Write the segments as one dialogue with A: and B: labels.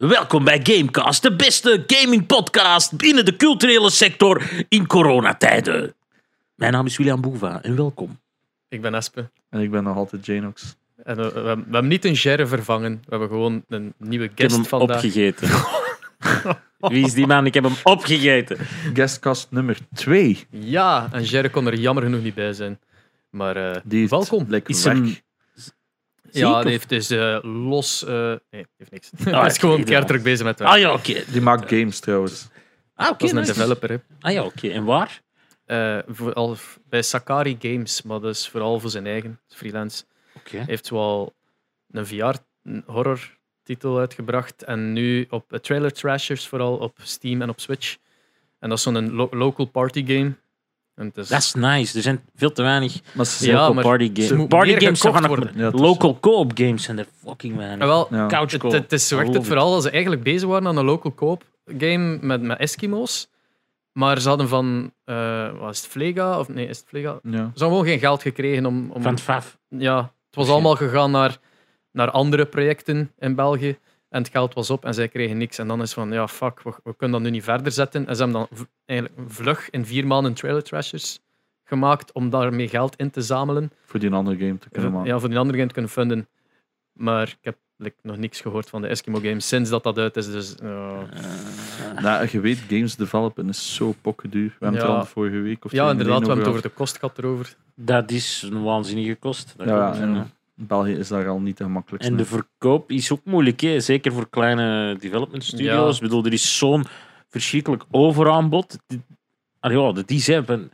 A: Welkom bij Gamecast, de beste gaming podcast binnen de culturele sector in coronatijden. Mijn naam is William Boeva en welkom.
B: Ik ben Espe.
C: En ik ben nog altijd Janox.
B: En we, we- we hebben niet een Gerre vervangen. We hebben gewoon een nieuwe
A: Ik heb
B: guest
A: hem
B: vandaag.
A: opgegeten. Wie is die man? Ik heb hem opgegeten.
C: Guestcast nummer 2.
B: Ja, en Gerre kon er jammer genoeg niet bij zijn. Maar eh,
C: Die heeft
B: welkom.
C: lekker
A: Is
C: weg.
A: hem-
B: Ja,
A: Ziek,
B: die
A: of-
B: heeft dus eh, los... eh, nee, heeft niks.
A: Ah,
B: Hij is gewoon
A: oké,
B: keihard druk bezig met werk.
A: Ah ja, oké.
C: Die maakt games trouwens.
A: Ah, oké,
B: Dat is een
A: nice.
B: developer, hè.
A: Ah ja, oké. En waar?
B: Eh, vooral f- bij Sakari Games, maar dat is vooral voor zijn eigen, freelance.
A: Oké.
B: Hij heeft wel een VR-horror titel uitgebracht en nu op eh, Trailer Trashers vooral op Steam en op Switch. En dat is zo'n lo- local party game. En het is-
A: Dat is nice. Er zijn veel te weinig
C: Maar ze
B: Ja,
C: zijn-
A: local
B: maar
A: party
B: ze
A: games.
B: moet
A: Party
B: meer
A: games zijn
B: gekocht
A: van
B: worden.
C: Ja, het is-
A: local co-op games zijn er fucking
B: Ah,
A: weinig.
B: wel,
C: Ja.
A: Couch
B: het,
A: co-op.
B: het is, zo
C: I
B: werkt het
C: love
B: vooral als ze eigenlijk bezig waren aan een local co-op game met, met Eskimo's. Maar ze hadden van, eh wat is het, Vlega? Of nee, is het Vlega?
C: Ja.
B: Ze hadden gewoon geen geld gekregen om... om
A: Van het FAF.
B: ja, het was allemaal gegaan naar, naar andere projecten in België. En het geld was op en zij kregen niks. En dan is van, ja, fuck, we, we kunnen dat nu niet verder zetten. En ze hebben dan v- eigenlijk vlug in vier maanden Trailer Trashers gemaakt om daarmee geld in te zamelen.
C: Voor die andere game te kunnen maken.
B: Ja, voor die andere game te kunnen funden. Maar ik heb like, nog niks gehoord van de Eskimo Game sinds dat dat uit is. Dus, eh,
C: Nou, je weet, games developen is zo pokkenduur. We hebben het
B: Ja.
C: er al vorige week of
B: ja,
C: twee
B: inderdaad, we hebben
C: geleden
B: het over de kost gehad erover.
A: Dat is een waanzinnige kost. Dat
C: Ja,
A: klopt,
C: en- gehad. België is daar al niet de gemakkelijkste.
A: En de verkoop is ook moeilijk, hè? zeker voor kleine development studios.
B: Ja.
A: Ik bedoel, er is zo'n verschrikkelijk overaanbod. Die- Ah ja, dat is hè. Van-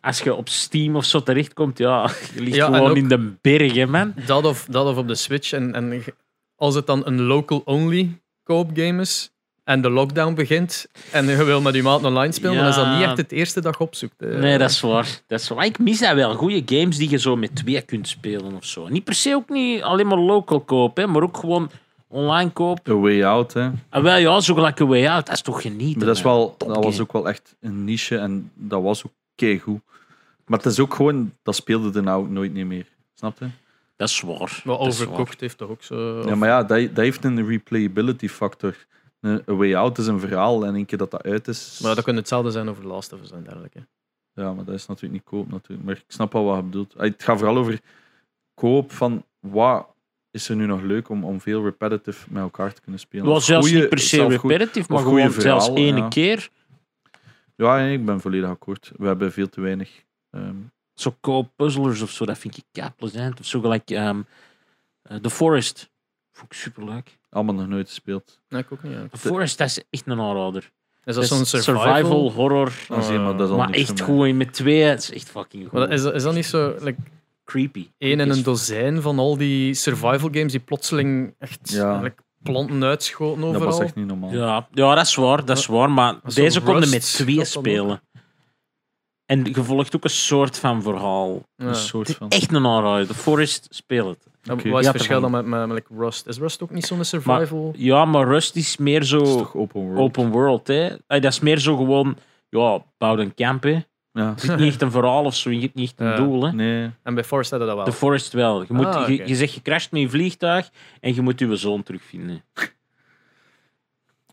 A: Als je op Steam of zo terechtkomt, ja, je ligt
B: Ja, en
A: gewoon
B: ook-
A: in de bergen, man.
B: Dat of, dat of op de Switch. En, en ge- als het dan een local-only co-op game is en de lockdown begint en je wil met je maat online spelen, dan is dat niet
A: Ja.
B: echt het eerste dag opzoekt. eh.
A: Nee, dat is waar. Dat is waar. Ik mis dat wel. Goede games die je zo met twee kunt spelen of zo. Niet per se ook niet alleen maar local koop, hè, maar ook gewoon online koop.
C: A Way Out, hè.
A: En wel ja, zo gelijk een way out. Dat is toch genieten.
C: Maar dat, is
A: man.
C: wel, dat was
A: Topgame.
C: ook wel echt een niche en dat was ook keigoed. Maar het is ook gewoon, dat speelde er nou ook nooit niet meer. Snap je?
A: Dat is waar.
B: Maar
A: Dat is waar.
B: overkocht heeft toch ook zo.
C: Ja, maar ja, dat, dat heeft een replayability factor. Een A Way Out is een verhaal en één keer dat dat uit is...
B: Maar dat kan hetzelfde zijn over Last of Us en dergelijke.
C: Ja, maar dat is natuurlijk niet koop. Natuurlijk. Maar ik snap wel wat je bedoelt. Ah, Het gaat vooral over koop van wat is er nu nog leuk om, om veel repetitive met elkaar te kunnen spelen.
A: was zelfs
C: Goeie-
A: niet per se
C: zelf goed-
A: repetitive, maar
C: of goeie
A: gewoon zelfs
C: verhalen,
A: ene
C: ja.
A: keer.
C: Ja, nee, ik ben volledig akkoord. We hebben veel te weinig. ehm,
A: Zo co puzzlers of zo, dat vind ik ja plezant. Of zo gelijk ehm, eh, The Forest. Vond ik superleuk.
C: allemaal nog nooit gespeeld.
B: Nee, ik ook niet. ja.
A: The Forest, dat is echt een aanrader.
B: Is
A: Dat
B: dat
A: is
B: zo'n survival?
A: horror.
C: Dan zie je, maar dat is al
A: Eh, maar
C: niks
A: echt
C: voor mij.
A: goed in met twee. Het is echt fucking
B: Maar
A: goed.
B: dat- is, dat- is dat niet zo like,
A: creepy.
B: één in
A: Creepy
B: een
A: is-
B: dozijn van al die survival games die plotseling echt
C: Ja.
B: like, planten uitschoten
C: Dat was
B: overal?
C: echt niet normaal.
A: Ja, ja, dat is waar, dat is waar. Maar
B: is
A: deze
B: zo'n
A: konden
B: Rust,
A: met twee
B: dat kan ook.
A: spelen. En je volgt ook een soort van verhaal.
B: Ja.
C: Een
A: Het
C: soort
A: is
C: van.
A: echt een aanrader. The Forest, speel het.
B: En
C: Oké.
B: Wat is
A: Ja,
B: het verschil dan met, met, met, like, Rust? Is Rust ook niet zo'n survival?
A: Ja, maar Rust is meer zo...
C: Het is toch open world.
A: open world, hè. Ay, dat is meer zo gewoon, ja, bouw een camp, hè. Er
C: Ja.
A: zit niet echt een verhaal of zo, je hebt niet echt een
B: Ja.
A: doel, hè.
C: Nee.
B: En bij Forest hadden dat
A: The
B: wel.
A: Forest wel. Je, moet,
B: Ah,
A: je,
B: oké.
A: je zegt, je crasht met je vliegtuig en je moet je zoon terugvinden.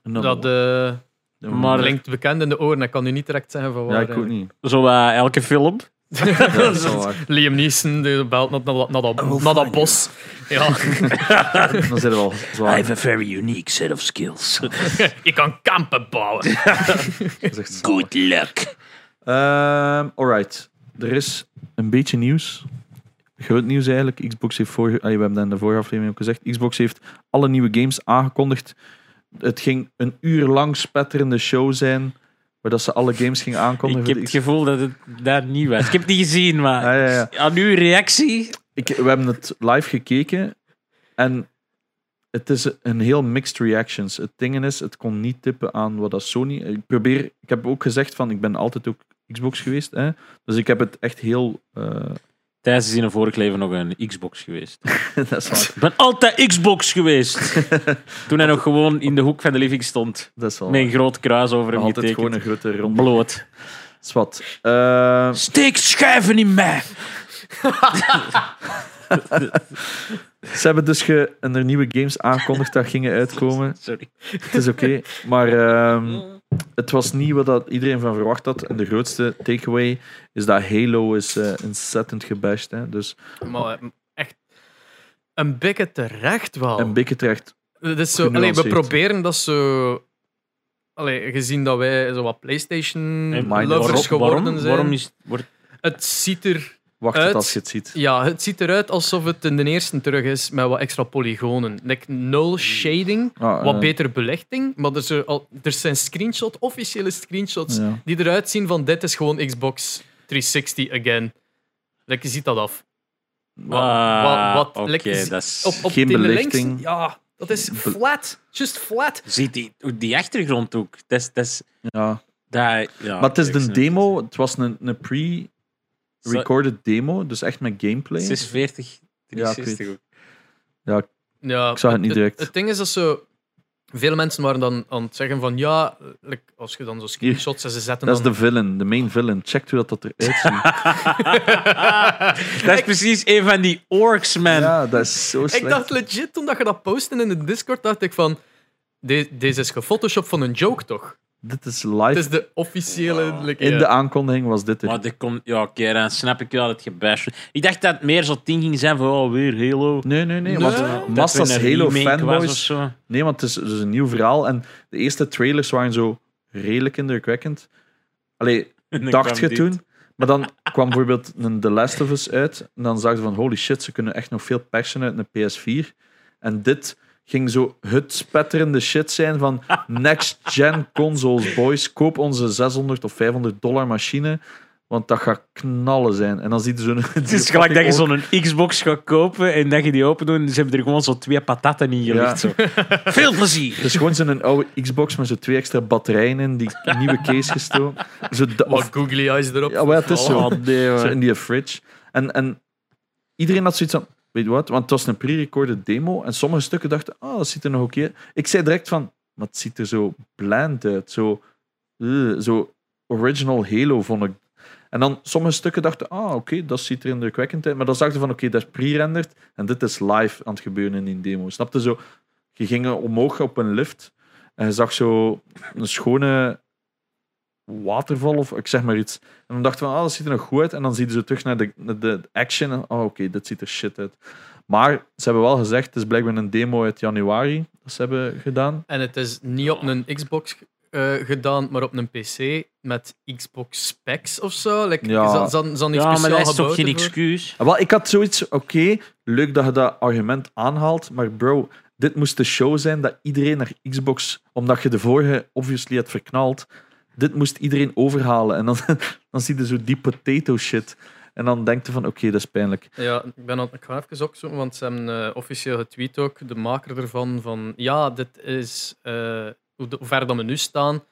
C: No,
B: dat eh
C: no.
A: maar-
B: klinkt bekend in de oren. Ik kan nu niet direct zeggen van waar.
C: Ja, ik ook
B: eigenlijk.
C: niet.
A: Zo eh, elke film.
C: Ja, dat is wel waar.
B: Liam Neeson die belt naar, naar, naar, dat- naar dat bos. Ja,
C: Dan zijn we wel
A: I
C: zwaar.
A: have a very unique set of skills.
B: ik kan kampen bouwen.
C: Dat is echt zwaar.
A: Good luck.
C: Ehm alright. Er is een beetje nieuws. Groot nieuws eigenlijk. Xbox heeft vorige, ah, we hebben dat in de vorige aflevering ook gezegd. Xbox heeft alle nieuwe games aangekondigd. Het ging een uur lang spetterende show zijn. Waar dat ze alle games gingen aankondigen.
A: Ik
C: voor
A: heb
C: de
A: het
C: Xbox.
A: gevoel dat het daar niet was. Ik heb het niet gezien, maar
C: Ah, ja, ja.
A: aan uw reactie...
C: Ik, we hebben het live gekeken. En het is een heel mixed reactions. Het ding is, het kon niet tippen aan wat dat Sony... Ik probeer... Ik heb ook gezegd van, ik ben altijd ook Xbox geweest. Hè? Dus ik heb het echt heel... eh,
A: Thijs is in een vorig leven nog een Xbox geweest.
C: dat is waar.
A: Ik ben altijd Xbox geweest. Toen hij nog gewoon in de hoek van de living stond.
C: Dat is wel
A: Met een groot kruis over hem
C: Altijd
A: getekend.
C: gewoon een grote ronde.
A: Bloot.
C: Zwat. Eh,
A: Steek schijven in mij.
C: Ze hebben dus ge, een er nieuwe games aangekondigd dat gingen uitkomen.
A: Sorry.
C: Het is oké. Maar ehm, het was niet wat dat iedereen van verwacht had. En de grootste takeaway is dat Halo is eh, ontzettend gebashed. Hè. Dus
B: Maar eh, echt een beetje terecht
A: Oh.
B: wel.
C: een beetje terecht.
B: Dat is zo, allee,
C: genuanceerd.
B: we proberen dat zo. Allee, gezien dat wij zo wat
A: En
C: maar
B: PlayStation-lovers
A: waarom-
B: geworden
A: waarom,
B: zijn.
A: waarom is, wordt,
B: Het, ziet er,
C: Wacht
B: Uit.
C: tot als je het ziet.
B: ja, het ziet eruit alsof het in de eerste terug is met wat extra polygonen. Like null shading,
C: Ah,
B: wat
C: eh,
B: betere belichting. Maar er, zo al, er zijn screenshots, officiële screenshots,
C: ja.
B: die eruit zien van dit is gewoon Xbox 360 again. Like, je ziet dat af. Wat-
A: Ah,
B: wat- wat-
A: oké,
B: lekker-
A: dat is-
B: Op, op
C: Geen
B: de
C: belichting.
B: Links, ja, dat is flat. Just flat.
A: Ziet die, die achtergrond ook. Dat is, dat is,
C: Ja.
A: dat, ja,
C: Maar het is
A: ik
C: een
A: snap
C: demo. Het was een, een
A: Zo-
C: pre-recorded demo. Dus echt met gameplay.
A: 46,
C: Ja, ik weet
A: 63 ook.
B: Ja,
C: Ik zag het niet direct.
B: Het, ding is dat ze... Veel mensen waren dan aan het zeggen van ja, like, als je dan zo screenshots en ze zetten
C: Dat is de
B: dan...
C: villain, de main villain. Check hoe dat, dat eruit ziet.
A: Dat is precies een van die orks, man.
C: ja, dat is zo slecht.
B: ik dacht legit, toen dat je dat postte in de Discord, dacht ik van... "De- Deze is gefotoshopt van een joke, toch?
C: Dit is
B: Het
C: live.
B: is de officiële... like,
C: In
B: ja.
C: de aankondiging was dit er.
A: Maar dat komt, ja, oké, dan snap ik wel dat gebash. wordt. Ik dacht dat het meer zo'n ding ging zijn van, oh, weer Halo.
C: Nee, nee, nee. Want
B: Nee.
A: Dat
C: massa's
A: er een
C: Halo
A: remake was of
C: fanboys.
A: zo.
C: Nee, want het is, het is een nieuw verhaal. En de eerste trailers waren zo redelijk indrukwekkend. Allee,
A: En dan
C: dacht
A: kwam
C: je
A: dit.
C: toen. Maar dan kwam bijvoorbeeld een The Last of Us uit. En dan zag je van, holy shit, ze kunnen echt nog veel passion uit een PS4. En dit ging zo het spetterende shit zijn van next-gen consoles, boys. Koop onze 600 of 500 dollar machine, want dat gaat knallen zijn. En dan ziet je zo'n...
A: Het is gelijk dat je zo'n Xbox gaat kopen en dat je die open doet en ze hebben er gewoon zo twee patatten in gelegd.
C: Ja.
A: Zo. Veel plezier!
C: Het is gewoon zo'n oude Xbox met zo twee extra batterijen in, die nieuwe case gestoken. Zo da-
B: Wat
C: of-
B: googly eyes erop.
C: ja, maar het is zo.
A: Oh, nee, hoor.
C: Zo in die eh, fridge. En, en iedereen had zoiets van, weet je wat, want het was een pre-recorded demo en sommige stukken dachten, ah, dat ziet er nog oké uit. Ik zei direct van, maar het ziet er zo bland uit, zo, eh, zo original Halo vond ik. En dan sommige stukken dachten, ah, oké, dat ziet er indrukwekkend uit. Maar dan zag je van, oké, dat is pre-rendered en dit is live aan het gebeuren in die demo. Snapte zo, je ging omhoog op een lift en je zag zo een schone waterval of ik zeg maar iets. En dan dachten we, ah, dat ziet er nog goed uit. En dan zien ze terug naar de, naar de action. En, oh, oké, dit ziet er shit uit. Maar ze hebben wel gezegd, het is blijkbaar een demo uit januari dat ze hebben gedaan.
B: En het is niet op een Xbox eh, gedaan, maar op een PC met Xbox specs of zo. Like,
C: Ja.
B: ja. Zal, zal niet
A: Ja, maar
B: speciaal
A: dat is toch
B: gebouwd
A: geen
B: ervoor?
A: excuus?
C: En Ah, wel, ik had zoiets, oké, leuk dat je dat argument aanhaalt, maar bro, dit moest de show zijn dat iedereen naar Xbox, omdat je de vorige obviously had verknald, dit moest iedereen overhalen. En dan, dan zie je zo die potato shit. En dan denk je van, oké, dat is pijnlijk.
B: Ja, ik ben aan ik ga even opzoeken, want ze hebben eh, officieel getweet ook, de maker ervan, van ja, dit is eh, hoe, de- hoe ver dat we nu staan.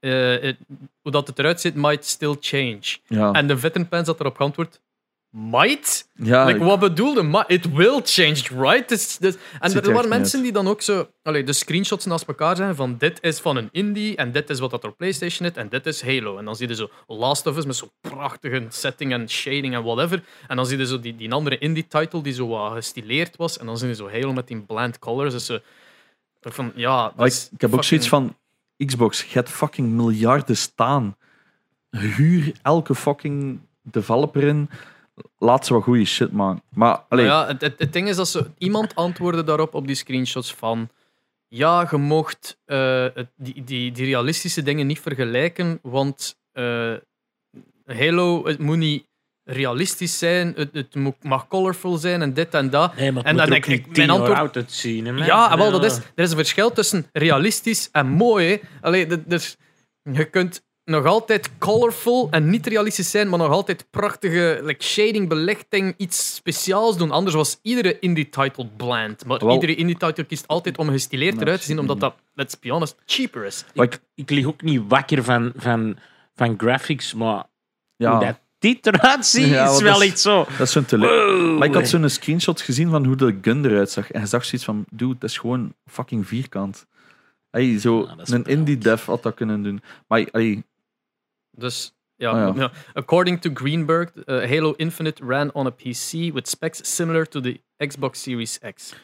B: eh, het- hoe dat het eruit ziet, might still change.
C: Ja,
B: En de vettenpens dat erop geantwoord, might?
C: ja
B: Like, wat bedoelde ma- It will change, right? Dus- dus- en
C: ziet er
B: er
C: echt
B: waren
C: niet
B: mensen die dan ook zo allee, de screenshots naast elkaar zeggen van dit is van een indie en dit is wat dat er op PlayStation is en dit is Halo. En dan zie je zo Last of Us met zo'n prachtige setting en shading en whatever. En dan zie je zo die, die andere indie-title die zo wat gestileerd was. En dan zie je zo Halo met die bland colors. Dus zo, toch van, ja, dat
C: Maar Ah, ik,
B: is
C: ik heb ook zoiets
B: fucking-
C: van: Xbox, je hebt fucking miljarden staan. Huur elke fucking developer in. Laat ze wat goede shit maken. Maar allee,
B: Maar Ja, het, het, het ding is dat ze, iemand antwoordde daarop op die screenshots van. Ja, je mocht eh, het- die, die, die realistische dingen niet vergelijken, want eh, Halo, het moet niet realistisch zijn, het, het moet- mag colorful zijn en dit en dat.
A: Nee, maar
B: en dan denk ik, mijn antwoord.
A: oud uitzien. hè, man.
B: Ja, wel, dat is, er is een verschil tussen realistisch en mooi. hè. Allee, d- dus, je kunt nog altijd colorful en niet realistisch zijn, maar nog altijd prachtige like, shading, belichting, iets speciaals doen. Anders was iedere indie-title bland. Maar
C: Wel-
B: iedere indie-title kiest altijd om gestileerd
C: Nou,
B: eruit te zien, omdat
C: zie-
B: dat, let's be honest, cheaper is.
C: wat ik-
A: Ik lig ook niet wakker van, van, van graphics, maar
C: ja,
A: hoe dat dit eruit ziet,
C: Ja,
A: is
C: want
A: wel
C: dat is-
A: iets zo...
C: dat is zo'n tele.
A: Wow.
C: Maar ik had zo'n screenshot gezien van hoe de gun eruit zag. En je zag zoiets van: dude, dat is gewoon fucking vierkant. Hey, zo,
A: Ja, dat is
C: een
A: briljant.
C: indie dev had dat kunnen doen. Maar hey,
B: Dus Ja,
C: Ah, ja.
B: ja. According to Greenberg, uh, Halo Infinite ran on a PC with specs similar to the Xbox Series X.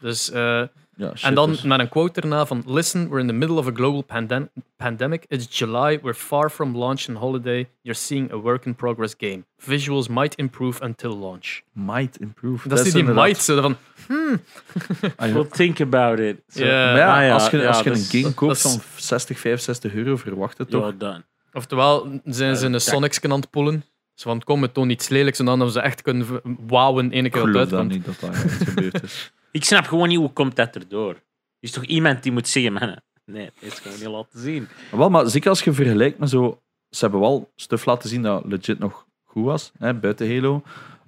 B: Dus, eh,
C: Ja, shit,
B: en dan
C: dus.
B: met een quote erna van Listen, we're in the middle of a global pandem pandemic. It's July, we're far from launch and holiday. You're seeing a work in progress game. Visuals might improve until launch.
C: might improve.
B: Dat is die
C: inderdaad-
B: might, zo van,
C: Ah, ja.
A: We'll think about it. Zo.
B: Ja.
C: Maar ja,
A: Ah, ja,
C: als je,
A: ja,
C: als je
A: dat
C: een
A: is-
C: game koopt
B: eh, dat is-
C: van 60, 65 euro, verwacht het toch?
A: You're done.
B: Oftewel, zijn ze
A: Eh,
B: een
A: tak.
B: Sonics aan het poelen. Ze van, kom, het toont iets lelijks. En dan hebben ze echt kunnen v- wauwen ene
C: Ik
B: keer op
C: geloof
B: uit.
C: dat
B: want-
C: niet dat dat echt gebeurd is.
A: Ik snap gewoon niet hoe komt dat erdoor. Er is toch iemand die moet zeggen, man, nee, dat is gewoon niet laten zien.
C: Maar wel, maar zeker als je vergelijkt met zo... Ze hebben wel stuff laten zien dat legit nog goed was, hè, buiten Halo.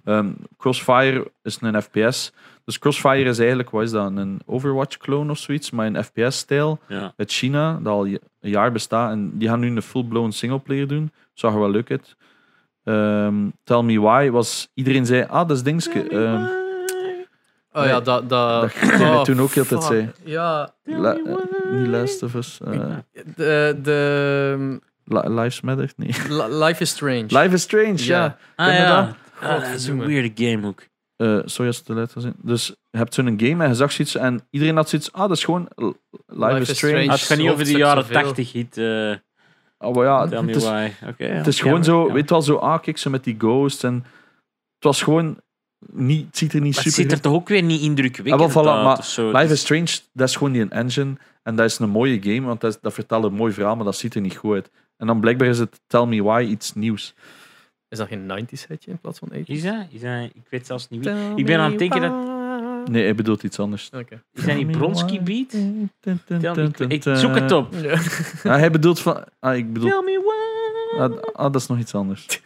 C: Ehm, Crossfire is een FPS. Dus Crossfire is eigenlijk, wat is dat, een Overwatch-clone of zoiets, maar in FPS-stijl.
A: Ja.
C: Uit China, dat al j- een jaar bestaat. En die gaan nu een full-blown singleplayer doen. Zag er wel leuk uit. Ehm, Tell Me Why was... Iedereen zei, ah, dat is dingske. Ehm,
B: Oh ja, dat... Dat,
C: Dat ging
B: oh,
C: je toen ook heel de tijd
B: fuck.
C: zei.
B: Ja,
C: La- eh, niet Last of Us. eh,
B: de, de
C: Li- Lives Matter? Nee.
B: Li- Life is Strange.
C: Life is Strange, ja.
B: Ja.
A: Ah
C: Inderdaad.
A: ja, Ah, dat is een
B: Godverdomme.
A: weird game ook.
C: Eh, sorry als het te laat was. Dus je hebt zo'n game en je zag zoiets en iedereen had zoiets. Ah, dat is gewoon L- Life,
B: Life
C: is
B: is
C: Strange.
A: Ah, het gaat niet over die
B: Hoofdstuk
A: jaren
B: zoveel.
A: 80 hit. eh
C: Ah, maar ja,
A: tell
C: het
A: me
C: is,
A: why. Oké, ja,
C: het is
A: jammer,
C: gewoon zo,
A: jammer.
C: weet wel, zo, ah, kijk ze met die ghost. En het was gewoon, niet, het ziet er niet
A: Maar het
C: super
A: zit er
C: uit.
A: toch ook weer niet indrukwekkend
C: Ah, wel, voilà,
A: uit
C: maar
A: of zo.
C: Life
A: Dus-
C: is Strange, dat is gewoon die engine. En dat is een mooie game, want dat, is- dat vertelt een mooi verhaal, maar dat ziet er niet goed uit. En dan blijkbaar is het Tell Me Why iets nieuws.
B: Is dat geen 90s hetje in plaats van 80s?
A: Is dat? Is dat? Ik weet zelfs niet wie. Ik ben aan het denken dat...
C: Nee, hij bedoelt iets anders.
B: Oké.
A: Is dat niet Bronski Beat? Tell me- Ik zoek het op.
B: Ja.
C: Ah, hij bedoelt van... Ah, ik bedoel...
A: Tell me why.
C: Ah, d- ah, dat is nog iets anders.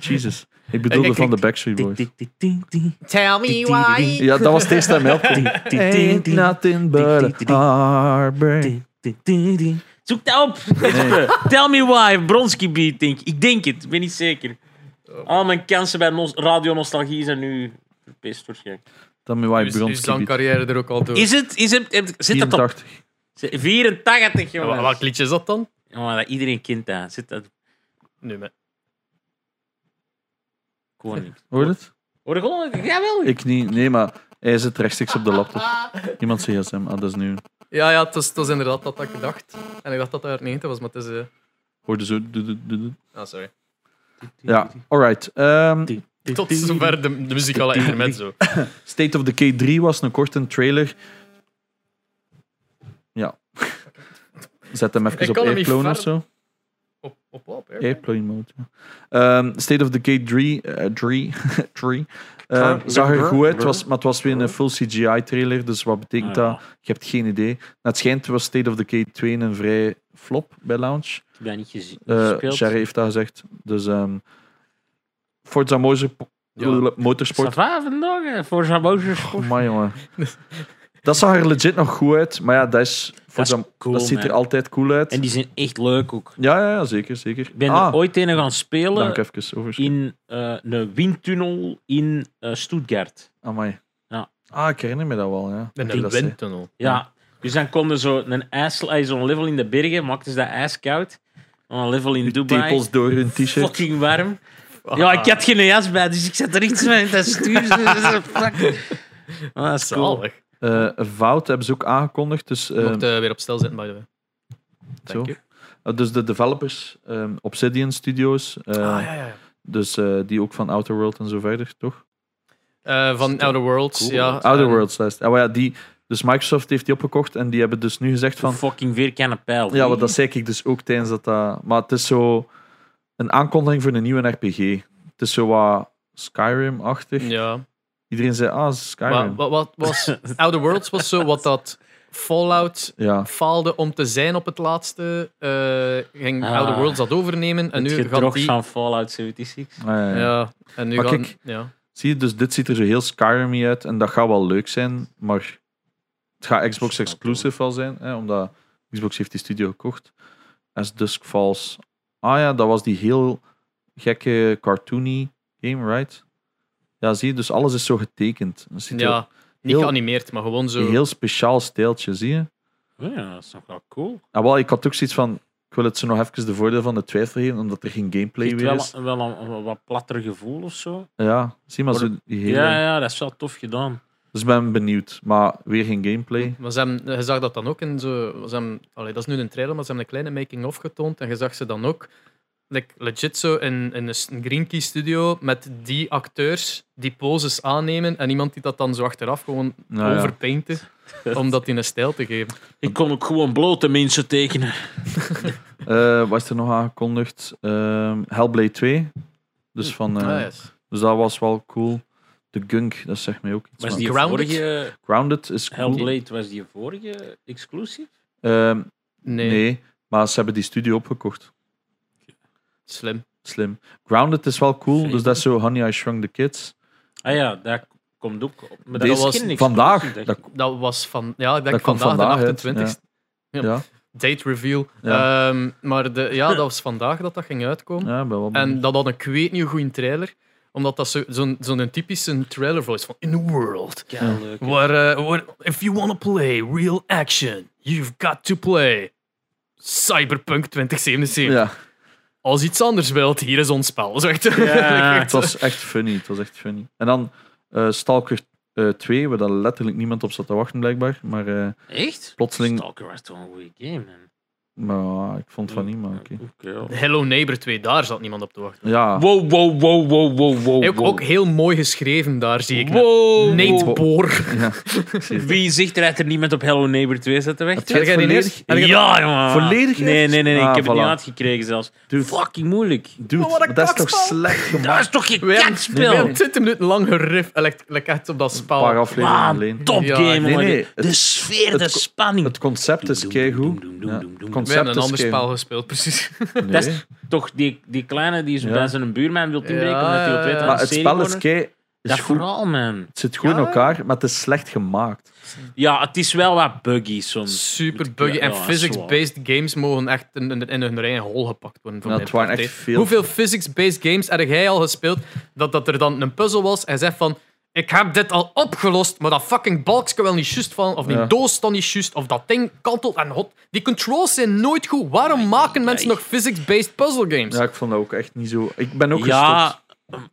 C: Jesus. Ik bedoelde
B: Kijk, kijk,
C: van de
B: kijk.
C: Backstreet
A: Tik,
C: Boys.
A: tik, tik, tik, tik.
B: Tell me why.
C: Ja, dat was het eerste dat mij opkwam.
A: Tik, tik, tik, tik.
C: nothing
A: tik, tik, tik.
C: heartbreak.
A: Tik, tik, tik, tik. Zoek dat op. Tell me why. Bronski Beat, denk ik. Ik denk het. Ik ben niet zeker.
C: Oh.
A: Al mijn kansen bij nos- Radio Nostalgie zijn nu verpest waarschijnlijk.
C: Dan met White
B: Uw- Uw
C: Bronski Beat.
B: zangcarrière er ook al
C: Oh.
B: door.
A: Is het? Is het heb- zit dat op
C: 84.
A: 84,
B: Ja, wa-
A: jongen?
B: Welk liedje is dat dan?
A: Oh, dat iedereen kent dat. Zit dat
B: Nu, maar.
A: gewoon niet.
C: Hoor je het?
A: Hoor je gewoon? Jawel.
C: Ik niet. Nee, maar hij zit rechtstreeks op de laptop. Iemand zei gsm. Ah, dat is nu.
B: Ja, ja, het was, het was inderdaad dat had ik dacht. En ik dacht dat dat uit 90 was, maar het is... eh,
C: Hoorde zo... du- du- du- du-
B: Ah, sorry.
C: Ja, alright. Ehm,
B: Tot zover de, de muzikale internet zo.
C: State of Decay 3 was een korte trailer. Ja. Zet hem even
B: Ik
C: op
B: kan hem niet
C: airplane of
B: verder-
C: zo.
B: Op, op wat? hè?
C: Airplane mode. ja. Ehm, State of Decay 3, eh, 3, 3 eh,
A: Trump.
C: zag er goed uit,
A: Trump.
C: was, maar het was weer een full CGI trailer, dus wat betekent
A: Ah, ja.
C: dat? Je hebt geen idee. Naar Het schijnt was State of Decay 2 een vrij flop bij launch.
A: Ik heb dat niet gezien.
C: Eh,
A: gespeeld.
C: Sherry heeft dat gezegd. Dus ehm Forza Motorsport.
B: Ja.
C: motorsport
A: Sava vandaag, eh, voor zijn boze
C: Oh, my, jongen. Dat zag er legit nog goed uit, maar ja, dat, is,
A: Dat is
C: dat,
A: cool,
C: dat ziet er
A: man.
C: altijd cool uit.
A: En die zijn echt leuk ook.
C: Ja, ja, ja, zeker, zeker.
A: Ik ben
C: ah,
A: er ooit een gaan
C: dank
A: spelen
C: even over.
A: in eh, een windtunnel in eh, Stuttgart.
C: Amai.
A: Ja.
C: Ah, ik herinner me dat wel, ja.
B: En
C: Dat
B: de
C: is, eh,
B: windtunnel.
A: Ja. Dus dan konden zo een ijs, eh, zo'n level in de bergen, maakten ze dat ijskoud. Dan Een level in
C: die
A: Dubai,
C: tepels door hun t-shirt.
A: fucking warm.
C: Ah.
A: Ja, ik had geen jas bij, dus ik zat er iets mee in dat stuur. Dat is een eh, fuck. Ah, dat is cool.
B: Zalig.
C: Eh Vout hebben ze ook aangekondigd. Dus,
B: Je
C: eh,
B: mocht eh, weer op stil zitten, by the way.
C: zo.
B: Dank je.
C: Eh, dus de developers, eh, Obsidian Studios, eh,
B: Ah, ja, ja. ja.
C: dus, eh, die ook van Outer World en zo verder, toch?
B: Eh, van Outer Worlds,
A: Cool.
B: ja. Ehm,
C: Outer
B: En-
C: Worlds, dat is het. Ah, maar ja, die, dus Microsoft heeft die opgekocht en die hebben dus nu gezegd
A: Een
C: van...
A: fucking vierkante pijl.
C: Ja, want dat zei ik dus ook tijdens dat dat... Maar het is zo een aankondiging voor een nieuwe RPG. Het is zo wat Skyrim-achtig.
B: Ja.
C: Iedereen zei, ah, Skyrim.
B: Maar wat, wat was... Outer Worlds was zo wat dat Fallout
C: Ja. Ah,
B: faalde om te zijn op het laatste. eh, ging
A: Ah.
B: Outer Worlds dat overnemen en
A: Het
B: nu gaat
A: gedrocht
B: die...
A: van Fallout 76.
C: Ah, ja, ja.
B: Ja, en nu
C: Maar
B: gaan...
C: kijk,
B: ja.
C: Zie je, dus dit ziet er zo heel Skyrim uit. En dat gaat wel leuk zijn, maar het gaat Xbox
A: Snap
C: exclusive wel zijn. Hè, omdat Xbox heeft die studio gekocht. As Dusk Falls. Ah ja, dat was die heel gekke cartoony game, right? Ja, zie je, dus alles is zo getekend. Dat ziet er
B: ja, niet
C: heel-
B: geanimeerd, maar gewoon zo...
C: Een heel speciaal steeltje, zie je?
A: Ja, dat is nog wel cool.
C: Ah, wel, ik had ook zoiets van... Ik wil het ze nog even de voordeel van de twijfel geven, omdat er geen gameplay
A: Geeft
C: weer
A: wel,
C: is.
A: wel een, een wat platter gevoel of zo.
C: Ja, zie maar zo die hele...
A: Ja, ja, dat is wel tof gedaan.
C: Dus ik ben benieuwd. Maar weer geen
A: Hm.
C: gameplay.
B: Maar ze hebben, je zag dat dan ook in zo. Ze hebben, allee, dat is nu een trailer, maar ze hebben een kleine making-of getoond. En je zag ze dan ook like, legit zo in, in een s- een Green Key studio met die acteurs die poses aannemen. En iemand die dat dan zo achteraf gewoon
C: Nou ja.
B: overpainten. Om dat in een stijl te geven.
A: Ik kon ook gewoon blote mensen tekenen.
C: Eh, wat is er nog aangekondigd? Ehm, Hellblade 2. Dus, van, eh,
B: Ah, yes.
C: dus dat was wel cool. De Gunk, dat zegt mij ook iets.
A: Was
C: maar
A: die
B: Grounded?
A: vorige
C: Grounded is cool.
A: Hellblade, was die vorige exclusief?
C: Ehm, nee.
B: Nee,
C: maar ze hebben die studio opgekocht.
B: slim.
C: Slim. Grounded is wel cool. Dus
A: Zeker.
C: dat is zo Honey, I Shrunk the Kids.
A: Ah ja, dat komt ook op. Maar
C: Deze-
A: dat was geen
C: vandaag.
A: exclusief,
C: Dat,
A: dacht ik.
B: Dat was van. Ja, ik denk
C: Dat kwam
B: vandaag,
C: vandaag uit,
B: de 28
C: ja.
B: Ja.
C: Ja,
B: Date reveal.
C: Ja.
B: Ehm, maar de, ja, dat was vandaag dat dat ging uitkomen.
C: ja, ik ben wel benieuwd.
B: En dat had een kweetnieuw goede trailer. Omdat dat zo- zo'n zo'n typische trailer voice van In the world.
A: Kei leuk.
B: Where, eh, where- if you want to play real action, you've got to play Cyberpunk 2077.
C: ja,
B: Als iets anders wilt, hier is ons spel. Zo echt.
A: Ja.
C: het was echt funny. Het was echt funny. En dan eh, Stalker eh, 2, waar dan letterlijk niemand op zat te wachten, blijkbaar. Maar, eh,
A: Echt?
C: Plotseling-
A: Stalker was toch een goede game, man.
C: maar ah, ik vond van niet, maar oké.
A: Oké, ja.
B: Hello Neighbor 2, daar zat niemand op te wachten.
C: Ja,
A: Wow, wow, wow, wow, wow, wow.
B: Ook, ook heel mooi geschreven daar, zie ik. net.
A: Wow.
B: Nate Boor.
C: ja.
A: Wie zegt dat er niemand op Hello Neighbor 2 zat te
C: Heb
A: wachten?
C: jij het
B: Heb jij die
C: volledig?
B: eerst? Heb jij-
A: Ja, jongen.
C: Volledig
A: Nee, nee, nee. nee.
C: Ah,
A: ik heb het
C: voilà. Dus-
A: niet uitgekregen zelfs.
C: Dude.
A: Fucking moeilijk.
C: Dude,
B: Maar wat een
C: maar dat is toch
B: kakspel.
C: slecht
A: Dat
C: gemaakt?
A: is toch geen
B: We hebben-
A: kansspel?
B: we hebben 20 minuten lang gerif. Like, like echt op dat
C: Een
B: spel.
C: paar afleveringen alleen.
A: Top
B: Ja,
A: game,
C: nee,
A: jongen.
C: nee,
A: De-
C: het-
A: De sfeer,
C: het
A: de
C: ko-
A: spanning.
C: Het concept is
A: Doem,
C: keigoed.
A: doem, doem,
C: Ja,
A: doem, doem.
C: het
B: We hebben
C: concept
B: een
C: is
B: ander
C: keigoed.
B: spel gespeeld, precies.
C: Nee.
A: Dat is toch die, die kleine die zo
C: Ja.
A: bij zijn buurman wil inbreken
B: Ja,
A: omdat hij wil
B: ja,
A: weten
B: ja.
A: dat
C: Maar
A: het
C: het
A: serie
C: spel is kei... is
A: Dat
C: goed.
A: vooral, man.
C: Het zit goed in
B: Ja.
C: elkaar, maar het is slecht gemaakt.
A: Ja, het is wel wat buggy soms.
B: Super buggy.
A: Ja,
B: En
A: dat is
B: physics-based games mogen echt in, in, in hun eigen hol gepakt worden. voor
C: Ja,
B: mij.
C: het waren echt veel.
B: Hoeveel physics-based games heb jij al gespeeld dat, dat er dan een puzzel was en je zegt van... Ik heb dit al opgelost, maar dat fucking balkje wel niet juist van, of die
C: Ja.
B: doos dan niet juist, of dat ding kantelt en hot. Die controls zijn nooit goed. Waarom maken mensen nog physics-based puzzle games?
C: Ja, ik vond dat ook echt niet zo... Ik ben ook
A: Ja,
C: gestopt.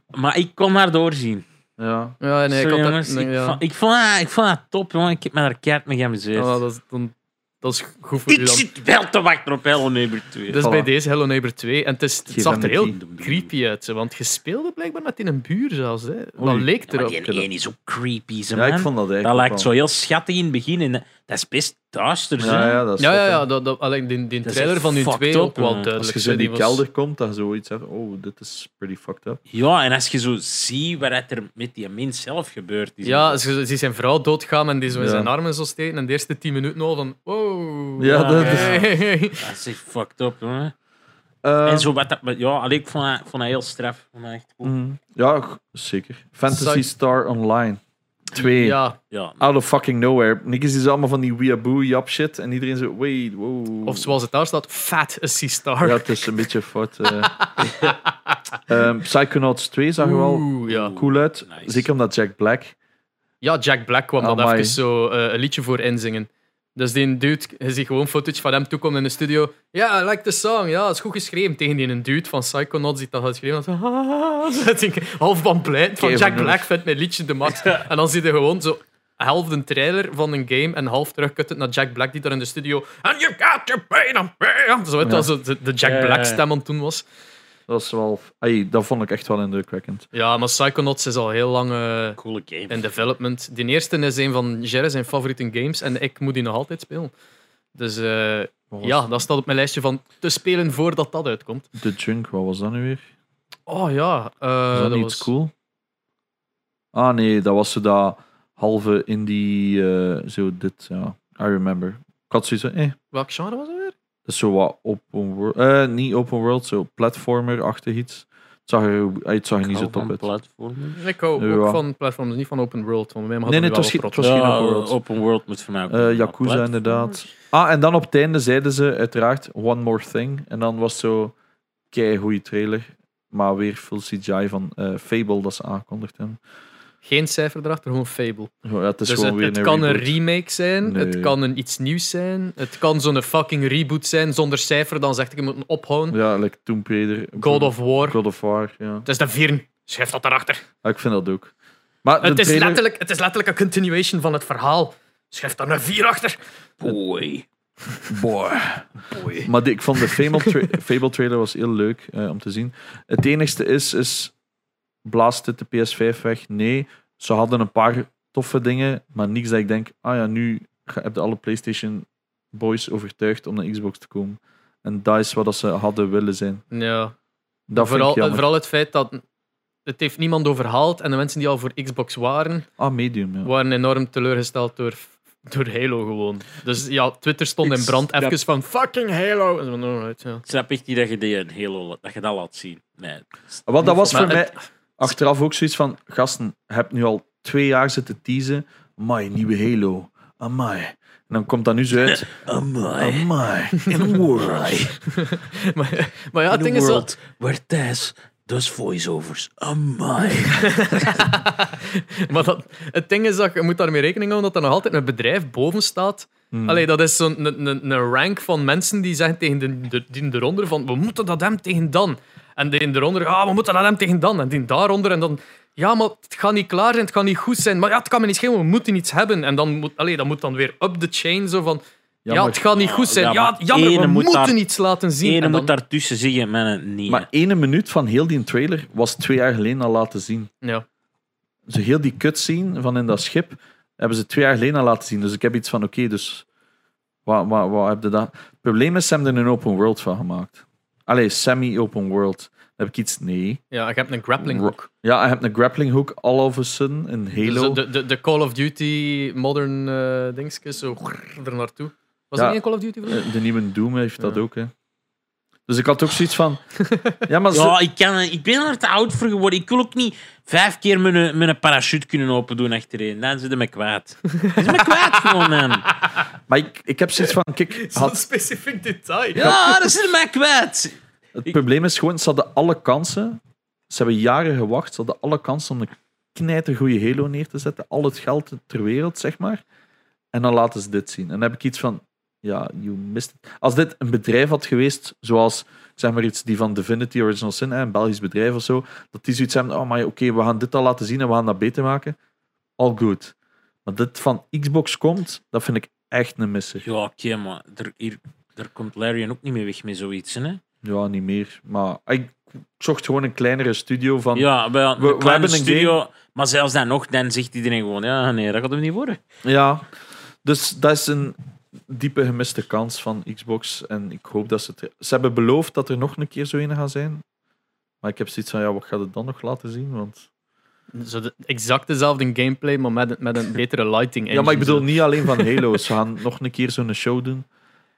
A: maar ik kon haar doorzien.
C: Ja.
B: Ja, nee,
A: Sorry,
B: ik had dat-
A: jongens,
B: nee,
A: ik,
B: ja.
A: vond, ik, vond haar, ik vond haar top, jongen. Ik heb me daar keihard mee geamuseerd.
B: Ja, dat, is, dan, dat is goed voor u
A: ik
B: dan.
A: zit wel te wachten op Hello Neighbor 2.
B: Dus
C: Voilà.
B: bij deze Hello Neighbor 2. En het, is, het
C: Geef
B: zag
C: hem
B: er
C: de
B: heel
C: key.
B: creepy uit. hè, Want je speelde blijkbaar met in een buur zelfs. Hè. Dat
C: Oei.
B: leek
A: maar
B: erop.
A: die ene is ook creepy, ze
C: ja, ik
A: man.
C: vond dat eigenlijk
A: dat
C: ook
A: lijkt
C: wel.
A: zo heel schattig in het begin. En dat dat is best duister, zo.
C: Ja, ja, dat is
B: Ja,
C: zot,
B: ja,
C: hè.
B: ja dat, dat, alleen die, die
A: Dat is
B: trailer
A: echt
B: van die
A: fucked
B: twee
A: up,
B: ook wel
A: man.
B: duidelijk.
C: Als
B: hè,
C: je zo in die
B: was-
C: kelder komt, dan zoiets hebt. Oh, dit is pretty fucked up.
A: Ja, en als je zo ziet wat er met die mens zelf gebeurd is.
B: Ja, als je ziet zijn vrouw doodgaan en die zo in
C: Ja.
B: zijn armen zo steken. En de eerste tien minuten al van... Wow.
C: Ja, dat
A: is-
B: Hey.
A: Dat is echt fucked up, jongen.
C: Ehm,
A: en zo wat dat... maar Ja, allee, ik vond dat, vond dat heel straf. Ik vond dat echt goed.
C: mm, ja, g- zeker. Fantasy
B: Zou-
C: Star Online 2.
B: Ja,
A: Ja,
C: Out of fucking nowhere. Niks is dus allemaal van die weeaboo jap shit. En iedereen zo, wait, wow.
B: of zoals het daar staat, Fat a Sea Star.
C: Ja, het is een beetje fout. eh. Ehm, Psychonauts 2 zag er wel
B: Oeh, ja.
C: cool uit.
A: Nice.
C: Zeker omdat Jack Black.
B: Ja, Jack Black kwam dat
C: Amai.
B: even zo eh, een liedje voor inzingen. Dus die dude, je ziet gewoon footage van hem toekomen in de studio. Ja, I like the song. Ja, dat is goed geschreven. Tegen die een dude van Psychonauts die dat had geschreven. Dat, ah, zo, dat ik half van pleit van
C: Kevin
B: Jack
C: Nuff.
B: Black vindt mijn liedje de max. En dan zie je gewoon zo half de trailer van een game en half terugkuttend naar Jack Black die daar in de studio... And you got your pain and pain. Zo, weet je,
C: Ja.
B: zo de, de Jack
A: Ja, ja, ja.
B: Black stem aan het doen was.
C: Dat is wel... Ay, dat vond ik echt wel indrukwekkend.
B: Ja, maar Psychonauts is al heel lang... eh,
A: coole game.
B: in development. Die eerste is een van Jerry zijn favoriete games en ik moet die nog altijd spelen. Dus eh,
C: Wat was
B: ja, dat staat op mijn lijstje van te spelen voordat dat uitkomt.
C: The Junk, wat was dat nu weer?
B: Oh ja, eh,
C: Was dat, niet
B: was
C: cool? Ah nee, dat was zo dat halve indie... eh, zo dit, ja. I remember. Ik had zoiets van, eh,
B: Welk genre was dat weer?
C: Dat is zo wat open world. eh, niet open world, zo platformer-achtig iets. Het zag er, eh, het zag er niet zo top uit.
A: platformen.
B: Ik hou
C: Ja.
B: ook van platforms, niet van open world. Want bij mij
C: Nee,
B: had
C: nee,
B: dat nu
C: het
B: wel
C: was
B: wat
C: geen- het
B: rot.
C: Misschien
A: ja,
C: open world.
A: open world moet voor mij ook.
C: Eh
A: een
C: Yakuza
A: platform.
C: inderdaad. Ah, en dan op het einde zeiden ze uiteraard One More Thing. En dan was zo kei goede trailer. Maar weer full CGI van eh, Fable dat ze aangekondigd hebben.
B: Geen cijfer erachter, gewoon Fable.
C: Gewoon, ja, het is
B: dus
C: gewoon
B: het,
C: weer
B: het
C: een
B: kan een
C: reboot.
B: remake zijn, het
C: Nee.
B: kan een iets nieuws zijn, het kan zo'n fucking reboot zijn zonder cijfer, dan zeg ik, je moet hem ophouden.
C: Ja, like Tomb Raider.
B: God of War.
C: God of War, ja.
B: Het is de vier. Schrijf dat erachter.
C: Ah, ik vind dat ook. Maar
B: Het
C: de
B: is,
C: trailer-
B: letterlijk, het is letterlijk een continuation van het verhaal. Schrijf daar een vier achter.
A: Boy.
C: Boah. Maar die- ik vond de Fable, tra- Fable trailer was heel leuk eh, om te zien. Het enigste is, is blaast dit de PS5 weg? Nee, ze hadden een paar toffe dingen, maar niks dat ik denk, ah ja, nu ga- heb je alle PlayStation boys overtuigd om naar Xbox te komen. En dat is wat dat ze hadden willen zijn.
B: Ja,
C: Dat
B: vooral,
C: vind ik jammer.
B: vooral het feit dat het heeft niemand overhaald en de mensen die al voor Xbox waren,
C: Ah, Medium, ja.
B: waren enorm teleurgesteld door, door Halo gewoon. Dus ja, Twitter stond
A: Ik
B: in brand.
A: snap-
B: Even van fucking Halo. En zo van, alright, ja.
A: Ik snap echt niet dat je, die een hele, la- dat, je dat laat zien. Nee.
C: Want dat was
B: Maar
C: voor mij
B: het-
C: achteraf ook zoiets van: gasten, heb nu al twee jaar zitten teasen. Amai, nieuwe Halo. Amai. En dan komt dat nu zo uit.
A: Amai.
C: Amai. In a world.
B: maar, maar ja, het ding
A: In a
B: is wel,
A: world where Tess does Dus voiceovers. Amai.
B: maar dat, het ding is dat je moet daarmee rekening houden dat er nog altijd een bedrijf boven staat.
A: Hmm.
B: Allee, dat is zo'n een, een, een rank van mensen die zeggen tegen de, de, die eronder van we moeten dat hem tegen dan. En die eronder, ah, we moeten dat hem tegen dan. En die daaronder en dan, ja, maar het gaat niet klaar zijn, het gaat niet goed zijn. Maar ja, het kan me niet schelen, we moeten iets hebben. En dan moet, allee, dat moet dan weer up the chain zo van, ja,
C: Jammer.
B: het gaat niet goed zijn.
A: Ja,
B: Ja,
A: maar
B: jammer,
A: ene
B: we
A: moet
B: moeten
A: daar-
B: iets laten zien.
A: Ene
B: En
A: moet
B: dan-
A: daartussen zingen met een nee.
C: Maar ene minuut van heel die trailer was twee jaar geleden al laten zien.
B: ja.
C: Ze heel die cutscene van in dat schip hebben ze twee jaar geleden al laten zien. Dus ik heb iets van: oké, dus. Wat, wat, wat heb je dat? Het probleem is, ze hebben er een open world van gemaakt. Allee, semi-open world. Dan heb ik iets. Nee.
B: ja, ik heb een grappling
C: Ro-
B: hook.
C: Ja, je hebt een grappling hook all of a sudden in Halo.
B: Dus de, de, de Call of Duty modern eh dingetjes, zo grrr, er naartoe. Was
C: Ja.
B: er niet een Call of Duty voor?
C: Eh, de nieuwe Doom heeft dat ook, hè. Dus ik had ook zoiets van... Ja, maar ze-
A: Ja, ik, kan, ik ben er te oud voor geworden. Ik wil ook niet vijf keer mijn, mijn parachute kunnen opendoen achterin. Dan zit het me kwaad. Het is me kwaad gewoon, man.
C: maar ik, ik heb zoiets van... Kijk, had-
B: specifiek detail.
A: Ja, dat zit me kwaad.
C: het probleem is gewoon, ze hadden alle kansen. Ze hebben jaren gewacht. Ze hadden alle kansen om een knijtergoeie Halo neer te zetten. Al het geld ter wereld, zeg maar. En dan laten ze dit zien. En dan heb ik iets van... Ja, you missed it. Als dit een bedrijf had geweest, zoals zeg maar iets die van Divinity Original Sin, hè, een Belgisch bedrijf of zo, dat die zoiets hebben, oh maar oké, we gaan dit al laten zien en we gaan dat beter maken. All good. Maar dit van Xbox komt, dat vind ik echt een misser.
A: Ja, oké, maar er, hier, daar komt Larian ook niet mee weg met zoiets. Hè?
C: Ja, niet meer. Maar ik zocht gewoon een kleinere studio van...
A: Ja, wel,
C: We-
A: we,
C: we hebben een
A: studio. Maar zelfs dan nog, dan zegt iedereen gewoon: ja, nee, dat gaat hem niet worden.
C: Ja, dus dat is een diepe gemiste kans van Xbox. En ik hoop dat ze het... Ze hebben beloofd dat er nog een keer zo een gaan zijn. Maar ik heb zoiets van, ja, wat gaat het dan nog laten zien? Want...
B: Zo de, exact dezelfde gameplay, maar met, met een betere lighting.
C: Ja, maar ik bedoel
B: engine.
C: niet alleen van Halo. Ze gaan nog een keer zo'n show doen.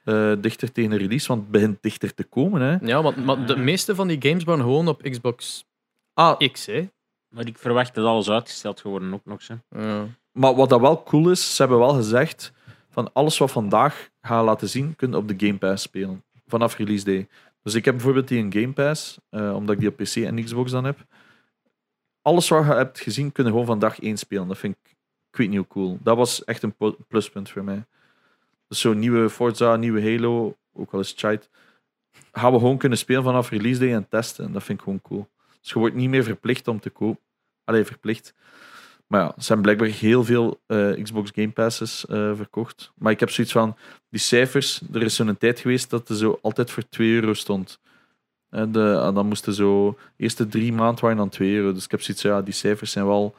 C: eh, dichter tegen de release, want het begint dichter te komen. Hè.
B: Ja, want maar de meeste van die games waren gewoon op Xbox
C: Ah,
B: X, hè?
A: Maar ik verwacht dat alles uitgesteld geworden ook nog. Hè.
B: Ja.
C: maar wat dat wel cool is, ze hebben wel gezegd van alles wat vandaag gaan laten zien, kun je op de Game Pass spelen. Vanaf release day. Dus ik heb bijvoorbeeld die in Game Pass, eh, omdat ik die op PC en Xbox dan heb. Alles wat je hebt gezien, kun je gewoon vandaag één spelen. Dat vind ik, ik weet niet hoe cool. Dat was echt een po- pluspunt voor mij. Dus zo'n nieuwe Forza, nieuwe Halo, ook al is Chite, gaan we gewoon kunnen spelen vanaf release day en testen. Dat vind ik gewoon cool. Dus je wordt niet meer verplicht om te kopen. Allee, verplicht. Maar ja, er zijn blijkbaar heel veel eh, Xbox Game Passes eh, verkocht. Maar ik heb zoiets van, die cijfers, er is zo'n tijd geweest dat er zo altijd voor 2 euro stond. En de, en dan moesten zo, de eerste drie maanden waren dan 2 euro. Dus ik heb zoiets ja, die cijfers zijn wel,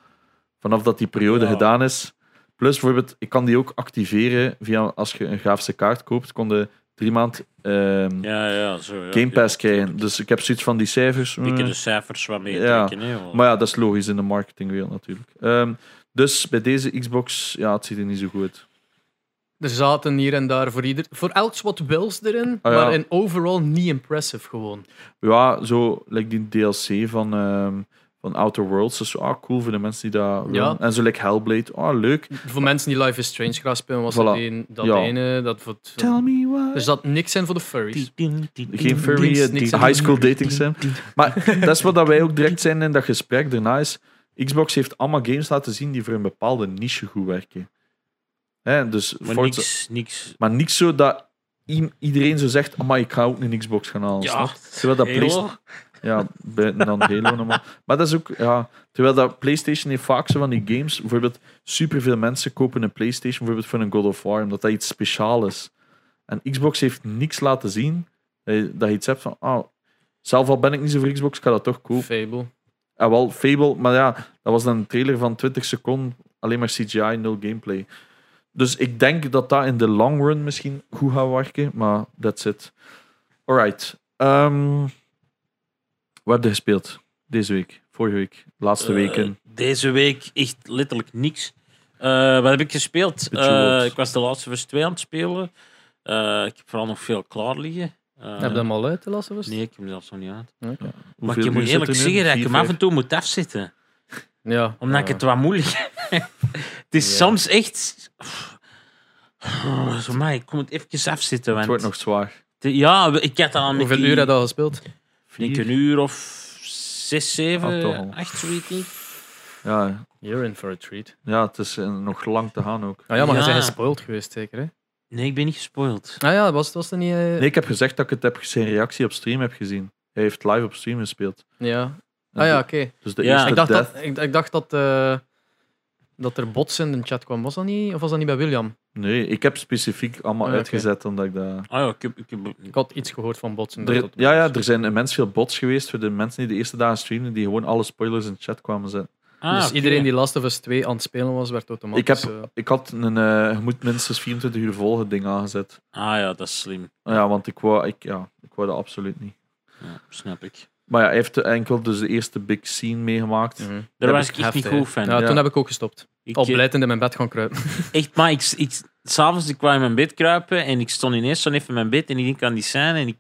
C: vanaf dat die periode
A: Ja.
C: gedaan is. Plus bijvoorbeeld, ik kan die ook activeren via, als je een grafische kaart koopt, kon je drie maand ehm,
A: Ja, ja, zo. Ja,
C: Game Pass
A: Ja,
C: krijgen. Dus ik heb zoiets van die cijfers.
A: Dikke
C: eh,
A: de cijfers wat mee
C: Ja.
A: trekken. Hè, want-
C: maar ja, dat is logisch in de marketingwereld natuurlijk. Ehm, dus bij deze Xbox, ja, het ziet er niet zo goed uit.
B: Er zaten hier en daar voor ieder. Voor elk wat wils erin,
C: Ah, ja.
B: maar in overall niet impressive gewoon.
C: Ja, zo, like die DLC van, ehm, van Outer Worlds. Dat is ah, cool voor de mensen die dat willen. En zo, like Hellblade. Ah, leuk.
B: Voor mensen die Life is Strange graag spelen, was dat,
C: Voilà.
B: een, dat
C: Ja.
B: ene. Dat voor het-
C: Tell me why.
B: er zat niks in voor de furries.
C: Geen furry,
B: Dus niks-
C: eh,
B: niks
C: high
B: aan
C: school dating sim. Maar dat is wat dat wij ook direct zijn in dat gesprek daarna is. Xbox heeft allemaal games laten zien die voor een bepaalde niche goed werken. Hè, dus
A: Maar
C: Forza-
A: niks, niks.
C: maar niet zo dat i- iedereen zo zegt, maar ik ga ook een Xbox gaan halen.
A: Ja,
C: snap je? Terwijl dat
A: Halo.
C: PlayStation... Ja, buiten dan Halo normaal. Maar dat is ook... Ja, terwijl dat PlayStation heeft vaak zo van die games... Bijvoorbeeld, superveel mensen kopen een PlayStation bijvoorbeeld voor een God of War, omdat dat iets speciaals is. En Xbox heeft niks laten zien dat je, dat je iets hebt van... ah, zelf al ben ik niet zo voor Xbox, ik ga dat toch kopen.
B: Fable.
C: En Ah, wel, Fable, maar ja, dat was dan een trailer van 20 seconden, alleen maar CGI, nul gameplay. Dus ik denk dat dat in de long run misschien goed gaat werken, maar that's it. Alright. Ehm wat heb je gespeeld deze week, vorige week, laatste weken?
A: Eh, deze week echt letterlijk niks. Eh, wat heb ik gespeeld?
C: Bejeweled.
A: Eh, ik was de laatste vers 2 aan het spelen. Eh, ik heb vooral nog veel klaar liggen. Eh,
B: Heb je hem al uit, de laatste was?
A: Nee, ik heb hem zelfs nog niet uit. Maar
C: Hoeveel
A: ik moet
C: uur zit
A: eerlijk
C: er nu?
A: zeggen dat ik
C: Vier,
A: hem af
C: vijf?
A: en toe moet afzetten.
B: Ja.
A: Omdat ik
B: ja.
C: Ah.
A: het wat moeilijk heb. Het is
B: Ja.
A: soms echt... Oh, zo, maar ik moet het even afzitten. Want...
C: Het wordt nog zwaar.
A: Ja, ik had al een
B: Hoeveel
A: keer-
B: uur heb je al gespeeld?
A: Ik denk
C: Vier?
A: een uur of zes,
C: Ah,
A: zeven,
C: toch al.
A: acht, zoiets. denk ik.
C: Ja,
B: You're in for a treat.
C: ja, het is eh, nog lang te gaan ook.
B: Ah ja, maar je
A: Ja.
B: bent gespoild geweest, zeker. Hè?
A: Nee, ik ben niet gespoild.
B: Ah ja, was, was er niet. eh,
C: Nee, ik heb gezegd dat ik het heb, zijn reactie op stream heb gezien. Hij heeft live op stream gespeeld.
B: Ja. Ah ja, oké.
C: Dus de
A: Ja.
C: eerste
B: Ik dacht,
C: death...
B: dat, ik, ik dacht dat, eh, dat er bots in de chat kwam. Was dat niet? Of was dat niet bij William?
C: Nee, ik heb specifiek allemaal
B: Ah, oké.
C: uitgezet omdat ik dat...
A: Ah ja, ik heb... Ik heb...
B: Ik had iets gehoord van botsen. dat
C: Er,
B: dat-
C: ja, ja, er zijn immens veel bots geweest voor de mensen die de eerste dagen streamden, die gewoon alle spoilers in de chat kwamen zetten.
A: Ah,
B: dus
A: oké.
B: iedereen die Last of Us 2 aan het spelen was, werd
C: Ik,
B: automatisch.
C: heb, ik had een eh, je moet minstens 24 uur volgen ding aangezet.
A: Ah ja, dat is slim.
C: Nou Ja, want ik wou, ik, ja, ik wou dat absoluut niet.
A: Ja, snap ik.
C: Maar ja, hij heeft enkel dus de eerste big scene meegemaakt.
B: eh, mhm.
A: Daar
C: Dat
A: was ik echt
B: Heftig,
A: niet
B: hè.
A: goed van.
B: Ja,
C: Ja.
B: toen heb ik ook gestopt.
A: Ik,
B: Al
A: eh,
B: blijdend in mijn bed gaan kruipen.
A: Echt, maar ik, ik, s'avonds ik kwam in mijn bed kruipen en ik stond ineens zo even in mijn bed en ik denk aan die scène en ik,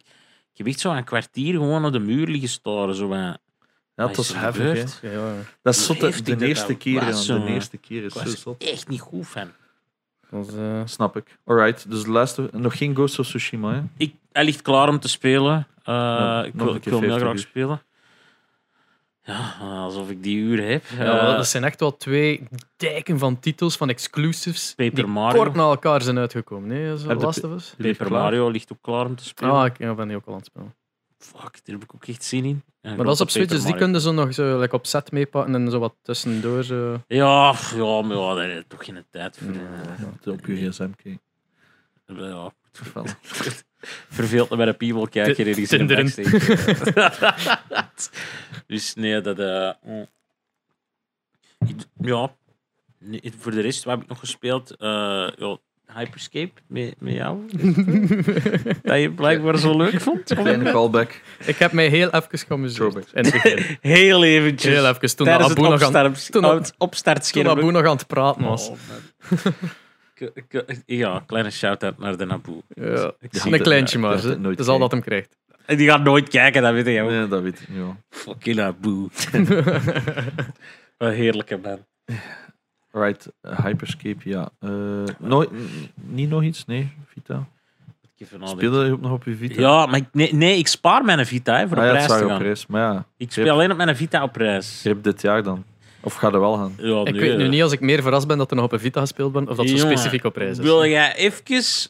A: ik heb echt zo een kwartier gewoon op de muur liggen staren. Zo van,
C: Ja, dat
A: wat
C: was
A: is er
C: heftig.
A: gebeurd?
C: hè.
B: Ja, ja.
C: Dat is
A: Hoe
C: zot, hè.
A: heftig
C: de
A: dat
C: eerste
A: dat
C: keer.
A: was,
C: ja, De
A: jongen.
C: eerste keer is
A: Ik
C: zo
A: eh, was er
C: zot.
A: echt niet goed van.
B: Dat was, eh,
C: Snap ik. Alright, dus de laatste. Nog geen Ghost of Tsushima, hè?
A: Ik, hij ligt klaar om te spelen. Eh, ik
C: nog
A: wil,
C: een
A: ik
C: keer
A: wil hem heel
C: 50
A: graag
C: uur.
A: spelen. Ja, alsof ik die uur heb.
B: ja,
A: Eh,
B: wel, dat zijn echt wel twee dijken van titels, van exclusives,
A: Paper
B: die
A: Mario.
B: kort na elkaar zijn uitgekomen. Nee, zo
C: Heb je
B: Last of Us.
C: Die ligt
A: Paper
C: klaar.
A: Mario ligt ook klaar om te spelen.
B: Ah, ik ja, ben die ook al aan het spelen.
A: Fuck, daar heb ik ook echt zin in. En
B: Maar dat is op Switch,
A: Paper
B: dus die
A: Mario.
B: kunnen ze nog zo like, op set meepakken en zo wat tussendoor. eh. Zo.
A: Ja, pff, ja, maar ja, daar heb je toch geen tijd voor. eh.
C: Ja, op je gsm kijken.
A: Ja,
C: Wel.
A: verveelt me bij de people kijken ergens in de backstage. dus nee, dat... eh, mm. Ik- ja. Nee, Voor de rest, wat heb ik nog gespeeld? Eh, ja, Hyperscape, met, met jou. dat je blijkbaar zo leuk vond.
C: Kleine callback.
B: ik heb mij heel even geamuseerd.
C: Throwback.
B: In het begin.
A: Heel eventjes.
B: Heel even, toen
A: Tijdens
B: Abu nog
A: het
B: aan
A: opstart,
B: toen-
A: op,
B: toen
A: opstartscherm.
B: Abu nog aan het praten was.
A: Oh, man. K- k- ja, kleine shout-out naar de Naboe.
B: Ja.
A: Ik
C: Ja.
A: zie
B: Een
A: dat-
B: kleintje
C: ja,
B: maar,
C: ik dacht
B: hè.
C: het nooit
B: dat is al
C: kijken.
B: dat hem krijgt.
A: En die gaat nooit kijken, dat weet je ook.
C: Nee, dat weet ik. Ja.
A: Fucking Naboe. Wat een heerlijke man.
C: Right, eh, Hyperscape, ja. Eh, nooit, n- niet nog iets? Nee, Vita.
A: Even nadenken.
C: Speelde je ook nog op je Vita?
A: Ja, maar ik, nee, nee, ik spaar mijn Vita hè, voor
C: Ah
A: op
C: ja,
A: reis
C: het zag
A: te
C: je op
A: gaan.
C: reis. Maar ja,
A: Ik speel alleen op mijn Vita op reis.
C: grip dit jaar dan. Of ga er wel gaan?
A: Ja, eh.
B: Ik
A: nee,
B: weet nu
A: hè.
B: niet als ik meer verrast ben dat er nog op een Vita gespeeld wordt of dat zo
A: Jongen,
B: specifiek op reis is.
A: Wil jij even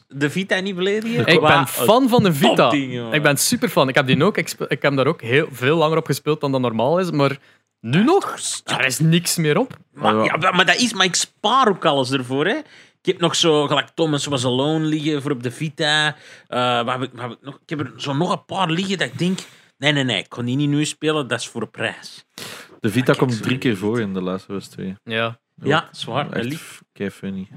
A: de Vita niet beledigen?
B: Ik ben
A: Wat een
B: fan van de Vita.
A: topding, jongen.
B: Ik ben super fan. Ik heb die ook. Ik, speel- ik heb daar ook heel veel langer op gespeeld dan dat normaal is. Maar nu nog? Daar is niks meer op.
A: Maar,
C: Maar
A: ja,
C: ja.
A: maar- maar dat is, maar ik spaar ook alles ervoor. Hè. Ik heb nog zo, gelijk Thomas was alone liggen voor op de Vita. Eh, wat heb ik, wat heb ik, nog? ik heb er zo nog een paar liggen dat ik denk: nee, nee, nee, ik kon die niet nu spelen, dat is voor een prijs.
C: De Vita
A: Ah, kijk,
C: komt
A: sorry. Ah,
C: drie keer voor in de laatste was twee.
B: Ja.
A: Ja, zwaar. dat liep.
C: Echt kei funny.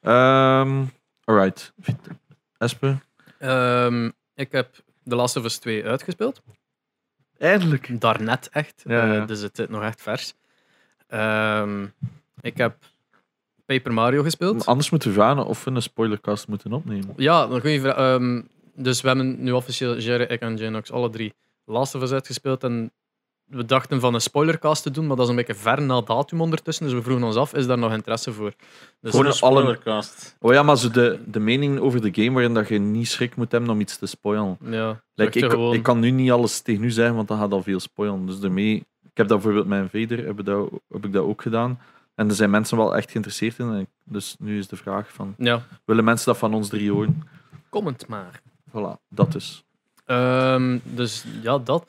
C: Ehm, alright, Vita. Espe?
B: Ehm, ik heb The Last of Us 2 uitgespeeld.
C: Eindelijk.
B: Daarnet echt.
C: Ja, ja.
B: Eh, dus het is nog echt vers. Ehm, ik heb Paper Mario gespeeld.
C: Anders moeten we vragen of we een spoilercast moeten opnemen.
B: Ja, een goede vraag. Ehm, dus we hebben nu officieel, Jerry, ik en Genox, alle drie Last of Us uitgespeeld. En we dachten van een spoilercast te doen, maar dat is een beetje ver na datum ondertussen. Dus we vroegen ons af, is daar nog interesse voor? Dus
A: Voor
C: Gewoon
A: een
C: alle-
A: spoilercast.
C: Oh ja, maar zo de, de mening over de game waarin dat je niet schrik moet hebben om iets te spoilen.
B: ja,
C: Like,
B: zorg er
C: ik,
B: gewoon...
C: ik kan nu niet alles tegen u zeggen, want dat gaat al veel spoilen. Dus daarmee Ik heb dat bijvoorbeeld met Vader heb ik dat, heb ik dat ook gedaan. En er zijn mensen wel echt geïnteresseerd in. En ik- Dus nu is de vraag van,
B: Ja,
C: willen mensen dat van ons drie horen?
B: comment maar.
C: Voilà, dat dus.
B: Ehm, dus ja, dat.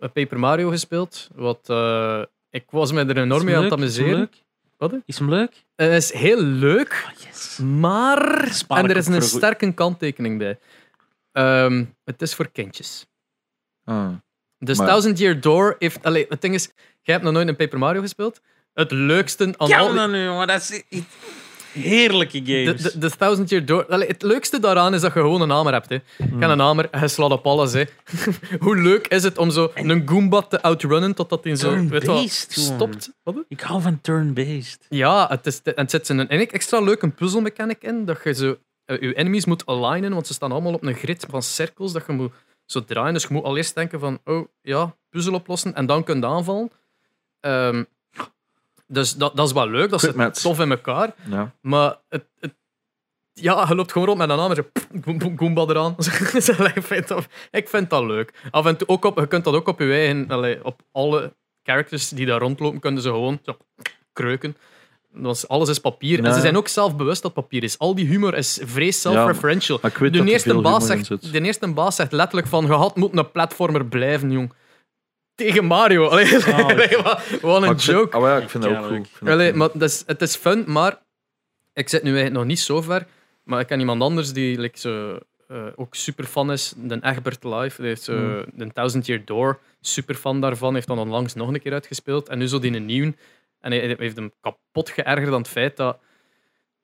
B: Eh, Paper Mario gespeeld. Wat, eh, ik was me er enorm mee aan het amuseren. Wat, hè?
A: Is hem leuk?
B: Het is heel leuk,
A: yes.
B: maar.
A: Spaar
B: En
A: ik
B: er is
A: hem
B: een
A: voor goed.
B: sterke kanttekening bij. Ehm, het is voor kindjes.
C: Ah,
B: Dus
C: Maar-
B: Thousand Year Door heeft. Allee, het ding is, jij hebt nog nooit een Paper Mario gespeeld. Het leukste aan al
A: Ja,
B: die-
A: dan nu, jongen. Dat is i- heerlijke
B: De,
A: games.
B: de, de Thousand Year Door. Allee, het leukste daaraan is dat je gewoon een hamer hebt. Hè. Je hebt een hamer en je slaat op alles. Hè. Hoe leuk is het om zo een Goomba te outrunnen totdat hij zo weet je wel,
A: Turn-based, gewoon.
B: stopt? Wat?
A: Ik hou van turn-based.
B: Ja, het, is, en het zit in een en ik- extra leuke puzzelmechanic in. Dat je zo, eh, je enemies moet alignen, want ze staan allemaal op een grid van cirkels dat je moet zo draaien. Dus je moet al eerst denken van, oh ja, puzzel oplossen en dan kun je aanvallen. Ehm, dus dat, dat is wel leuk, dat
C: Quick
B: zit
C: match.
B: tof in elkaar.
C: ja.
B: Maar het, het- ja, je loopt gewoon rond met een hamer. zo, pff, goem- goem- Goomba eraan. Zo, ik, vind dat, ik vind dat leuk. Af en toe ook op, je kunt dat ook op je eigen. allee, op alle characters die daar rondlopen, kunnen ze gewoon zo, kreuken. Want alles is papier. En
C: Ja.
B: ze zijn ook zelfbewust dat papier is. Al die humor is vrees self-referential.
C: Maar ik weet dat
B: de,
C: er
B: eerste
C: veel
B: baas
C: humor in
B: zegt,
C: zit.
B: de eerste baas zegt letterlijk van... Je had moeten een platformer blijven, jong. Tegen Mario. Allee, allee, wat, wat
C: Maar
B: een
C: Ah, ik vind-
B: joke.
C: ah, ja, ik vind dat ook
A: Kennelijk.
C: goed. Ik vind dat
B: Allee,
C: goed.
B: maar dat is, het is fun, maar ik zit nu eigenlijk nog niet zo ver. Maar ik ken iemand anders die like, zo, eh, ook super fan is. Den Egbert Live, die heeft zo, de Thousand Year Door, super fan daarvan. Heeft dan onlangs nog een keer uitgespeeld. En nu zo die een nieuw. En hij, hij heeft hem kapot geërgerd aan het feit dat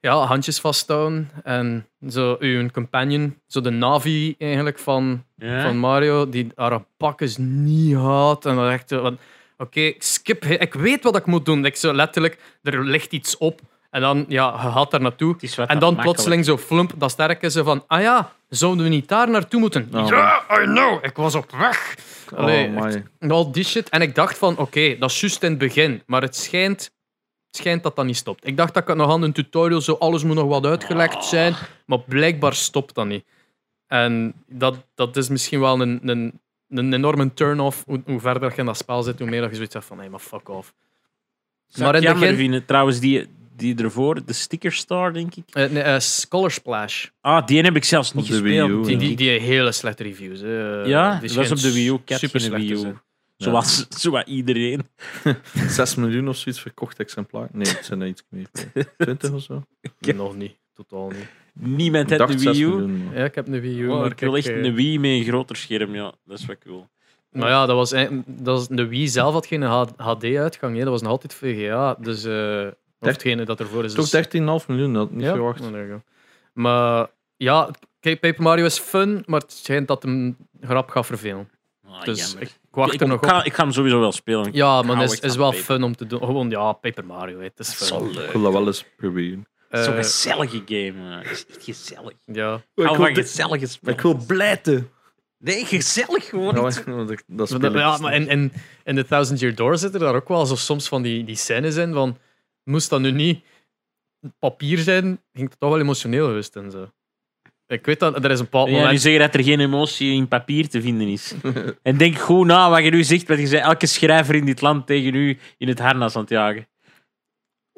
B: ja, handjes vasthouden en zo uw companion, zo de Navi eigenlijk van
A: Ja?
B: van Mario die haar pakjes niet had. En dan echt zo van, oké, skip. Ik weet wat ik moet doen. Ik zo letterlijk, er ligt iets op. En dan, ja, je gaat daar naartoe.
A: Het is wat
B: En
A: dat
B: dan plotseling zo flump, dat sterke ze van, ah ja, zouden we niet daar naartoe moeten?
C: Oh.
B: Ja, I know, ik was op weg. Allee,
C: Oh, amai.
B: echt, al die shit. En ik dacht van, oké, dat is juist in het begin. Maar het schijnt, het schijnt dat dat niet stopt. Ik dacht dat ik het nog aan een tutorial zo, alles moet nog wat uitgelegd zijn. Maar blijkbaar stopt dat niet. En dat, dat is misschien wel een, een, een enorme turn-off. Hoe, hoe verder je in dat spel zit, hoe meer dat je zoiets hebt van, hé, maar fuck off.
A: Zou ik
B: maar in het
A: jammer
B: begin-
A: vinden. Trouwens, die, die ervoor, de Sticker Star, denk ik.
B: Eh, nee, eh, Scholar Splash.
A: Ah, die heb ik zelfs niet
C: de Wii U,
A: gespeeld.
B: Die,
A: denk
C: ja.
B: die,
A: ik.
B: die hele slechte reviews. hè.
A: Ja,
B: Die
A: dat is op de
B: schijnt
A: Wii U. Ik had geen
B: superslecht
A: Wii
B: te
A: U.
B: zijn.
A: Zoals, zoals iedereen.
C: 6 miljoen of zoiets verkocht exemplaar. Nee, het zijn er iets meer. 20 of zo.
B: Nog niet. Totaal niet.
A: Niemand
C: Ik
A: had de
C: dacht 6
A: Wii U.
C: miljoen. maar-
B: Ja, ik heb een Wii U.
A: Wow,
B: maar
A: Oh, ik wil
B: ik,
A: echt
B: eh,
A: een Wii met een groter scherm, ja. Dat is wel cool.
B: Maar ja, dat was, eigenlijk- dat was, de Wii zelf had geen HD-uitgang. Dat was nog altijd VGA. Dus, eh of
C: Dert-
B: hetgene dat ervoor is.
C: Toch
B: is-
C: 13,5 miljoen, dat had ik niet
B: Ja,
C: verwacht.
B: maar there you go. Maar ja, kijk, Paper Mario is fun, maar het schijnt dat hem grap gaat vervelen.
A: Ah,
B: Dus
A: jammer.
B: ik wacht
A: ik,
B: er
A: ik
B: nog op.
A: ga, ik ga hem sowieso wel spelen.
B: Ja,
A: hou
B: maar het is,
A: echt
B: is
A: van
B: wel
A: Paper.
B: fun om te doen. Gewoon, ja, Paper Mario, het is
A: Zo
B: fun.
A: leuk.
C: Ik wil dat wel eens proberen.
B: Eh,
A: Zo'n gezellige game. Het is echt gezellig.
B: ja.
A: Ik hou van
C: dit-
A: gezellige spelen.
C: ik wil blijten.
A: Nee, gezellig gewoon.
C: Ja,
A: niet.
C: maar dat- dat
B: Maar
C: speel
B: dat-
C: ik
B: ja,
C: dus
B: maar
C: niet.
B: in, in, in The Thousand Year Door zitten daar ook wel zo soms van die, die scènes in van moest dat nu niet papier zijn, ging het toch wel emotioneel geweest en zo. Ik weet dat, er is een bepaald
A: Ja, nu
B: moment...
A: zeggen dat er geen emotie in papier te vinden is. en denk goed na wat je nu zegt, want je zei elke schrijver in dit land tegen u in het harnas aan het jagen.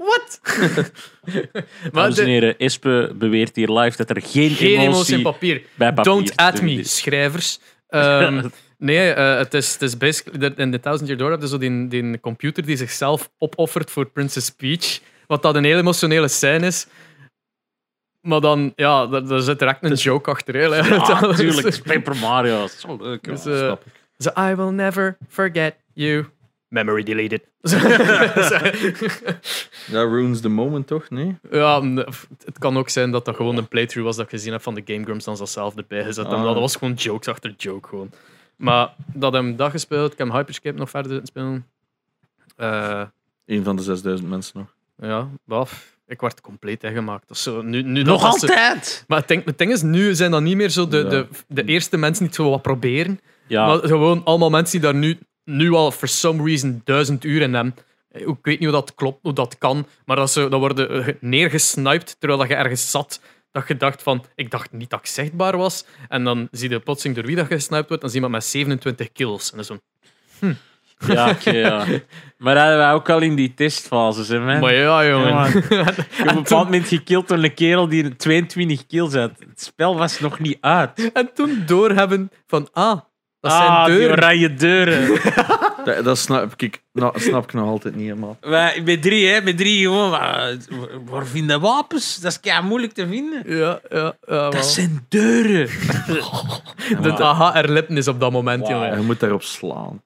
B: Wat? maar
A: Dames en
B: de,
A: heren, Espe beweert hier live dat er geen,
B: geen
A: emotie,
B: emotie in papier.
A: bij papier
B: Don't
A: te
B: at
A: vinden
B: me,
A: is.
B: schrijvers. Ehm, nee, eh, het is, het is basically... dat- In The Thousand Year Door heb je zo die, die computer die zichzelf opoffert voor Princess Peach. Wat dat een heel emotionele scène is. Maar dan, ja, daar, daar zit direct een joke achter. Heel, hè.
A: Ja,
B: Dat is-
A: natuurlijk. Ah, het is Paper Mario. dat is Zo leuk.
B: Dus,
A: joh.
B: eh,
C: snap
B: zo, I will never forget you. Memory deleted. Zo-
C: Dat ruins the moment, toch? Nee?
B: ja, m- f- het kan ook zijn dat dat gewoon een playthrough was dat ik gezien heb van de Game Grumps dan ze dat zelf erbij gezet hebben.
C: Ah.
B: Dat was gewoon jokes achter joke gewoon. Maar dat hem dat gespeeld, ik heb Hyperscape nog verder zitten spelen. Eh,
C: Eén van de 6000 mensen nog.
B: ja, baf. Ik werd compleet ingemaakt. Dat is zo, nu, nu
A: Nog
B: dat- dat ze-
A: altijd!
B: maar het ding, het ding is, nu zijn dat niet meer zo de,
C: Ja.
B: de, de eerste mensen die het zo wat proberen.
A: Ja,
B: Maar gewoon allemaal mensen die daar nu, nu al for some reason duizend uur in hebben. Eh, Ik weet niet hoe dat klopt, hoe dat kan, maar dat ze dat worden eh, neergesniped terwijl dat je ergens zat. Dat je dacht van, ik dacht niet dat ik zichtbaar was. En dan zie je plotseling door wie dat gesniped wordt, dan zie je iemand met 27 kills. En dan zo, hm,
A: Ja, oké, ja. Maar dat hadden we ook al in die testfases, hè, man.
B: Maar ja, jongen.
A: Ja, Ik heb op een
B: en,
A: bepaald
B: toen,
A: moment gekild door een kerel die 22 kills had. Het spel was nog niet uit.
B: en toen doorhebben van, ah, dat
A: ah,
B: zijn
A: die
B: deuren.
A: oranje deuren.
C: Dat, dat snap, ik, nou, snap ik nog altijd niet helemaal.
A: Wij- Bij drie, hè. Bij drie gewoon. maar, Waar vinden wapens? Dat is kei moeilijk te vinden.
B: Ja, ja, ja. wel.
A: Dat zijn deuren.
B: De aha-erlebnis op dat moment,
A: Wauw.
B: jongen.
C: Je moet daarop slaan.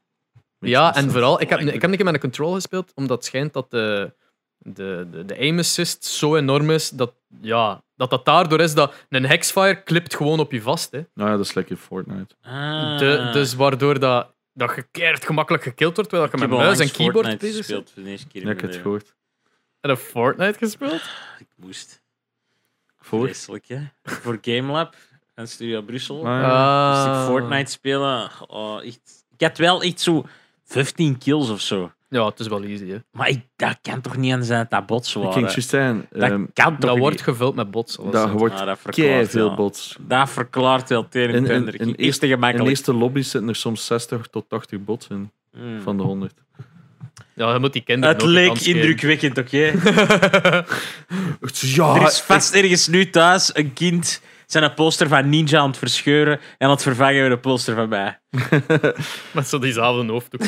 B: Ja, en vooral, ik heb,
A: Oh, ik
B: ik heb een keer met een control gespeeld, omdat het schijnt dat de, de, de, de aim assist zo enorm is dat, ja, dat dat daardoor is dat een hexfire klipt gewoon op je vast. Hè.
C: Nou ja, dat is lekker Fortnite.
A: Ah.
B: De, dus waardoor dat, dat je keihard gemakkelijk gekild wordt, terwijl
A: Ik
B: je
A: heb
B: met muis en
A: onlangs
B: keyboard
A: Fortnite
B: bezig bent.
A: gespeeld voor de eerste keer. in
C: Ja, ik heb
A: mijn eh,
C: het
A: leven.
C: gehoord.
B: En een Fortnite
A: Ah.
B: gespeeld?
A: Ik moest.
C: Voor?
A: Vreselijk, hè. Voor Gamelab en Studio Brussel.
C: Maar-
A: Moest
B: Ah.
A: ik Fortnite spelen. Oh, echt. Ik had wel echt zo 15 kills of zo.
B: Ja, het is wel easy. Hè.
A: Maar ik, dat kan toch niet aan zijn dat dat bots
C: Ik
A: waren?
C: ging juist zeggen,
A: dat
C: ehm,
A: kan toch
B: Dat wordt
A: niet?
B: gevuld met bots. zoals
C: dat
B: het.
C: wordt
A: Ah, dat verklaart
C: keihard veel
A: wel.
C: bots.
A: Dat verklaart wel tegen
C: In-
A: een
C: in-
A: tender.
C: in
A: Ik is
C: eerst-
A: te
C: In de
A: gemakkelijk.
C: eerste lobby's zitten er soms 60 tot 80 bots in,
A: Mm.
C: van de 100.
B: Ja, je moet die kinderen
A: Het
B: ook een
A: leek
B: kans geven.
A: indrukwekkend, oké?
C: Ja,
A: er is vast ergens nu thuis een kind zijn een poster van Ninja aan het verscheuren en aan het vervangen met een poster van mij.
B: Met zo diezelfde hoofddoek.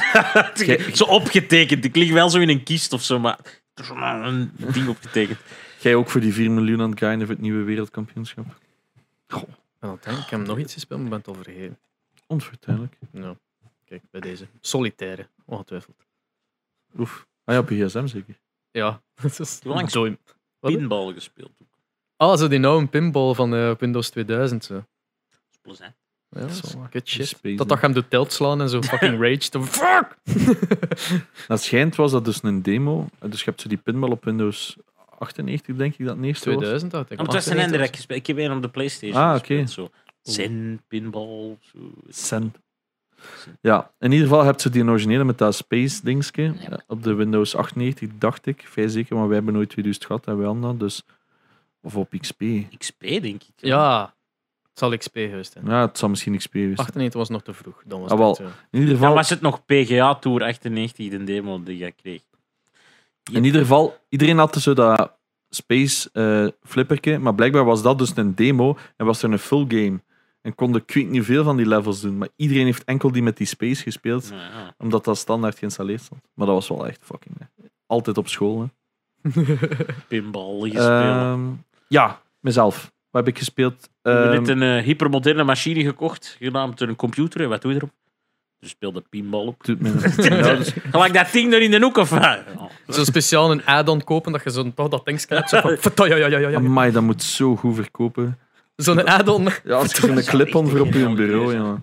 A: zo opgetekend. Ik lig wel zo in een kist of zo, maar er is maar een ding opgetekend.
C: Jij ook voor die 4 miljoen aan het grinden voor het nieuwe wereldkampioenschap?
B: En dan denk ik, ik heb nog iets gespeeld, maar ik ben het al vergeten.
C: Onvertuinlijk.
B: Nou, kijk, bij deze. Solitaire, ongetwijfeld.
C: Oef. Ah ja, op je gsm zeker.
B: Ja, dat is
A: Hoe lang
B: dooi. Wat?
A: Pinball gespeeld. Dat
B: Ah, zo die nou pinball van eh, op Windows 2000. Zo.
A: is plezant.
B: Ja, dat is
C: wel
B: good shit.
C: space,
B: dat
C: hè.
B: dat hem de telt slaan en zo fucking rage. te- Fuck!
C: Dat schijnt was dat dus een demo. Eh, Dus je hebt zo die pinball op Windows 98, denk ik, dat het eerste was.
B: 2000 had ik.
A: Want het was een ander dat ik gespeeld Ik heb één op de PlayStation.
C: Ah,
A: gespeeld,
C: oké.
A: Zo. Zen, pinball. Zo.
C: Cent. Ja, in ieder geval heb je die originele met dat space dingetje eh, op de Windows 98, dacht ik. Vrij zeker, want wij hebben nooit 2000 gehad en wij hadden dat, dus... Of op XP.
A: XP, denk ik.
B: Ja, het zal XP geweest zijn.
C: Ja, het zal misschien XP zijn.
B: 98 was nog te vroeg. Dan was
C: Ah,
B: het,
C: wel.
B: eh,
C: In ieder
A: Dan
C: geval,
A: was het nog PGA Tour 98, de demo die ik kreeg.
C: in ieder geval iedereen had zo dat space eh flipperke, maar blijkbaar was dat dus een demo en was er een full game. En konden ik weet niet veel van die levels doen, maar iedereen heeft enkel die met die space gespeeld,
A: Nou, ja.
C: omdat dat standaard geïnstalleerd stond. Maar dat was wel echt fucking... hè. Altijd op school, hè.
A: Pinball gespeeld.
C: Ehm, ja, mezelf. Wat heb ik gespeeld?
A: We hebben
C: Ehm,
A: net een eh, hypermoderne machine gekocht, genaamd een computer. En Wat doe je erop? Dus speelde pinball op.
C: doet me niks. Nou, dus-
A: Gelijk dat ding er in de hoek of wat? Ja.
B: Zo eh, speciaal een add-on kopen dat je zo'n toch dat ding hebt. Zo van, "Vertel- ja, ja, ja, ja, ja.
C: Amai, dat moet zo goed verkopen.
B: Zo'n add-on.
C: Ja, als je zo'n clip-on voor op je bureau, ja.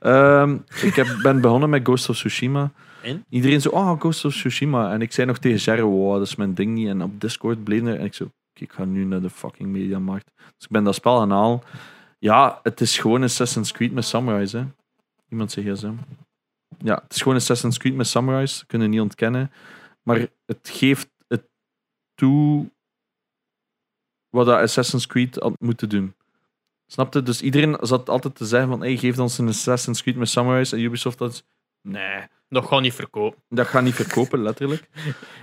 C: Ehm, ik heb, ben begonnen met Ghost of Tsushima.
A: En?
C: Iedereen zo, oh, Ghost of Tsushima. En ik zei nog tegen Jerry, wow, dat is mijn ding niet. En op Discord bleef er. En ik zo, "Oké, ik ga nu naar de fucking mediamarkt. Dus ik ben dat spel gaan halen. Ja, het is gewoon Assassin's Creed met Samurais, hè. Iemand zegt gsm. Ja, het is gewoon Assassin's Creed met Samurais. Kunnen niet ontkennen. Maar het geeft het toe wat dat Assassin's Creed had moeten doen. Snapte? Dus iedereen zat altijd te zeggen van, hey, geef ons een Assassin's Creed met Samurais. En Ubisoft had... Nee,
B: Nog gewoon niet verkopen.
C: dat gaat niet verkopen, letterlijk.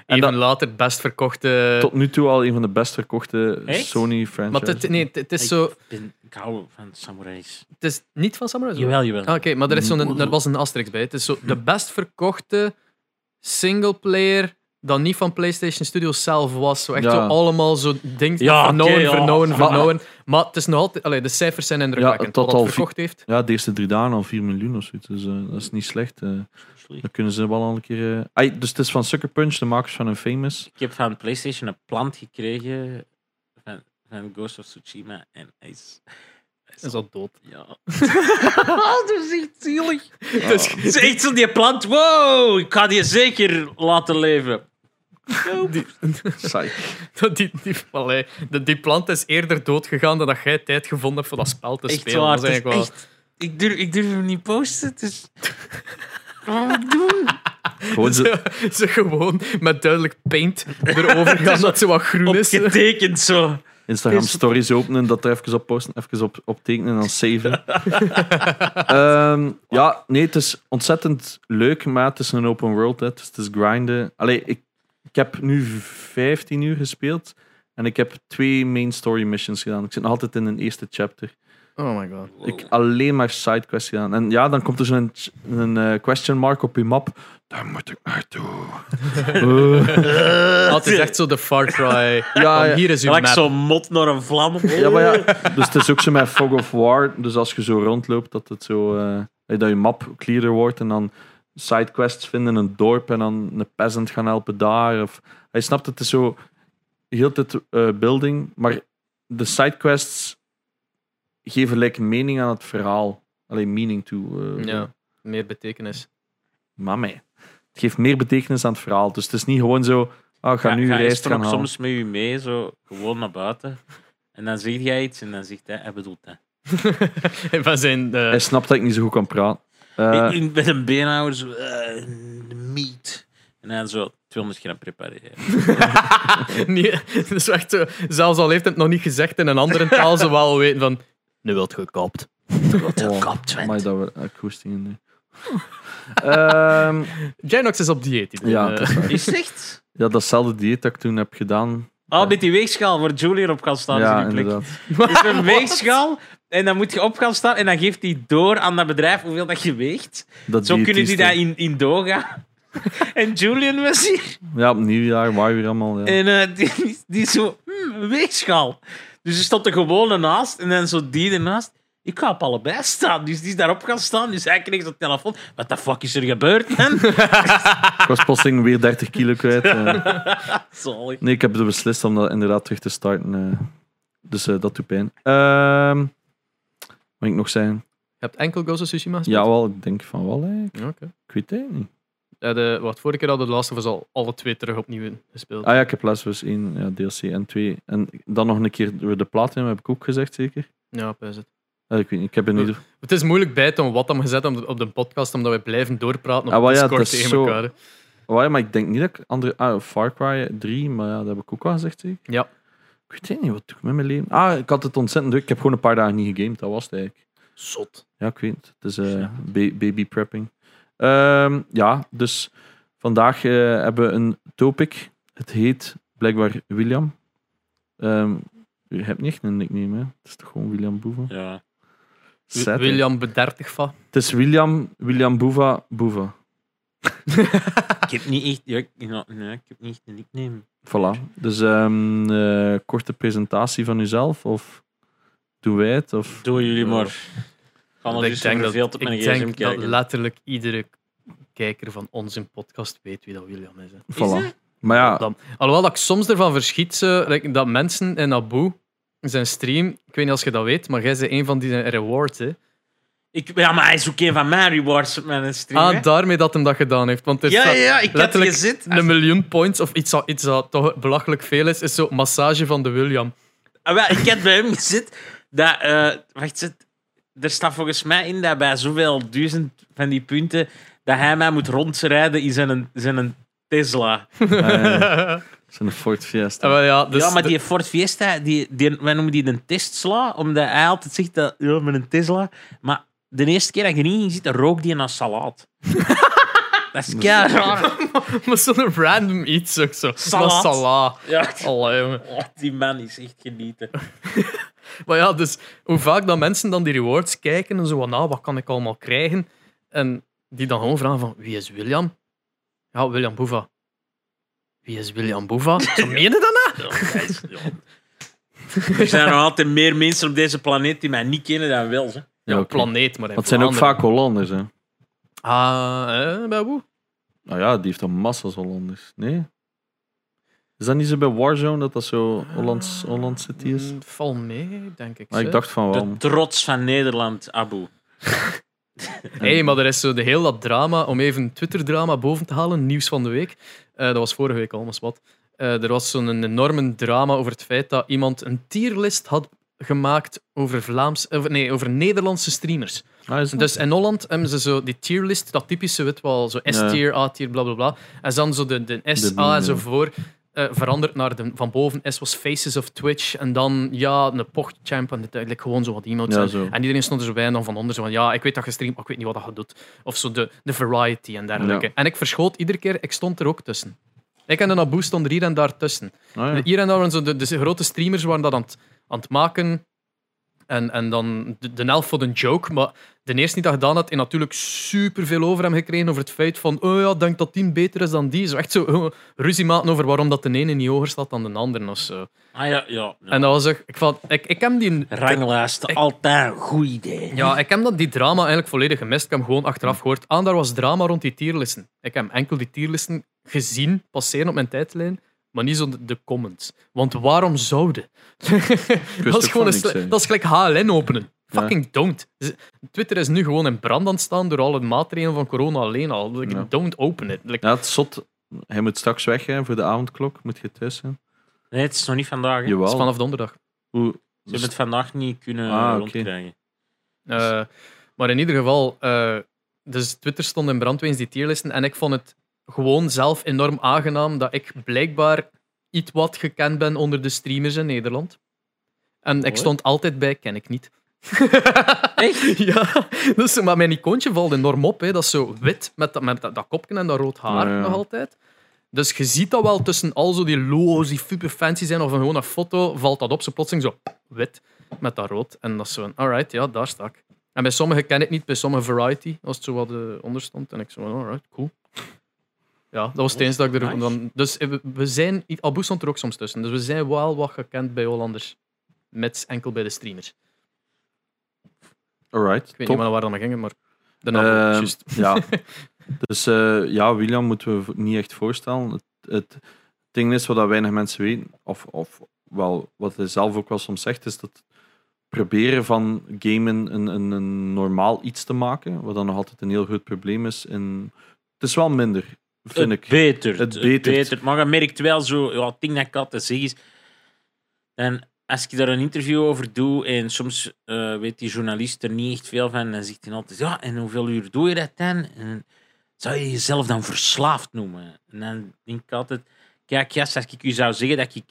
C: En
B: Even
C: dat-
B: later best verkochte...
C: Tot nu toe al een van de best verkochte
A: Echt?
C: Sony
B: Maar
C: franchises.
B: het, nee, het, het is zo...
A: Oh, Ik, ben, ik hou van samurais.
B: Het is niet van Samurai. zo.
A: Jawel, jawel.
B: Ah, Oké, maar er, is zo'n, er was een asterisk bij. Het is zo de best verkochte singleplayer dat niet van PlayStation Studios zelf was. Zo echt
C: Ja.
B: zo allemaal zo ding
A: Ja,
B: vernauwen,
A: oké, ja.
B: vernauwen,
C: Maar-
B: vernauwen. Maar het is nog altijd... Allee, de cijfers zijn indrukwekkend.
C: Ja,
B: Ja,
C: tot
B: wat het
C: al
B: verkocht heeft.
C: Ja, de eerste drie dagen al 4 miljoen of zoiets. Dus eh, dat is niet slecht. eh. dan kunnen ze wel al een keer... eh, ai, dus het is van Sucker Punch, de makers van een famous.
A: Ik heb van PlayStation een plant gekregen van, van Ghost of Tsushima. En hij is. hij
B: Is al dood.
A: Ja. oh, dat is echt zielig. Oh.
B: Dus
A: Het is echt zo die plant. Wow, ik ga die zeker laten leven.
B: die,
C: Psych.
B: dat die, die, allee, de- die plant is eerder dood gegaan dan dat jij tijd gevonden hebt voor dat spel te
A: Echt
B: spelen.
A: waar.
B: dat
A: het
B: is
A: is
B: eigenlijk wel...
A: echt- ik, durf, ik durf hem niet posten. Dus... Wat moet ik doen?
C: Gewoon ze...
B: Ze, ze gewoon met duidelijk paint erover gaan dat ze wat groen is.
A: Opgetekend zo.
C: Instagram
B: Is-
C: stories openen, dat er even op posten, even op, op tekenen en dan saven. Ehm, ja, nee, het is ontzettend leuk, maar het is een open world, hè, dus het is grinden. Allee, ik, ik heb nu 15 uur gespeeld en ik heb twee main story missions gedaan. Ik zit nog altijd in een eerste chapter.
B: Oh my god.
C: Ik alleen maar sidequests gedaan. En ja, dan komt er zo'n ch- een, eh, question mark op je map. Daar moet ik naartoe. Eh,
B: Ah, het is echt zo de Far Cry.
C: ja,
B: Van,
C: ja.
B: hier is uw
A: Gelijk
B: map.
A: zo'n mot naar een vlam.
C: Ja, maar ja, dus het is ook zo met Fog of War. Dus als je zo rondloopt, dat het zo eh, dat je map clearer wordt en dan sidequests vinden in een dorp en dan een peasant gaan helpen daar. Of, hij snapt het, het is zo heel de tijd eh, building, maar de sidequests geven like mening aan het verhaal. Alleen meaning toe. eh,
B: Ja, meer betekenis.
C: Maar mij. Het geeft meer betekenis aan het verhaal. Dus het is niet gewoon zo, ah, ik ga nu reis gaan
A: dan ook
C: halen.
A: soms met u mee, zo gewoon naar buiten. En dan zeg jij iets en dan zegt hij, hij bedoelt dat.
B: Van zijn. eh,
C: Hij snapt dat ik niet zo goed kan praten. Eh,
A: Ik- ik ben een beenhouwer, zo, eh, de meat. En dan zo 200 gram prepareren.
B: nee, dat is echt zo. Zelfs al heeft hij het nog niet gezegd in een andere taal, ze wel weten van. Nu wilt gekapt.
C: Oh,
A: kap, Twent.
C: amai, dat we eh, koestingen nu. Ehm,
B: Jinox is op dieet. ik bedoel,
C: ja,
B: eh.
C: dat is waar.
A: Is het echt?
C: ja, datzelfde dieet dat ik toen heb gedaan.
A: Ah, met die weegschaal waar Julian op kan staan.
C: ja,
A: is in die plek.
C: inderdaad.
A: Dus een weegschaal. En dan moet je op gaan staan en dan geeft hij door aan dat bedrijf hoeveel dat je weegt.
C: Dat
A: Zo kunnen die
C: diëtiste.
A: dat in, in doorgaan. En Julian was hier.
C: Ja, op nieuwjaar, waar weer allemaal. Ja.
A: En eh, die, die zo, hmm, een weegschaal. Dus die stond er gewoon ernaast en dan zo die ernaast. Ik ga op allebei staan. Dus die is daarop gaan staan. Dus hij kreeg zo'n telefoon. Wat de fuck is er gebeurd, man?
C: Ik was plotseling weer 30 kilo kwijt. eh.
A: Sorry.
C: Nee, ik heb er beslist om dat inderdaad terug te starten. eh. Dus eh, dat doet pijn. Ehm, wat moet ik nog zeggen?
B: Je hebt enkel Ghost of Tsushima gespeeld?
C: Ja, wel, ik denk van wel. hè.
B: Ja, oké.
C: Ik weet het niet.
B: Ja, de, wat vorige keer hadden we de laatste was al alle twee terug opnieuw gespeeld.
C: Ah ja, ik heb Last of Us 1, ja, DLC en 2. En dan nog een keer door de platinum, heb ik ook gezegd, zeker?
B: Ja, pijs het.
C: Eh, ik weet niet, ik heb er niet...
B: Het is moeilijk bij te houden wat hem gezet op de, op de podcast, omdat wij blijven doorpraten op
C: Ah, wel ja,
B: Discord
C: dat is
B: tegen
C: zo.
B: elkaar. hè.
C: Oh ja, maar ik denk niet dat ik andere... Ah, Far Cry 3, maar ja, dat heb ik ook al gezegd, zeker?
B: Ja.
C: Ik weet het niet, wat doe ik met mijn leven? Ah, ik had het ontzettend druk. Ik heb gewoon een paar dagen niet gegamed, dat was het eigenlijk.
B: Zot.
C: Ja, ik weet het. Het is eh,
A: Snap
C: ba- baby prepping. Ehm, ja, dus vandaag eh, hebben we een topic. Het heet blijkbaar William. Ehm, je hebt niet echt een nickname, hè? Het is toch gewoon William Boeva?
A: Ja.
B: Wi-
C: Sad, hè?
B: William bedertig van.
C: Het is William, William Boeva, Boeva.
A: Ik heb niet echt... Ja, ik- ja, nee, ik heb niet echt een nickname.
C: Voilà. Dus ehm, eh, korte presentatie van uzelf of doen wij het? Of... Eh,
A: Doe jullie maar.
C: Ja.
A: Ga maar
B: ik
A: dus
B: denk, dat,
A: verveeld op mijn
B: ik
A: gsm
B: denk dat
A: kijken.
B: letterlijk iedere kijker van onze podcast weet wie dat William is. Hè.
C: Voilà.
A: dat?
C: Maar ja,
B: Dan, alhoewel dat ik soms ervan verschiet eh, like, dat mensen in Abu zijn stream, ik weet niet of je dat weet, maar jij bent een van die zijn rewards. Hè.
A: Ik, ja, maar hij is ook een van mijn rewards op mijn stream. hè.
B: Ah, daarmee dat hem dat gedaan heeft. Want er
A: ja, ja,
B: staat
A: ja, ik had
B: letterlijk
A: gezet.
B: een miljoen points of iets dat, iets dat toch belachelijk veel is, is zo massage van de William.
A: Ah, wel, ik had bij hem gezet dat... eh, wacht, zit, er staat volgens mij in dat bij zoveel duizend van die punten dat hij mij moet rondrijden in zijn, zijn Tesla.
C: eh, het is een Ford Fiesta.
B: Ah, wel ja, dus
A: ja, maar
B: de-
A: die Ford Fiesta, die, die, wij noemen die een Tesla, omdat hij altijd zegt dat ja, met een Tesla. Maar de eerste keer dat je erin zit, rook die naar salaat. dat is keihard raar.
B: maar zo'n random iets ook zo.
A: Salade.
B: Maar salade.
A: Ja,
B: Allee, jongen.
A: die man is echt genieten.
B: Maar ja, dus hoe vaak dat mensen dan die rewards kijken en zo van, nou, wat kan ik allemaal krijgen? En die dan gewoon vragen van, wie is William? Ja, William Boeva. Wie is William Boeva? Zo meen je dat nou?
A: Ja, dat is- ja. Er zijn nog altijd meer mensen op deze planeet die mij niet kennen dan wel. Hè.
C: Ja,
B: Ja,
C: oké.
B: planeet, maar in
C: Want het zijn ook
B: Vlaanderen.
C: vaak Hollanders, hè?
B: Ah, eh, bij hoe?
C: Nou ja, die heeft dan massa's Hollanders. Nee? Is dat niet zo bij Warzone dat dat zo Hollands, Hollands City is?
B: Mm, Val mee, denk ik.
C: Maar ik
B: zeg.
C: dacht van wel.
A: De trots van Nederland, Abu.
B: Nee, maar er is zo de heel dat drama, om even Twitter-drama boven te halen, nieuws van de week. Eh, dat was vorige week almost wat. Eh, er was zo'n enorme drama over het feit dat iemand een tierlist had gemaakt over, Vlaams, over, nee, over Nederlandse streamers.
C: Ah, is dat?
B: Dus in Holland hebben ze zo die tierlist, dat typische, weet wel, zo S-tier, A-tier, bla bla bla. En dan zo de, de S,
C: De
B: A
C: meme,
B: en zo
C: ja.
B: voor. eh, eh, veranderd naar de, van boven S was Faces of Twitch en dan ja, een PogChamp en dit, eigenlijk gewoon zo wat emotes.
C: Ja,
B: en-
C: zo.
B: En iedereen stond er zo bij en dan van onder zo van ja, ik weet dat je streamt, maar ik weet niet wat dat je doet. Of zo de, de variety en dergelijke.
C: Ja.
B: En ik verschoot iedere keer, ik stond er ook tussen. Ik en de Naboe stonden er hier en daar tussen.
C: Ah, ja.
B: Hier en daar waren zo de, de grote streamers waren dat aan het, aan het maken. En, en dan de, de elf voor een joke. Maar de eerste die dat gedaan had, heeft natuurlijk superveel over hem gekregen. Over het feit van, oh ja, denk dat die beter is dan die. Zo echt zo eh, ruzie maken over waarom dat de ene niet hoger staat dan de andere. Of zo.
A: Ah ja, ja. ja.
B: En dat was echt, ik, vond, ik, ik heb die...
A: Ranglijsten,
B: Ik-
A: altijd een goed idee.
B: Ja, ik heb dat, die drama eigenlijk volledig gemist. Ik heb hem gewoon achteraf gehoord. Ah, daar was drama rond die tierlisten. Ik heb enkel die tierlisten gezien passeren op mijn tijdlijn, maar niet zo de, de comments. Want waarom zouden? dat,
C: ook
B: is
C: van
B: gewoon een
C: niks,
B: sle-
C: hè.
B: dat is gelijk HLN openen. Fucking don't. Z- Twitter is nu gewoon in brand aan het staan door alle maatregelen van corona alleen al. Like,
C: Ja.
B: Don't open it. Like,
C: Ja, het is zot. Hij moet straks weg hè, voor de avondklok. Moet je thuis zijn.
A: Nee, het is nog niet vandaag. hè. Ze
C: Jawel.
B: dat is vanaf donderdag.
C: Hoe...
A: hebben het vandaag niet kunnen
C: Ah, oké.
A: rondkrijgen.
B: Eh, maar in ieder geval, eh, dus Twitter stond in brand wegens die tierlisten. En ik vond het gewoon zelf enorm aangenaam dat ik blijkbaar iets wat gekend ben onder de streamers in Nederland. En ik
A: Mooi.
B: stond altijd bij, ken ik niet. Ja, dus, maar mijn icoontje valt enorm op. Hè. Dat is zo wit met dat, met dat, dat kopje en dat rood haar
C: Ja, ja.
B: nog altijd. Dus je ziet dat wel tussen al zo die logo's die super fancy zijn of een gewone foto, valt dat op. Zo plotseling zo wit met dat rood. En dat is zo van, alright, ja, daar sta ik. En bij sommigen ken ik niet, bij sommige variety, als het zo wat eh, onder stond. En ik zo van, alright, cool. Ja, dat was het eens dat ik er...
A: Nice.
B: Dan, dus eh, we, we zijn... Abu stond er ook soms tussen. Dus we zijn wel wat gekend bij Hollanders. Met enkel bij de streamers. Ik
C: Alright.
B: weet
C: top.
B: niet waar dat maar ging, maar... De naam,
C: Ehm,
B: juist.
C: ja. Dus eh, ja, William moeten we v- niet echt voorstellen. Het, het ding is wat dat weinig mensen weten, of, of wel, wat hij zelf ook wel soms zegt, is dat proberen van gamen een, een, een normaal iets te maken, wat dan nog altijd een heel groot probleem is. En het is wel minder, vind
A: het
C: ik.
A: Betert,
C: Het
A: het
C: betert.
A: betert. Maar je merkt wel zo, ja, het ding dat ik altijd zeg is. En als ik daar een interview over doe en soms eh, weet die journalist er niet echt veel van, dan zegt hij altijd: Ja, en hoeveel uur doe je dat dan? En zou je jezelf dan verslaafd noemen? En dan denk ik altijd: Kijk, gast, als ik u zou zeggen dat ik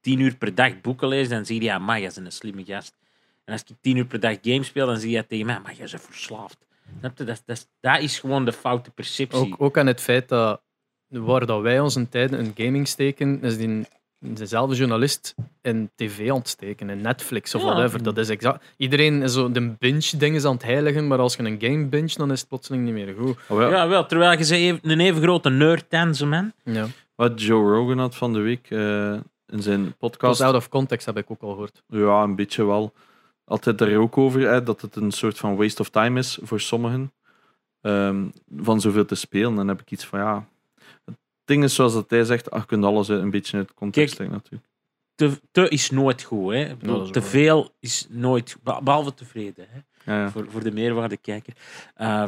A: tien uur per dag boeken lees, dan zeg je: Ja, maar je is een slimme gast. En als ik tien uur per dag games speel, dan zeg je tegen mij: Maar je is verslaafd. Snap je? Dat, dat, dat is gewoon de foute perceptie.
B: Ook, ook aan het feit dat waar dat wij onze tijd in gaming steken, is die, dezelfde journalist in tv aan het steken, in Netflix of
A: Ja.
B: whatever. Dat is exact. Iedereen is zo de binge-ding is aan het heiligen, maar als je een game binge, dan is het plotseling niet meer goed.
C: Oh, wel.
A: Ja, wel. Terwijl je ze even- een even grote nerd ten ze man.
B: Ja.
C: Wat Joe Rogan had van de week eh, in zijn podcast.
B: out of context heb ik ook al gehoord.
C: Ja, een beetje wel. Altijd daar ook over hè, dat het een soort van waste of time is voor sommigen. ehm, van zoveel te spelen. Dan heb ik iets van ja. Het ding is zoals dat hij zegt, ach, je kunt alles eh, een beetje uit context
A: Kijk.
C: leggen natuurlijk.
A: Te, te is nooit goed, hè. Ik bedoel,
B: dat is
A: te
B: waar.
A: veel is nooit... be- Behalve tevreden, hè.
C: Ja, ja.
A: Voor, voor de meerwaarde kijker. Eh,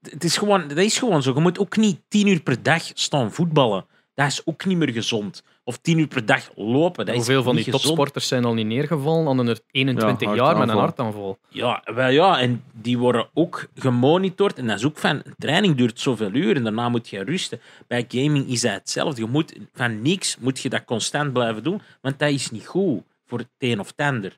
A: d- het is gewoon, dat is gewoon zo. Je moet ook niet tien uur per dag staan voetballen. Dat is ook niet meer gezond. Of tien uur per dag lopen. Dat is
B: Hoeveel van die
A: niet gezond.
B: topsporters zijn al niet neergevallen aan hun 21
C: Ja,
B: jaar met een
C: hartaanval.
B: hartaanval?
A: Ja, wel ja, en die worden ook gemonitord. En dat is ook van, een training duurt zoveel uur en daarna moet je rusten. Bij gaming is dat hetzelfde. Je moet, van niks moet je dat constant blijven doen, want dat is niet goed voor het een of het ander.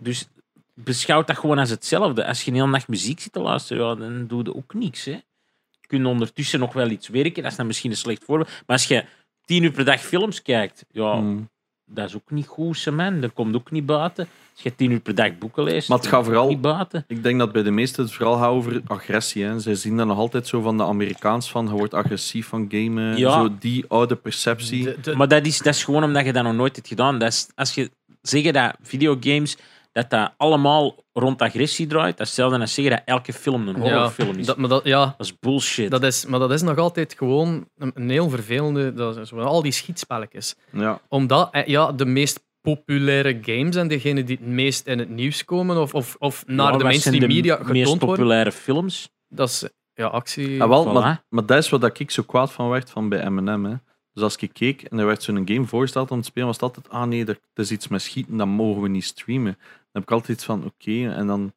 A: Dus beschouw dat gewoon als hetzelfde. Als je een hele nacht muziek zit te luisteren, ja, dan doe je ook niks. Hè. Je kunt ondertussen nog wel iets werken, dat is dan misschien een slecht voorbeeld. Maar als je tien uur per dag films kijkt, ja,
C: Mm.
A: dat is ook niet goed, ze man. Dat komt ook niet buiten. Als je tien uur per dag boeken leest,
C: Maar het
A: dat
C: gaat vooral-
A: ook niet buiten.
C: Ik denk dat bij de meesten het vooral gaat over agressie. Hè. Zij zien dat nog altijd zo van de Amerikaans van je wordt agressief van gamen.
A: Ja.
C: Zo die oude perceptie.
B: De- de-
A: Maar dat is, dat is gewoon omdat je dat nog nooit hebt gedaan. Dat is, als je zegt dat videogames dat dat allemaal rond agressie draait, dat is hetzelfde als zeggen dat elke film een horrorfilm is.
B: dat,
A: Dat,
B: maar dat, ja,
A: is bullshit.
B: dat is. Maar dat is nog altijd gewoon een, een heel vervelende. Dat is, al die schietspelletjes.
C: Ja.
B: Omdat eh, ja, de meest populaire games en degene die het meest in het nieuws komen of, of, of naar
A: Ja,
B: de
A: wat zijn
B: mainstream media
A: de meest
B: getoond worden,
A: populaire films.
B: dat is eh, ja, actie.
C: Ah, wel,
A: Voilà.
C: maar, maar dat is wat ik zo kwaad van werd van bij M&M. Hè. Dus als ik keek en er werd zo'n game voorgesteld om te spelen, was het altijd, ah nee, er, er is iets met schieten, dan mogen we niet streamen. Dan heb ik altijd iets van, oké, en dan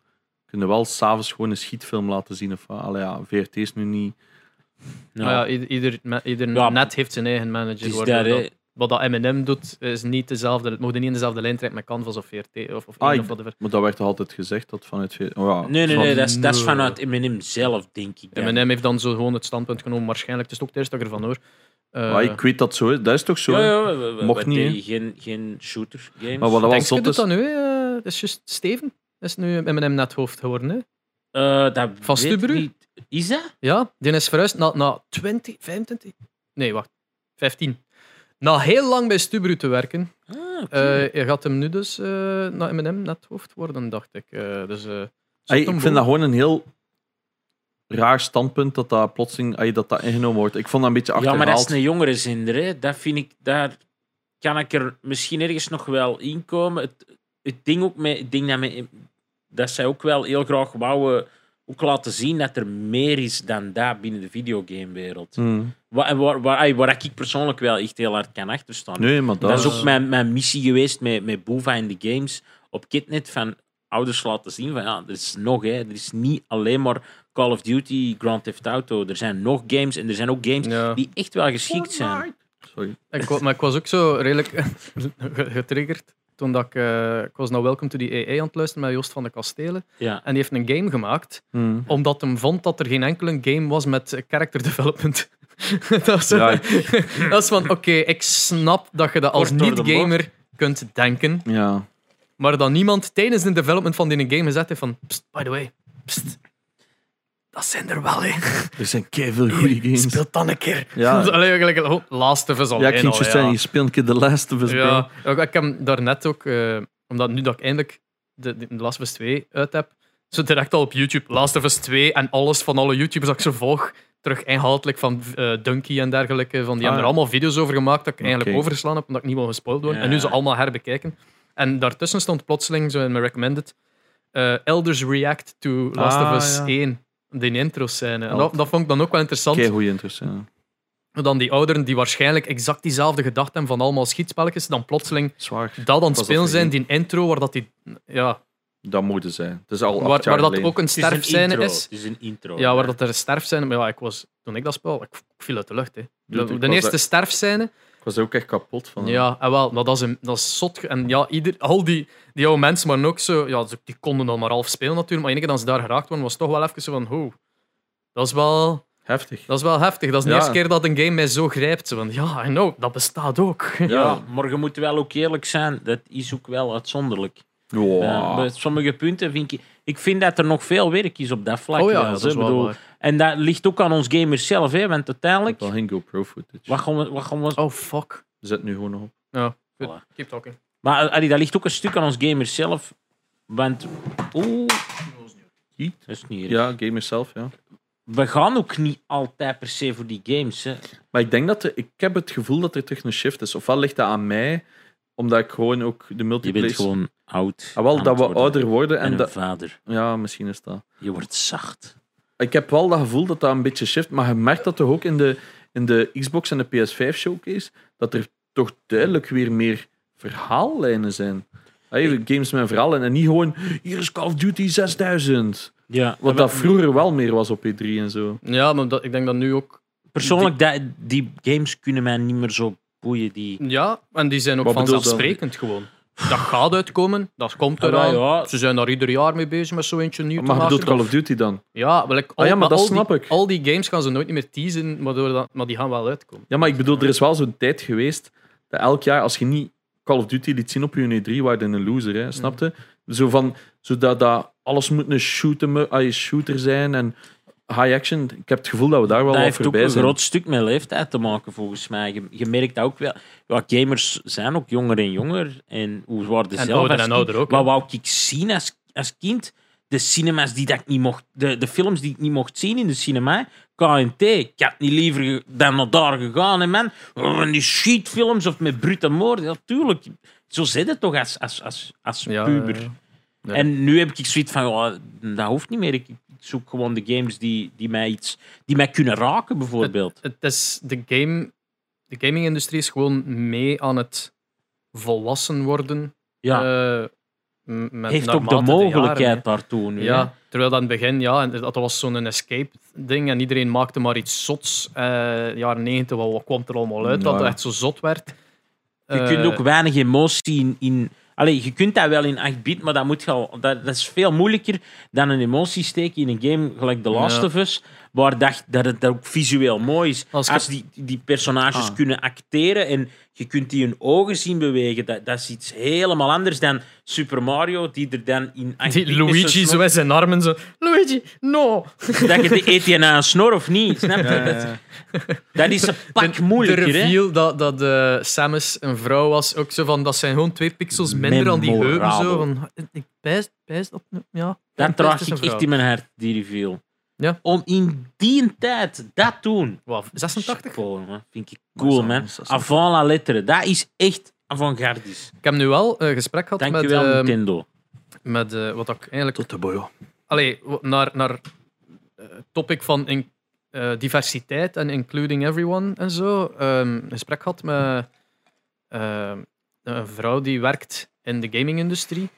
C: kunnen we wel s'avonds gewoon een schietfilm laten zien. Of, ah, allee, ja, VRT is nu niet...
A: Ja,
B: Maar Ah ja, ieder, ieder, me- ieder
A: Ja,
B: net heeft zijn eigen manager.
A: het Nou, is
B: waardoor
A: daar, hè.
B: dat- wat dat M&M doet, is niet dezelfde. Het mocht niet in dezelfde lijn trekken met Canvas of VRT of, of, één
C: Ah, ik-
B: of whatever.
C: Maar dat werd toch altijd gezegd dat vanuit... veel- Oh, ja,
A: Nee, nee,
C: van-
A: nee, dat is, dat is
B: Nee.
A: vanuit M&M zelf, denk ik. dan.
B: M&M heeft dan zo gewoon het standpunt genomen, waarschijnlijk. Het is ook het eerste dat ik ervan hoor. Eh,
C: Ah, ik weet dat zo is. Dat is toch zo?
A: Ja,
C: hè?
A: ja, we- we, we-
C: Mocht
A: we
C: niet,
A: deden
C: hè.
A: geen, geen shooter games.
C: Maar wat dat wel
B: Denk je
C: zot
B: doet
C: is...
B: dat nu? eh, dat is juist Steven. Dat is nu M&M net hoofd geworden. Hè?
A: Eh, dat
B: Van
A: weet ik
B: Stubru?
A: niet. Is dat?
B: Ja, die is verhuisd na, na 20, 25? Nee, wacht. 15. Na heel lang bij Stubru te werken,
A: Ah, oké.
B: Eh, je gaat hem nu dus eh, naar M&M net hoofd worden, dacht ik. Eh, dus, eh, zet hem
C: Ey, ik
B: voor.
C: vind dat gewoon een heel raar standpunt dat dat plotseling ey, dat dat ingenomen wordt. Ik vond dat een beetje
A: ja,
C: achterhaald.
A: maar dat is een jongere zinder. Hè. Dat vind ik, daar kan ik er misschien ergens nog wel in komen. Het, het ding ook met, ik denk dat, met- dat zij ook wel heel graag wouden ook laten zien dat er meer is dan dat binnen de videogamewereld.
C: Hmm.
A: Waar, waar, waar, ey, waar ik persoonlijk wel echt heel hard kan achterstaan.
C: Nee, maar dat,
A: Dat is
B: Dat-
A: ook mijn, mijn missie geweest met, met Boeva in de games op Kidnet. Van ouders laten zien van ja, er is nog, hè, er is niet alleen maar Call of Duty, Grand Theft Auto. Er zijn nog games en er zijn ook games
B: Ja.
A: die echt wel geschikt zijn.
C: Sorry.
B: ik, wa- maar ik was ook zo redelijk ge- getriggerd toen dat ik, eh, ik was naar Welcome to the AA aan het luisteren met Joost van de Kastelen.
A: Ja.
B: En die heeft een game gemaakt,
C: Hmm.
B: omdat hem vond dat er geen enkele game was met eh, character development. dat, was zo- dat is van, oké, ik snap dat je dat als
A: Kort door de
B: niet-gamer kunt denken.
C: Ja.
B: Maar dan niemand tijdens de development van die game gezet heeft van... Pst, by the way, pst, dat zijn er wel, hè.
C: Er zijn veel goede games.
B: Speel dan een keer.
C: Ja.
B: Allee, eigenlijk, oh, Last of Us al
C: Ja, ik
B: in
C: ging
B: al,
C: je zeggen, je speelt een keer The Last of Us, bro.
B: ja. ja. Ik, ik heb hem daarnet ook... eh, omdat nu dat ik eindelijk de, de Last of Us 2 uit heb... Zo direct al op YouTube. Last of Us 2 en alles van alle YouTubers dat ik zo volg... Terug inhoudelijk van eh Dunky en dergelijke. Van, die hebben
C: ja.
B: er allemaal video's over gemaakt dat ik eigenlijk
C: Ah. Oké.
B: overslaan heb, omdat ik niet wil gespoild worden.
A: Ja.
B: En nu ze allemaal herbekijken. En daartussen stond plotseling, zo in mijn recommended, eh, Elders React to Last
C: Ah,
B: of Us
C: ja.
B: 1. Die intros zijn. En
C: Oh.
B: dat, dat vond ik dan ook wel interessant.
C: Kei goede interesse. Ja.
B: Dan die ouderen die waarschijnlijk exact diezelfde gedachten hebben van allemaal schietspelletjes, dan plotseling
C: Zwaar.
B: dat aan het
C: Pas
B: spelen
C: op, Oh,
B: zijn, die intro waar dat, die, ja,
C: Dat moeten zijn. Het is al
B: waar,
C: acht jaar
B: waar dat
C: geleden.
B: ook een
A: Het is een
B: sterfscène
A: intro.
B: is.
A: Het is een intro.
B: Ja, waar dat er een sterfscène... Maar ja, ik was, toen ik dat speel, ik ik viel uit de lucht. Hè.
C: Dude,
B: De,
C: ik
B: de
C: was
B: eerste
C: daar- Ah.
B: sterfscène
C: Ik was er ook echt kapot van.
B: Ja, en wel, maar dat is, een, dat is zot. ge- En ja, ieder, al die, die oude mensen waren ook zo. Ja, ze- die konden dan maar half spelen natuurlijk. Maar enige dat ze daar geraakt worden, was toch wel even zo van. Ho, dat is wel,
C: Heftig.
B: dat is wel heftig. Dat is de
C: Ja.
B: eerste keer dat een game mij zo grijpt. Zo van, ja, I know, dat bestaat ook.
A: Ja. maar je moet wel ook eerlijk zijn. Dat is ook wel uitzonderlijk.
C: Wow.
A: Eh, bij sommige punten vind ik... Ik vind dat er nog veel werk is op dat vlak.
B: Oh ja,
A: trouwens,
B: dat is
A: hè.
B: wel
A: Bedoel,
B: waar.
A: En dat ligt ook aan ons gamers zelf. Hè, want uiteindelijk...
C: Wel geen GoPro footage.
A: Wat gaan we... Wat gaan we
B: Oh, fuck.
C: Zet nu gewoon nog op.
B: Ja, goed.
A: Voilà.
B: keep talking.
A: Maar eh, allee, dat ligt ook een stuk aan ons gamers zelf. Want... Oeh,
C: Jeet.
A: dat is niet erg.
C: Ja, gamers zelf, ja.
A: We gaan ook niet altijd per se voor die games. Hè.
C: Maar ik denk dat er- ik heb het gevoel dat er terug een shift is. Ofwel ligt dat aan mij, omdat ik gewoon ook de
A: Je
C: multiplayer.
A: bent gewoon oud.
C: Ah, wel,
A: aan
C: dat
A: het
C: we
A: worden.
C: ouder worden en
A: En een
C: dat.
A: vader.
C: Ja, misschien is dat.
A: Je wordt zacht.
C: Ik heb wel dat gevoel dat dat een beetje shift, maar je merkt dat toch ook in de, in de Xbox en de PS5 showcase dat er toch duidelijk weer meer verhaallijnen zijn. Hey, games met verhaallijnen en niet gewoon hier is Call of Duty 6000.
A: Ja,
C: Wat dat vroeger wel meer was op E3 en zo.
B: Ja, maar dat, ik denk dat nu ook.
A: Persoonlijk, dat, die games kunnen mij niet meer zo boeien. Die...
B: Ja, en die zijn ook
C: Wat bedoel je dan?
B: vanzelfsprekend gewoon. Dat gaat uitkomen, dat komt
A: Ah, wel,
B: eraan.
A: ja.
B: Ze zijn daar ieder jaar mee bezig met zo eentje nieuw te
C: Maar je
B: maken.
C: bedoelt Call of Duty dan?
B: Ja, wel, ik, al,
C: Ah ja, maar dat
B: al
C: snap
B: die,
C: ik.
B: Al die games gaan ze nooit meer teasen, maar, door dat, maar die gaan wel uitkomen.
C: Ja, maar ik bedoel, er is wel zo'n tijd geweest dat elk jaar, als je niet Call of Duty liet zien op je 3 waren je een loser, hè, snapte? Zo van, zodat dat alles moet een shooter, ah, shooter zijn en high action. Ik heb het gevoel dat we daar wel
A: Dat
C: wat
A: heeft ook
C: voorbij
A: een
C: zijn.
A: groot stuk met leeftijd te maken, volgens mij. Je, je merkt dat ook wel. Ja, gamers zijn ook jonger en jonger. En hoe worden
B: En
A: zelf
B: ouder
A: als
B: en
A: kind.
B: ouder ook, hè.
A: Wat wou ik zien als, als kind? De cinema's die dat ik niet mocht... De, de films die ik niet mocht zien in de cinema. KNT. Ik had niet liever ge- dan naar daar gegaan, hè, man. Oh, en die shitfilms of met brute moord. Ja, tuurlijk. Zo zit het toch als, als, als, als
B: Ja,
A: puber.
B: ja, ja. Ja.
A: En nu heb ik zoiets van, ja, dat hoeft niet meer. Ik ik zoek gewoon de games die, die, mij, iets, die mij kunnen raken, bijvoorbeeld.
B: Het is de, game, de gaming-industrie is gewoon mee aan het volwassen worden.
A: Ja.
B: eh, m- met,
A: Heeft ook
B: naarmate
A: de mogelijkheid
B: jaren,
A: daartoe nu.
B: hè.
A: hè.
B: ja, terwijl dat in het begin, ja, en dat was zo'n escape-ding en iedereen maakte maar iets zots. Eh jaren 90, wat, wat kwam er allemaal uit dat
C: Ja.
B: het echt zo zot werd? Eh,
A: Je kunt ook weinig emotie in. in Allee, je kunt dat wel in 8 bit, maar dat, moet je al, dat, dat is veel moeilijker dan een emotie steken in een game gelijk The Last
B: Ja.
A: of Us, waar dat, dat het ook visueel mooi is.
B: Als
A: Als,
B: je-
A: die, die personages
C: Ah.
A: kunnen acteren en je kunt die hun ogen zien bewegen, dat, dat is iets helemaal anders dan Super Mario, die er dan in 8
B: Die Luigi zo in zijn armen zo. Luigi, no!
A: Dat je de, eet je nou een snor of niet, snap je?
C: Ja, ja,
A: Dat,
C: ja.
A: dat is een
B: En
A: pak moeilijker,
B: De
A: hè?
B: reveal dat, dat eh, Samus een vrouw was, ook zo van, dat zijn gewoon twee pixels minder aan die heupen. Zo, van, ik pijs, pijs op... Ja,
A: Dat
B: pijs
A: draag
B: is
A: ik
B: een vrouw.
A: echt in mijn hart, die reveal.
B: Ja.
A: Om in die tijd dat doen.
B: Wow, 86?
A: Chapeau, man. Vind ik cool,
C: Dat is al-
A: man.
C: dat is al-
A: Avant la lettre. Dat is echt avant-gardisch.
B: Ik heb nu wel een gesprek gehad met,
A: Dankjewel,
B: eh,
A: Nintendo.
B: met eh, wat ik eigenlijk
C: Tot de boyo.
B: allee, w- naar, naar eh, topic van in- eh, diversiteit en including everyone en zo. ehm, een gesprek had met ehm, een vrouw die werkt in de gaming-industrie,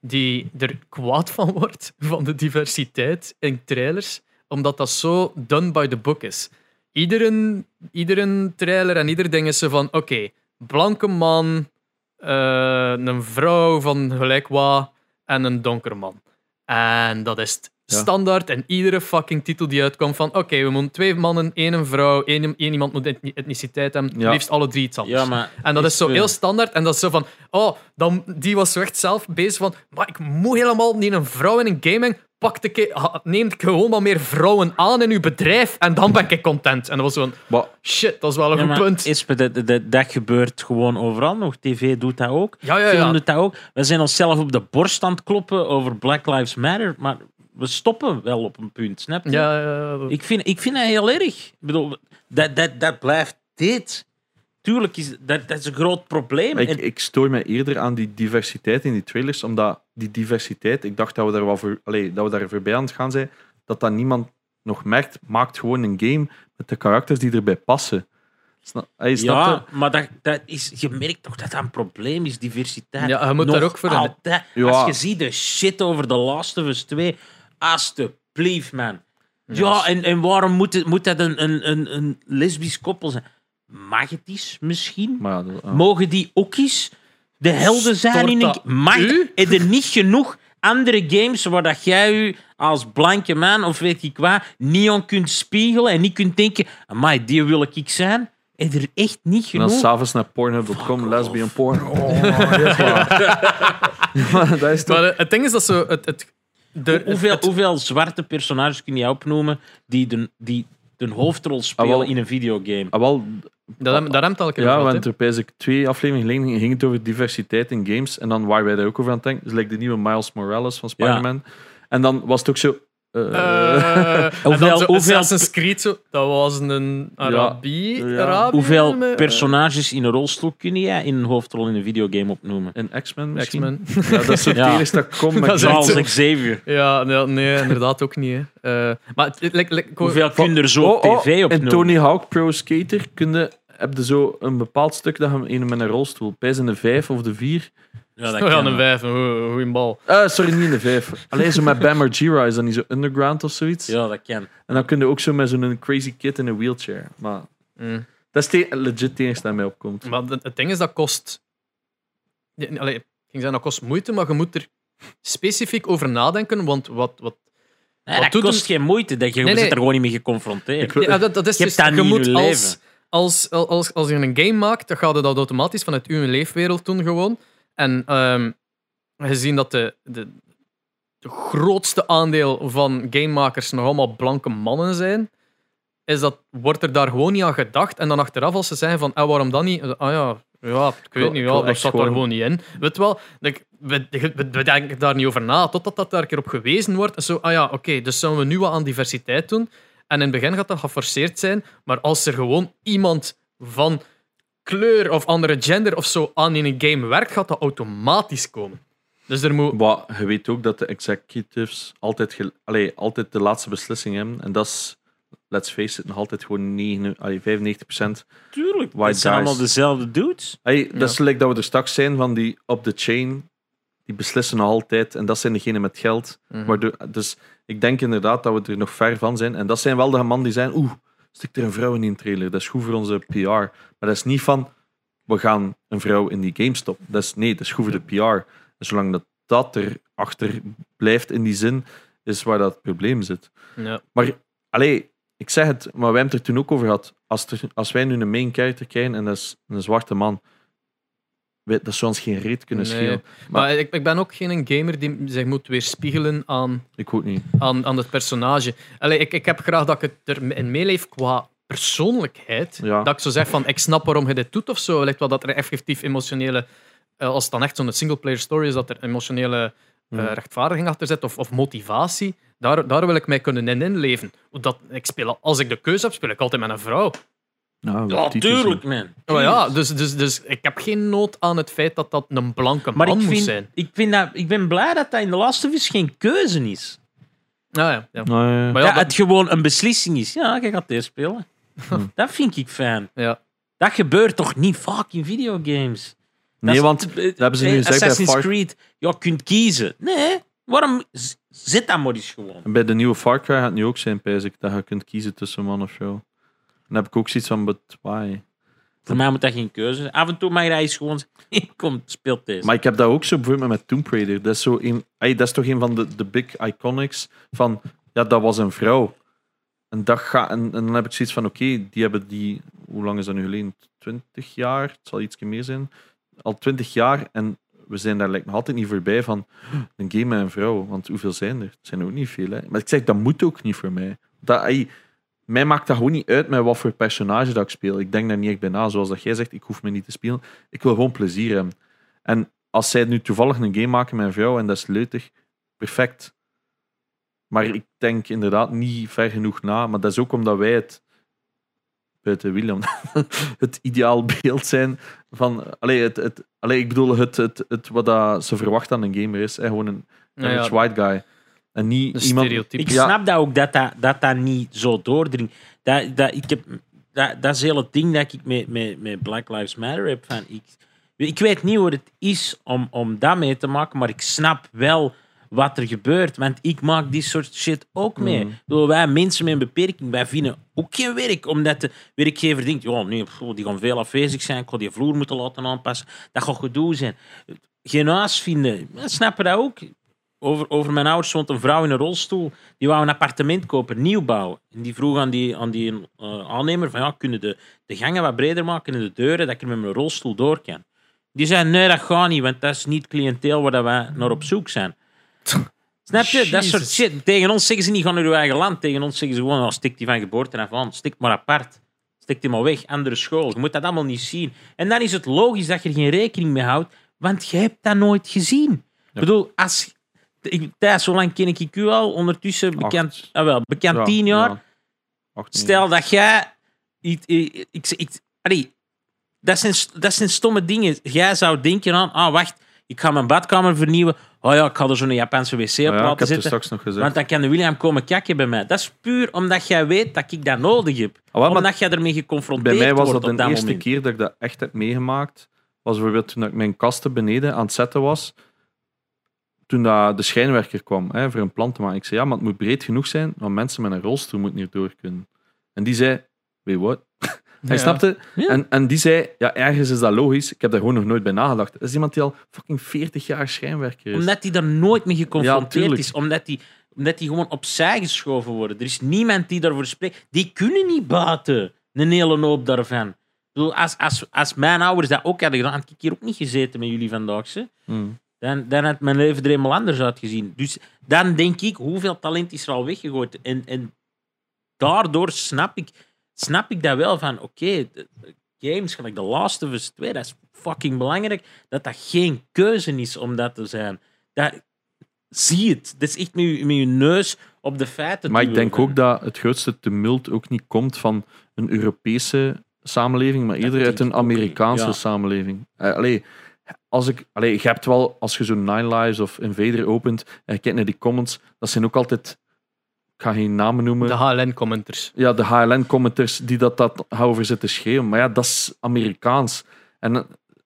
B: die er kwaad van wordt van de diversiteit in trailers, omdat dat zo done by the book is. Iedere, iedere trailer en ieder ding is ze van: oké, blanke man, eh, een vrouw van gelijk wat en een donker man. En dat is het
C: Ja.
B: standaard en iedere fucking titel die uitkomt van oké, we moeten twee mannen, één vrouw, één, één iemand moet etni- etniciteit hebben,
C: Ja.
B: liefst alle drie iets anders.
A: Ja, maar...
B: En dat is zo
A: eh,
B: heel standaard. En dat is zo van, oh, dan, die was zo echt zelf bezig van, maar ik moet helemaal niet een vrouw in een gaming. Pak de ke- ha- neem ik gewoon maar meer vrouwen aan in uw bedrijf en dan ben ik content. En dat was zo van,
C: Maar
B: shit, dat is wel een
A: Ja,
B: goed
A: maar
B: punt.
A: Espe, dat, dat, dat gebeurt gewoon overal nog. TV doet dat ook.
B: Ja, ja,
A: Film
B: ja.
A: doet dat ook. We zijn onszelf op de borst aan het kloppen over Black Lives Matter, maar we stoppen wel op een punt, snap je?
B: Ja, ja, ja.
A: Ik vind, ik vind dat heel erg. Ik bedoel, dat, dat, dat blijft dit. Tuurlijk is dat, dat is een groot probleem.
C: ik,
A: En-
C: ik stoor mij eerder aan die diversiteit in die trailers, omdat die diversiteit, ik dacht dat we daar, wel voor, allee, dat we daar voorbij aan het gaan zijn, dat dat niemand nog merkt, maakt gewoon een game met de karakters die erbij passen. Snap, allee, snap
A: ja,
C: je?
A: maar dat, dat is, je merkt toch dat dat een probleem is, diversiteit.
B: Ja, je moet
A: Nog
B: daar ook voor aan de-
A: altijd.
C: Ja.
A: Als je ziet de shit over The Last of Us 2, alsjeblieft, man. Ja, en, en waarom moet, het, moet dat een, een, een, een lesbisch koppel zijn? Mag het eens misschien?
C: Maar ja, dat- ah. ja.
A: Mogen die ook eens de helden zijn
B: Stort
A: in
B: dat
A: een... Mag
B: u?
A: heb je niet genoeg andere games waar dat jij je als blanke man of weet ik wat niet aan kunt spiegelen en niet kunt denken, amai, die wil ik zijn? Heb je er echt niet
C: En dan
A: genoeg?
C: s'avonds naar pornhub.com, lesbian porn. Oh, dat is waar. Maar dat is toch...
B: Maar eh, het ding is dat zo... Het, het, de,
A: Hoe- hoeveel,
B: het-
A: hoeveel zwarte personages kun je opnoemen die de, die de hoofdrol spelen
C: Ah, wel.
A: in een videogame?
C: Ah, wel,
B: dat, hem- daar remt elke keer
C: ja,
B: wat, hè.
C: want er bij zich twee afleveringen geleden ging het over diversiteit in games. En dan waren wij daar ook over aan het denken. Dus like de nieuwe Miles Morales van Spider-Man. En dan was het ook zo... eh,
B: Eh, en
A: Hoeveel-
B: dan zo
A: hoeveel-
B: Assassin's Creed, zo, dat was een Arabie.
C: Ja.
B: Arabië,
A: Hoeveel
B: eh,
A: personages in een rolstoel kun jij in een hoofdrol in een videogame opnoemen?
C: in X-Men misschien?
B: X-Men.
C: Ja, dat is zo
A: Ja.
C: het enige dat ik kom. Maar
B: Dat
C: ik
B: is
C: denk-
A: Charles
B: zo.
A: Xavier.
B: Ja, nee, nee, inderdaad ook niet. Hè. Eh, maar het- het lijkt- lijkt- ik hoor-
A: Hoeveel
C: Van-
A: kun je er zo op
C: Oh, oh,
A: tv
C: In
A: opnoemen?
C: Tony Hawk Pro Skater kun je, heb je zo een bepaald stuk dat je hem in met een rolstoel... Pijs in de vijf of de vier.
A: Ja, dat
B: Oh ja,
A: kan
B: een
A: wel.
B: vijf, een goe- goeie bal.
C: Eh, sorry, niet in de vijf. Alleen zo met Bam Margera is dat niet zo underground of zoiets.
A: Ja, dat kan.
C: En dan kun je ook zo met zo'n crazy kid in een wheelchair. Maar
B: Mm.
C: dat is te- legit het enige dat mij opkomt.
B: Maar het, het ding is, dat kost... Ja, nee, Allee, ik ging zeggen, dat kost moeite, maar je moet er specifiek over nadenken, want wat... wat
A: Nee,
B: Wat
A: dat
B: doet
A: kost
B: het-
A: geen moeite. Dat je,
B: Nee,
A: je
B: nee.
A: zit er gewoon niet mee geconfronteerd.
C: Ik wil-
B: Ja, dat, dat is
A: Je
B: dus-
A: hebt dat
B: je
A: niet in
B: moet
A: je
B: als,
A: leven.
B: als, als, als, als je een game maakt, dan gaat je dat automatisch vanuit uw leefwereld doen gewoon. En ehm, gezien dat de, de, de grootste aandeel van gamemakers nog allemaal blanke mannen zijn, is dat, wordt er daar gewoon niet aan gedacht. En dan achteraf als ze zeggen van, eh, waarom dan niet? Eh, Ah ja, ja ik
C: wil-
B: weet niet,
C: ik
B: ja,
C: wil
B: dat
C: echt
B: zat daar
C: gewoon-
B: gewoon niet in. Weet wel, ik- we, we, we denken daar niet over na, totdat dat daar een keer op gewezen wordt. En zo, ah ja, oké, dus zullen we nu wat aan diversiteit doen? En in het begin gaat dat geforceerd zijn, maar als er gewoon iemand van kleur of andere gender of zo aan in een game werkt, gaat dat automatisch komen. Dus er moet...
C: Maar je weet ook dat de executives altijd, gel- allee, altijd de laatste beslissing hebben. En dat is, let's face it, nog altijd gewoon 9, allee, 95
A: Tuurlijk.
C: White
A: Het zijn
C: guys.
A: allemaal dezelfde dudes.
C: Allee,
B: Ja.
C: Dat is gelijk dat we er straks zijn van die op de chain. Die beslissen nog altijd. En dat zijn degenen met geld.
B: Mhm.
C: Waardoor, dus ik denk inderdaad dat we er nog ver van zijn. En dat zijn wel de man die zijn. Oeh, stik er een vrouw in die trailer. Dat is goed voor onze PR. Maar dat is niet van. we gaan een vrouw in die game stoppen. Dat is, nee, dat is goed voor de PR. En zolang dat, dat erachter blijft in die zin, is waar dat probleem zit.
B: Ja.
C: Maar, allee, ik zeg het, maar we hebben het er toen ook over gehad. Als, er, als wij nu een main character krijgen en dat is een zwarte man, wij- dat zou ons geen reet kunnen
B: Nee.
C: schelen.
B: Maar, ik, ik ben ook geen gamer die zich moet weerspiegelen aan,
C: Ik hoop niet.
B: aan, aan het personage. Allee, ik, ik heb graag dat ik het erin meeleef qua persoonlijkheid.
C: Ja.
B: Dat ik zo zeg van, ik snap waarom je dit doet of zo. Wellicht wel dat er effectief emotionele... eh, als het dan echt zo'n singleplayer story is, dat er emotionele eh,
C: Mhm.
B: rechtvaardiging achter zit of, of motivatie. Daar, daar wil ik mij kunnen in inleven. Dat, ik speel, als ik de keuze heb, speel ik altijd met een vrouw.
C: Nou,
A: Ja, tuurlijk, man.
B: Maar ja, dus, dus, dus ik heb geen nood aan het feit dat dat een blanke
A: Maar
B: man
A: ik,
B: moet
A: vind,
B: zijn.
A: Ik, vind dat, ik ben blij dat dat in de laatste vis geen keuze is.
B: Nou ja, ja.
C: Nee.
B: Maar
A: Ja,
B: ja, dat-
A: het gewoon een beslissing is. Ja, je gaat deze spelen. Dat vind ik fijn.
B: ja.
A: Dat gebeurt toch niet vaak in videogames? Dat
C: Nee,
A: is-
C: want dat hebben ze nu
A: eh,
C: gezegd bij
A: Assassin's
C: Far,
A: Creed, ja, je kunt kiezen. Nee, waarom Z- zit dat maar eens gewoon?
C: bij de nieuwe Far Cry gaat het nu ook zijn, pijs ik, dat je kunt kiezen tussen man of vrouw. Dan heb ik ook zoiets van, but why?
A: Voor mij moet dat geen keuze zijn. Af en toe mag je dat eens gewoon zeggen. Kom, speel deze.
C: Maar ik heb dat ook zo bijvoorbeeld met Tomb Raider. Dat is, zo een, ey, dat is toch een van de, de big iconics van, ja, dat was een vrouw. En, dat ga, en, en dan heb ik zoiets van, oké, die hebben die, hoe lang is dat nu geleden? 20 jaar? Het zal iets meer zijn. Al 20 jaar en we zijn daar lijkt me altijd niet voorbij van een game met een vrouw. Want hoeveel zijn er? Het zijn er ook niet veel. Hè? Maar ik zeg, dat moet ook niet voor mij. Dat, ey, mij maakt dat gewoon niet uit met wat voor personage dat ik speel. Ik denk daar niet echt bij na. Zoals dat jij zegt, ik hoef me niet te spelen. Ik wil gewoon plezier hebben. En als zij nu toevallig een game maken met een vrouw en dat is leutig, perfect. Maar ik denk inderdaad niet ver genoeg na. Maar dat is ook omdat wij het, buiten William, het ideaal beeld zijn van... Allee, het, het, allee, ik bedoel, het, het, het, wat dat ze verwacht aan een gamer is. Hè, gewoon een
B: Ja,
C: average
B: ja.
C: white guy. En niet
B: Een
C: iemand...
B: stereotype.
A: Ik
C: Ja.
A: snap dat ook, dat dat, dat, dat niet zo doordringt. Dat, dat, ik heb, dat, dat is heel het ding dat ik met, met, met Black Lives Matter heb. Van, ik, ik weet niet hoe het is om, om dat mee te maken, maar ik snap wel wat er gebeurt. Want ik maak die soort shit ook mee. Ik bedoel, wij mensen met een beperking, wij vinden ook geen werk. Omdat de werkgever denkt, joh, nee, pff, die gaan veel afwezig zijn, ik ga die vloer moeten laten aanpassen. Dat gaat gedoe zijn. Geen huis vinden, we snappen dat ook. Over, over mijn ouders stond een vrouw in een rolstoel. Die wou een appartement kopen, nieuw bouwen. En die vroeg aan die, aan die eh, aannemer: van, ja, kunnen de, de gangen wat breder maken en de deuren, dat ik er met mijn rolstoel door kan? Die zei: nee, dat gaat niet, want dat is niet het cliënteel waar dat wij naar op zoek zijn. Snap je? Dat soort
B: Jezus.
A: shit. Tegen ons zeggen ze niet: ga naar uw eigen land. Tegen ons zeggen ze gewoon: nou, stik die van geboorte af aan. Stik maar apart. Stik die maar weg. Andere school. Je moet dat allemaal niet zien. En dan is het logisch dat je er geen rekening mee houdt, want je hebt dat nooit gezien. Ik bedoel, als, ik, Thijs, hoe lang ken ik u al? Ondertussen bekend,
C: Acht.
A: ah, wel, bekend
C: Ja,
A: tien jaar.
C: ja. Acht, negen.
A: Stel dat jij. Ik, ik, ik, ik- allee, dat, zijn, st- dat zijn stomme dingen. Jij zou denken aan: ah, wacht, ik ga mijn badkamer vernieuwen. Oh ja, ik ga er zo'n Japanse wc op
C: Ja, ik heb
A: laten
C: het er
A: zitten.
C: straks nog gezegd.
A: Want dan kan de William komen kakken bij mij. Dat is puur omdat jij weet dat ik dat nodig heb.
C: Ah, wel, maar-
A: omdat jij ermee
C: Bij
A: geconfronteerd
C: mij was
A: wordt
C: dat de
A: op dat
C: eerste
A: moment.
C: keer dat ik dat echt heb meegemaakt. Was bijvoorbeeld toen ik mijn kasten beneden aan het zetten was. Toen dat de schijnwerker kwam hè, voor een plant te maken. Ik zei, ja, maar het moet breed genoeg zijn, want mensen met een rolstoel moeten niet door kunnen. En die zei, weet what? Hij
B: Ja.
C: snapte.
A: Ja.
C: En, en die zei, ja, ergens is dat logisch. Ik heb daar gewoon nog nooit bij nagedacht. Dat is iemand die al fucking 40 jaar schijnwerker is.
A: Omdat die daar nooit mee
C: Ja,
A: geconfronteerd
C: tuurlijk.
A: is. Omdat die, omdat die gewoon opzij geschoven worden. Er is niemand die daarvoor spreekt. Die kunnen niet buiten. Een hele hoop daarvan. Ik bedoel, als, als, als mijn ouders dat ook hadden gedaan, had ik hier ook niet gezeten met jullie vandaag. Ze.
C: Mm.
A: Dan, dan had mijn leven er helemaal anders uitgezien. Dus dan denk ik, hoeveel talent is er al weggegooid? En, en daardoor snap ik, snap ik dat wel van, oké, de- de games, gelijk de Last of Us 2, dat is fucking belangrijk, dat dat geen keuze is om dat te zijn. Dat, zie het. Dat is echt met je, met je neus op de feiten.
C: Maar ik
A: duwen.
C: denk ook dat het grootste tumult ook niet komt van een Europese samenleving, maar eerder uit
A: denk
C: een
A: ik ook niet,
C: Amerikaanse
A: ja.
C: samenleving. Eh, allee, als ik, allee, je hebt wel, als je zo'n Nine Lives of Invader opent en je kijkt naar die comments, dat zijn ook altijd, ik ga geen namen noemen,
B: De HLN-commenters.
C: ja, de HLN-commenters die dat, dat over zitten schreeuwen. Maar ja, dat is Amerikaans. En eh,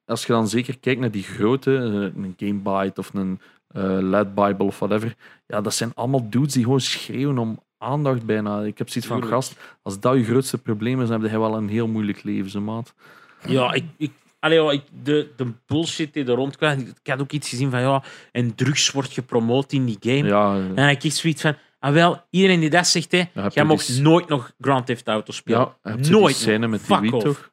C: als je dan zeker kijkt naar die grote, eh, een Gamebyte of een eh Led Bible of whatever, ja, dat zijn allemaal dudes die gewoon schreeuwen om aandacht bijna. Ik heb zoiets van,
A: Tuurlijk.
C: gast, als dat je grootste probleem is, dan heb je wel een heel moeilijk leven, zo maat.
A: Ja, ik, ik, Allee, ja, ik, de, de bullshit die er rondkwam. Ik had ook iets gezien van ja, en drugs wordt gepromoot in die game.
C: Ja,
A: En dan heb ik zoiets van, ah wel, iedereen die dat zegt, hè,
C: heb je
A: jij mag
C: die-
A: nooit nog Grand Theft Auto spelen.
C: ja heb je die
A: nooit
C: scène
A: nog.
C: met die
A: Fuck
C: wiet
A: off.
C: toch?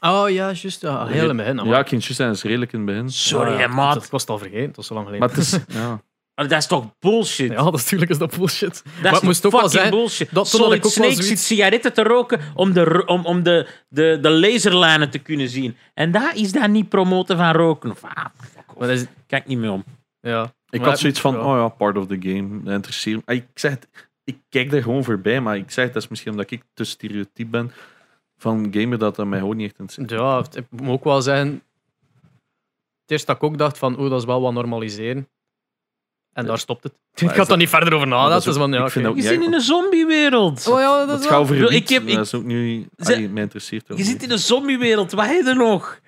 B: Oh ja, juist. Ja, heel in het begin.
C: Ja,
B: Ja, Ah,
C: kindjes zijn is redelijk in het begin.
A: Sorry, hè,
B: Dat
A: maat.
B: was het al vergeten, dat is zo lang geleden.
C: Maar het is... Ja.
A: Ah, Dat is toch bullshit?
B: ja, dat is natuurlijk is dat bullshit.
A: Dat
B: maar
A: is
B: het moest ook wel
A: fucking
B: zijn.
A: bullshit.
B: dat- toen had ik
A: Solid
B: ook wel
A: Snake zit
B: zoiets-
A: sigaretten te roken om, de, ro- om, om de, de, de laserlijnen te kunnen zien. En daar is dat niet promoten van roken. Of, ah, fuck off.
B: Maar dat is,
A: Kijk niet meer om.
B: ja.
C: Ik
B: Maar-
C: had zoiets van,
B: ja.
C: oh ja, part of the game. Dat interesseert me. Ah, Ik zeg het, ik kijk daar gewoon voorbij, maar ik zeg het, dat is misschien omdat ik te stereotyp ben van gamer dat dat mij gewoon niet echt interesseert.
B: Ja, het- ik moet ook wel zeggen. Het eerst dat ik ook dacht van, oeh, dat is wel wat normaliseren. En daar stopt het. ik had
C: dat-
B: daar niet verder over
C: Maar dat
B: nadenken.
C: is ook-
B: Dus van, ja,
C: ik vind
B: oké.
A: Je
C: Ja,
A: zit
C: ik-
A: in een zombiewereld.
B: Oh ja, dat
C: Dat
B: is
C: gaat
B: wel...
C: over
A: Ik
C: wiet,
A: heb- ik-
C: dat is ook nu...
A: Ze-
C: ah, mij interesseert ook
A: Je
C: niet.
A: zit in een zombiewereld. Wat heb je er nog?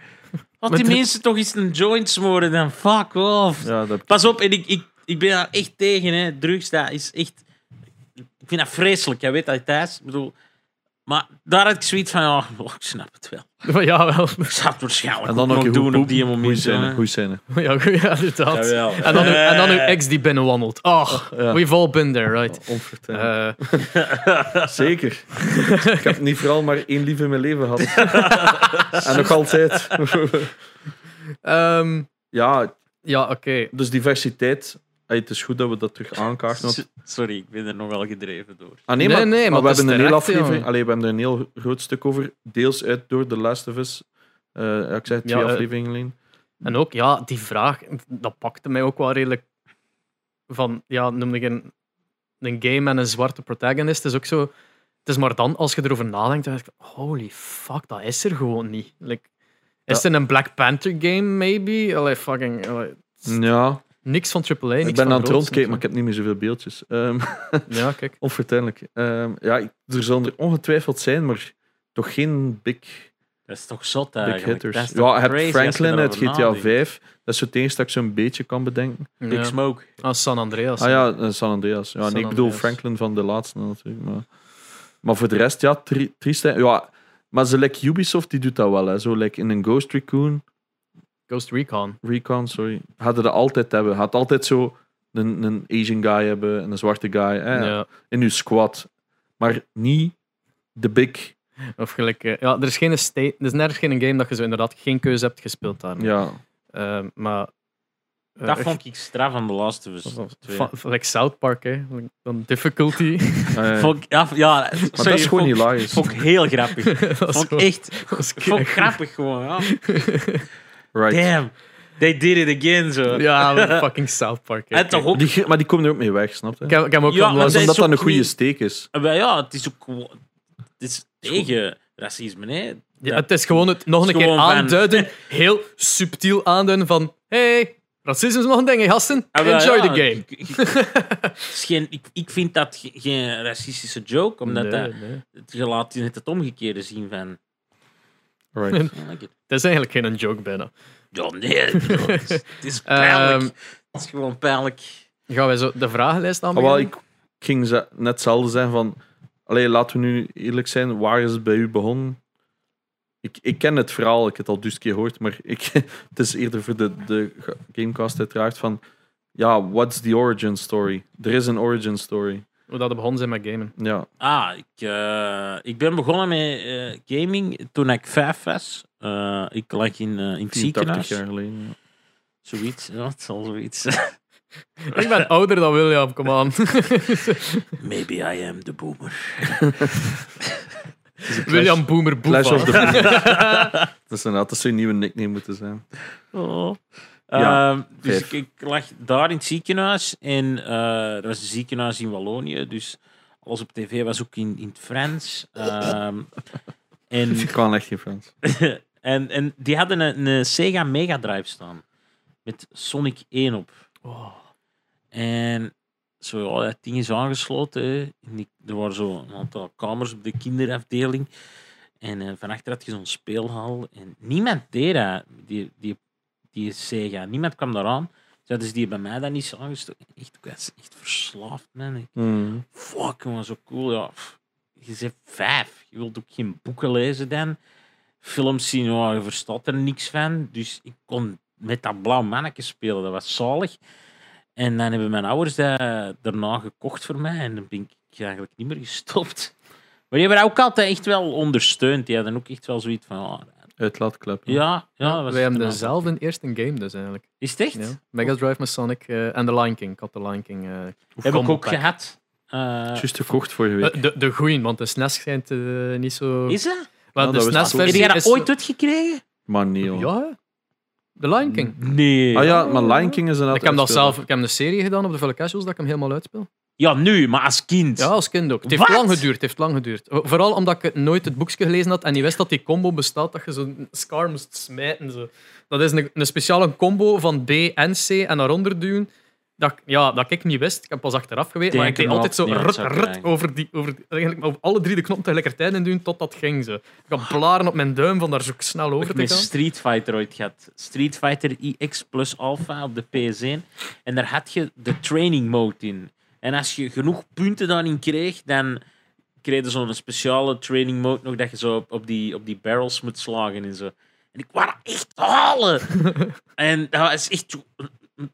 A: Laat die
B: Maar-
A: mensen toch eens een joint smoren dan. Fuck off.
C: Ja, dat heb ik-
A: Pas op, en ik, ik, ik ben daar echt tegen. Hè. Drugs, dat is echt... Ik vind dat vreselijk. Jij weet dat, Thijs. Ik bedoel... Maar daar had ik zoiets van... ja, oh, ik snap het wel.
B: Van, ja, wel.
A: Ik zou het waarschijnlijk
C: En dan
A: ook
C: ook
A: nog
C: een
A: doen op die moment.
C: Goeie
A: hè.
C: goeie scène.
B: Ja, goed, ja, inderdaad.
A: Jawel.
B: En dan, uw, en dan uw ex die binnenwandelt. Ach,
C: Eh. Oh, Ja.
B: we've all been there, right?
C: Onvertuinlijk.
B: Eh,
C: Zeker. ik heb niet vooral maar één lief in mijn leven gehad. en nog altijd.
B: ehm,
C: ja,
B: ja, oké.
C: dus diversiteit. Hey, het is goed dat we dat terug aankaarten. want-
A: S- Sorry, ik ben er nogal gedreven door.
C: Ah, nee,
B: Nee,
C: maar,
B: nee,
C: maar
B: maar
C: we
B: dat
C: hebben
B: is
C: een hele
B: terecht,
C: aflevering.
B: jongen.
C: Allee, we hebben er een heel groot stuk over. Deels uit door The Last of Us. Eh, ja, ik zei twee
B: Ja, eh,
C: afleveringen alleen.
B: En ook, ja, die vraag, dat pakte mij ook wel redelijk van, ja, noemde ik een, een game en een zwarte protagonist, is ook zo, het is maar dan, als je erover nadenkt, dan denk ik, holy fuck, dat is er gewoon niet. Like, is het een Black Panther game, maybe? Allee, fucking, allee,
C: Ja,
B: niks van AAA, niks
C: ik ben
B: van
C: aan het
B: Rhodes,
C: rondkijken,
B: niks
C: maar ik heb niet meer zoveel beeldjes. Ehm
B: van- Ja, kijk.
C: onvertuinlijk. Ehm, ja, ik- er zullen er ongetwijfeld zijn, maar toch geen big
A: Dat is toch zot
C: Big
A: eigenlijk.
C: hitters.
A: Dat is toch
C: ja, heb
A: crazy als je
C: Franklin uit
A: daarover
C: GTA
A: nadenkt.
C: 5. Dat is het enige dat ik zo'n beetje kan bedenken.
A: Big
B: Ja.
A: Smoke.
B: Ah, San Andreas.
C: Ah ja, eh, San Andreas. Ja,
B: San
C: nee, ik bedoel
B: Andreas.
C: Franklin van de laatste natuurlijk. Maar, maar voor de rest, ja, tri triest. hè. Ja, maar ze like Ubisoft, die doet dat wel. Hè. Zo like in een Ghost Recon,
B: Ghost Recon.
C: Recon sorry, hadden dat altijd hebben. Had altijd zo een, een Asian guy hebben en een zwarte guy hè,
B: ja.
C: in uw squad. Maar niet de big.
B: Of gelijk, eh, ja, er is geen state, er is nergens geen game dat je zo inderdaad geen keuze hebt gespeeld daar.
C: Ja,
B: Eh, maar eh,
A: Dat
B: echt-
A: vond ik straf aan de Last of Us.
B: Of- of-
A: twee.
B: van- van- Like South Park, hè? Like, Dan difficulty.
C: eh,
A: Vond ik- ja, ja,
C: maar dat is gewoon
A: vond,
C: hilarisch.
A: Vond ik heel grappig.
B: dat
A: vond ik
B: gewoon-
A: echt
B: dat is
A: vond ik
B: kei-
A: grappig gewoon. Ja.
C: Right.
A: Damn, they did it again zo.
B: ja, maar fucking South Park. hè.
A: en toch ook.
C: Die, ge- maar die komen er ook mee weg, snap je?
B: Ik heb, ik heb hem ook
A: Ja,
B: al
A: maar
B: laten-
A: zij-
C: Omdat
A: is
C: dat
A: ook
C: een goede
A: niet-
C: steek is.
A: eh, wel ja, het is ook gewoon. Het is tegen racisme, hè?
B: Ja, het is gewoon het nog een
A: Het is
B: keer
A: gewoon van-
B: aanduiden, heel subtiel aanduiden van hey, racisme is nog een ding, hè, gasten.
A: Ah, wel,
B: Enjoy
A: ja,
B: the game.
A: ik- ik- het is geen, ik, ik vind dat ge- geen racistische joke, omdat
B: Nee,
A: dat,
B: nee.
A: het, je laat net het omgekeerde zien van.
C: Right.
A: I like it.
B: Het is eigenlijk geen joke bijna.
A: Ja, nee, het is, het is
B: Ehm,
A: pijnlijk. het is gewoon pijnlijk.
B: Gaan wij zo de vragenlijst
C: Ah, wel,
B: aanbieden?
C: ik ik ging ze- net hetzelfde zeggen van... Allee, laten we nu eerlijk zijn. Waar is het bij u begonnen? Ik, ik ken het verhaal, ik heb het al dus keer gehoord, maar ik, het is eerder voor de, de ga- Gamecast uiteraard van... Ja, what's the origin story? Er is een origin story.
B: Hoe dat we begonnen zijn met gamen.
C: Ja,
A: Ah, ik, eh, ik ben begonnen met eh, gaming toen ik vijf was. Eh, ik lag in, eh, in het
C: 84
A: ziekenhuis.
C: jaar geleden. ja.
A: Zoiets, ja, het zal zoiets.
B: Ik ben ouder dan William, kom aan.
A: Maybe I am the boomer.
B: William Boomer Boefa.
C: Clash of the Boomers. Dat is inderdaad, dat zou een nieuwe nickname moeten zijn.
A: Oh.
C: Ja,
A: Ehm, dus
C: vijf.
A: ik, ik lag daar in het ziekenhuis. En eh er was een ziekenhuis in Wallonië. Dus alles op tv was ook in, in het Frans. Ehm, en
C: Ik kan echt geen Frans.
A: en, en die hadden een, een Sega Mega Drive staan. Met Sonic 1 op. En zo, ja, dat ding is aangesloten. hè. En die- er waren zo een aantal kamers op de kinderafdeling. En eh, van achter had je zo'n speelhal. En niemand deed dat, die, die, die Sega. Niemand kwam daaraan. Ze hadden ze die bij mij dan niet aangestoken. Echt, ik was echt verslaafd, man. Ik-
C: Mm.
A: Fuck, jongen, zo cool. Ja. Pff, Je bent vijf. Je wilt ook geen boeken lezen dan. films zien, oh, je verstaat er niks van. Dus ik kon met dat blauw mannetje spelen, dat was zalig. En dan hebben mijn ouders dat daarna gekocht voor mij en dan ben ik eigenlijk niet meer gestopt. Maar die hebben dat ook altijd echt wel ondersteund. Die hadden ook echt wel zoiets van, oh,
C: Uitlaatklep.
A: ja, ja. dat was
B: Wij hebben
A: toen al-
B: dezelfde eerst een game dus eigenlijk.
A: Is het echt?
B: Ja.
C: Oh.
B: Mega Drive met Sonic eh, en The Lion King. Ik had The Lion King. eh,
A: Heb ik
B: combo
A: ook
B: pack.
A: gehad. Eh,
C: Juist gekocht vorige week.
B: Eh, de, de goeie, want de SNES schijnt eh, niet zo...
A: is dat?
B: Wel,
C: Ja,
B: de
C: Nou, dat was-
A: Heb
B: SNES-versie
A: jij dat
B: is...
A: ooit uitgekregen?
C: maar nee, hoor.
B: Ja, The
C: Mm.
B: Lion King.
A: Nee.
C: Ah ja, maar Lion King is een
B: Ik heb, dat zelf, ik heb een serie gedaan op de Volcasuals dat ik hem helemaal uitspeel.
A: Ja, nu, maar als kind.
B: Ja, als kind ook. Het heeft
A: Wat?
B: lang geduurd. Het heeft lang geduurd. Vooral omdat ik nooit het boekje gelezen had en niet wist dat die combo bestaat, dat je zo'n scar moest smijten. Zo. Dat is een, een speciale combo van B en C en daaronder duwen. Dat, ik- ja, dat ik niet wist. Ik heb pas achteraf geweten. Maar ik
A: Denk
B: deed
A: hem
B: altijd zo
A: op, niemand
B: rut,
A: zou het
B: rut
A: krijgen.
B: over, die, over, die- eigenlijk over alle drie de knoppen tegelijkertijd in doen, tot dat ging. Zo. Ik had blaren op mijn duim van daar zo snel over
A: Ik
B: te
A: heb
B: gaan.
A: Street Fighter ooit gehad. Street Fighter IX plus Alpha op de PS1. En daar had je de training mode in. En als je genoeg punten daarin kreeg, dan kreeg je zo'n speciale training mode nog dat je zo op, op die, op die barrels moet slagen en zo. En ik wou dat echt halen. en dat was echt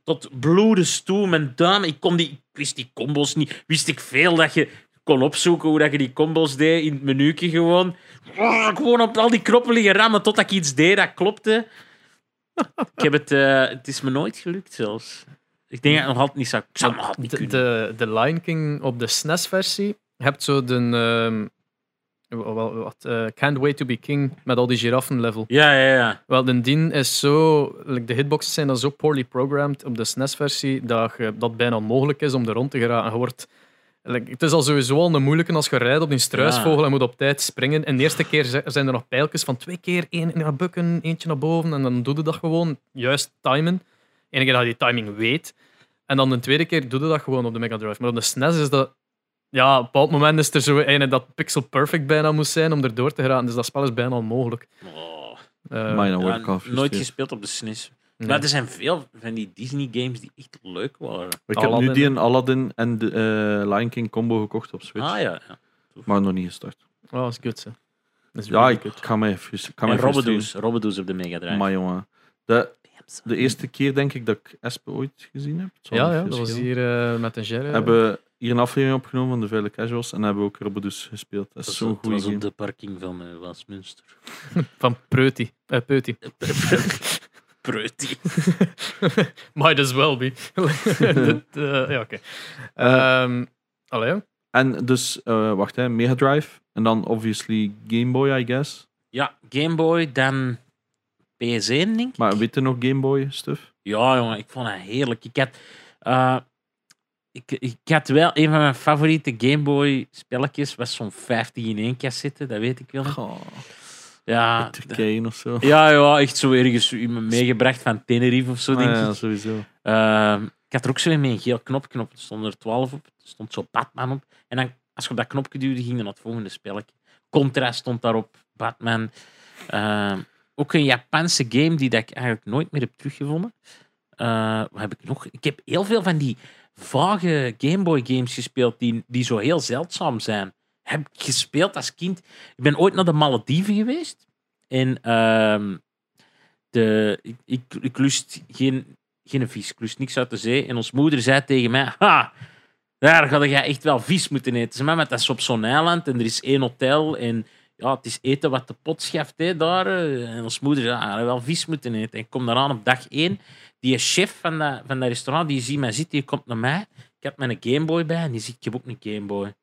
A: tot bloedens toe, mijn duim. Ik, kon die, ik wist die combos niet. Wist ik veel dat je kon opzoeken hoe dat je die combos deed in het menuke gewoon. Ah, Gewoon op al die knoppen liggen rammen totdat ik iets deed dat klopte. ik heb het, eh, het is me nooit gelukt zelfs. Ik denk dat ik nog altijd niet zou. Ik zou het nog altijd niet
B: De,
A: Ah, kunnen.
B: de, de Lion King op de SNES-versie. Je hebt zo de. ehm, wel- wel- wat, eh, Can't Wait to Be King met al die giraffen-level.
A: Ja, ja, ja.
B: Wel, de dien is zo. like, de hitboxen zijn dan zo poorly programmed op de SNES-versie dat je- dat bijna onmogelijk is om er rond te geraken. Je wordt, like, het is al sowieso al een moeilijke als je rijdt op die struisvogel en moet op tijd springen. En de eerste keer zi- zijn er nog pijltjes van twee keer één naar bukken, eentje naar boven. En dan doe je dat gewoon juist timen. Eén keer dat je die timing weet. En dan de tweede keer doe je dat gewoon op de Mega Drive. Maar op de SNES is dat. Ja, op een bepaald moment is er zo een dat pixel perfect bijna moest zijn om erdoor te geraken. Dus dat spel is bijna onmogelijk.
A: Oh,
B: Eh,
C: Mijn dan
A: ja,
C: word ik al
A: nooit
C: gefrustreerd.
A: gespeeld op de SNES.
B: nee.
A: Maar er zijn veel van die Disney-games die echt leuk waren.
C: Ik heb nu
B: Aladdin.
C: die een Aladdin en de eh, Lion King combo gekocht op Switch.
A: Ah ja. ja.
C: Maar nog niet gestart.
B: Oh, dat is goed, hè. Dat is
C: Ja,
B: really
C: ik
B: good.
C: ga mij frus- ik ga mij
A: En
C: frustreren.
A: Robbedoes. Robbedoes op de Mega Drive.
C: Maar jongen. De,
A: Damn,
C: de eerste keer denk ik dat ik Espe ooit gezien heb. Het zal
B: ja,
C: niet
B: ja,
C: veel
B: dat was
C: schelen.
B: hier eh, met een Jerry.
C: Hebben we hier een aflevering opgenomen van de Vele Casuals en hebben we ook Robbedoes gespeeld. Dat
A: Dat
C: is zo'n
A: was-
C: goede
A: was op
C: game.
A: de parking van eh, Westminster.
B: Van Preuty. Eh, Peuty.
A: Preuty.
B: Might as well be. Dat, eh, ja, oké.
C: Eh.
B: Ehm allee, ja.
C: En dus, eh, wacht hè, Mega Drive. En dan obviously Game Boy, I guess.
A: Ja, Game Boy, dan PS1, denk ik.
C: Maar weet je nog Game Boy stuff?
A: Ja, jongen, ik vond dat heerlijk. Ik had, eh, ik, ik had wel een van mijn favoriete Game Boy spelletjes. was zo'n 15 in één cassette, dat weet ik wel. nog.
C: Goh,
A: Ja,
C: Turkije of zo.
A: ja, ja, echt zo ergens in me meegebracht van Tenerife of zo,
C: Ah,
A: denk
C: ja,
A: ik.
C: sowieso.
A: Ehm, ik had er ook zo een met een geel knopje op. Er stond er 12 op. Er stond zo Batman op. En dan, als je op dat knopje duwde, ging dan naar het volgende spelletje. Contra stond daarop. Batman. Ehm, ook een Japanse game die dat ik eigenlijk nooit meer heb teruggevonden. Eh, wat heb ik nog? Ik heb heel veel van die vage Game Boy games gespeeld die, die zo heel zeldzaam zijn. Heb ik gespeeld als kind. Ik ben ooit naar de Malediven geweest. En ehm, de, ik, ik, ik lust geen geen vis. Ik lust niks uit de zee. En ons moeder zei tegen mij: Ha, daar ga jij echt wel vis moeten eten. Ze maar dat is op zo'n eiland en er is één hotel. En ja, het is eten wat de pot schaft hè, daar. eh." En ons moeder zei: "Ah, je gaat wel vis moeten eten. En ik kom daaraan op dag één. Die chef van dat, van dat restaurant, die ziet mij zitten, die komt naar mij. Ik heb mijn Gameboy bij en die ziet: Ik heb ook een Gameboy.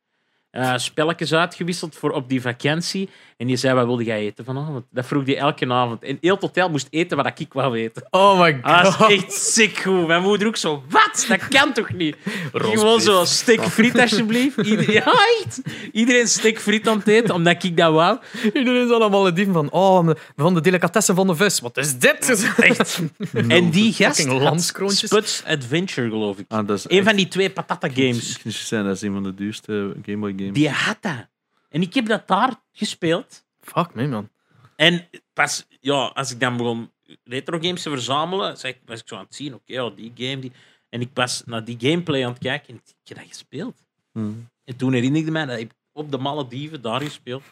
A: Eh spelletjes uitgewisseld voor op die vakantie. En die zei: Wat wilde jij eten vanavond? Dat vroeg die elke avond. En heel het hotel moest eten wat ik wou eten.
B: Oh my god.
A: Ah, dat is echt sick goed. Mijn moeder ook zo, wat? Dat kan toch niet? Gewoon zo, stik friet alsjeblieft. Ieder- ja, echt. Iedereen stik friet aan het eten, omdat ik dat wou.
B: Iedereen is allemaal het van. Oh, van de delicatessen van de vis. Wat is dit? Echt.
A: en die gast
B: fucking
A: had
B: lamskroontjes.
A: Spuds Adventure, geloof ik.
C: Ah, dat is
A: Een van die twee patata games.
C: Ik moet je zeggen, dat is een van de duurste Game Boy games.
A: Die had dat. En ik heb dat daar gespeeld.
B: Fuck me, man.
A: En pas, ja, als ik dan begon retro games te verzamelen, zei ik, was ik zo aan het zien, oké, ja, die game. Die... En ik was naar die gameplay aan het kijken en ik dacht, ik heb dat gespeeld.
C: Hm,
A: En toen herinnerde ik mij dat ik op de Malediven daar gespeeld.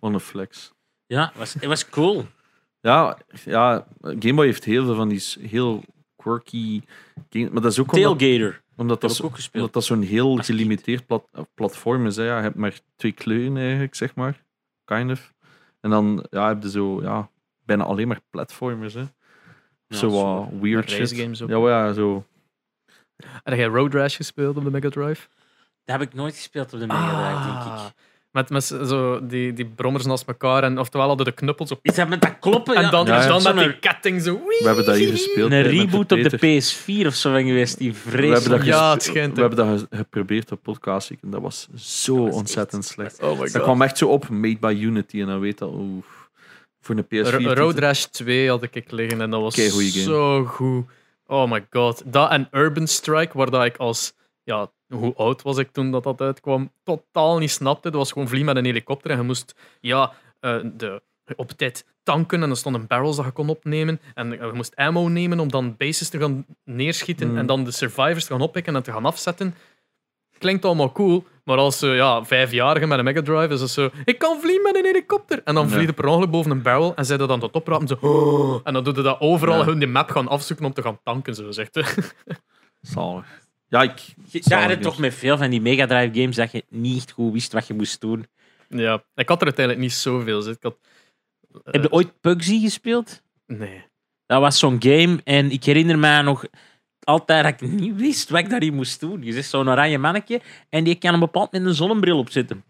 C: wat een flex.
A: Ja, was, het was cool.
C: Ja, ja, Game Boy heeft heel veel van die s- heel quirky... game- Maar dat is ook omdat,
A: Tailgater. Dat
C: omdat dat,
A: heb ik
C: zo-
A: ook
C: omdat
A: gespeeld.
C: dat zo'n heel
A: Als kind.
C: gelimiteerd plat, platform is. Hè. Ja, je hebt maar twee kleuren eigenlijk, zeg maar. Kind of. En dan ja, heb je zo ja, bijna alleen maar platformers. Hè. zo
A: dat is
C: wat weird
B: Race
C: shit.
B: games ook.
C: Ja, maar ja, zo.
B: Heb jij Road Rash gespeeld op de Mega Drive? Ah.
A: Dat heb ik nooit gespeeld op de Mega Drive, denk ik.
B: Met, met zo die, die brommers naast elkaar. En, oftewel hadden de knuppels op.
A: Is dat met dat kloppen?
B: En dan,
C: Ja,
B: en
C: ja.
B: dan
A: Zo'n
B: met die ketting zo.
C: We hebben dat hier gespeeld.
A: een
C: hè, met de
A: reboot op
C: Peter.
A: de PS4 of zo ben geweest. Die
C: We hebben dat
A: vreselijk.
B: Ja,
C: gespe-
B: het schijnt,
C: We
B: hè.
C: hebben dat ge- geprobeerd op podcast. En dat was zo
A: was echt-
C: ontzettend slecht.
B: Oh my
C: Dat kwam echt zo op, made by Unity. En dan weet dat, oef. Voor een PS4. titel.
B: Road Rash 2 had ik ik liggen en dat was
C: Keigoeie game.
B: zo goed. Oh my god. Dat en Urban Strike, waar dat ik als... Ja, hoe oud was ik toen dat dat uitkwam? Totaal niet snapte. Dat was gewoon vliegen met een helikopter en je moest ja, eh, de, op tijd tanken en er stonden barrels dat je kon opnemen. En eh, je moest ammo nemen om dan bases te gaan neerschieten
C: Mm.
B: en dan de survivors te gaan oppikken en te gaan afzetten. Klinkt allemaal cool, maar als eh, ja, vijfjarige met een Mega Drive is het zo: ik kan vliegen met een helikopter. En dan
C: Ja.
B: vlieg je per ongeluk boven een barrel en zij dat dan tot oprapen. Zo, "Oh." en dan doe je dat overal
C: Ja.
B: hun die map gaan afzoeken om te gaan tanken, zo gezegd. hè.
C: Zalig. Ja, ik...
A: Daar had
C: zalig,
A: je toch
C: jongens.
A: met veel van die Mega Drive games dat je niet echt goed wist wat je moest doen.
B: ja, ik had er uiteindelijk niet zoveel. zit. Ik had, eh,
A: Heb je ooit Pugsy gespeeld?
B: Nee.
A: Dat was zo'n game en ik herinner mij nog altijd dat ik niet wist wat ik daarin moest doen. Je zegt zo'n oranje mannetje en die kan een bepaald moment een zonnebril opzetten.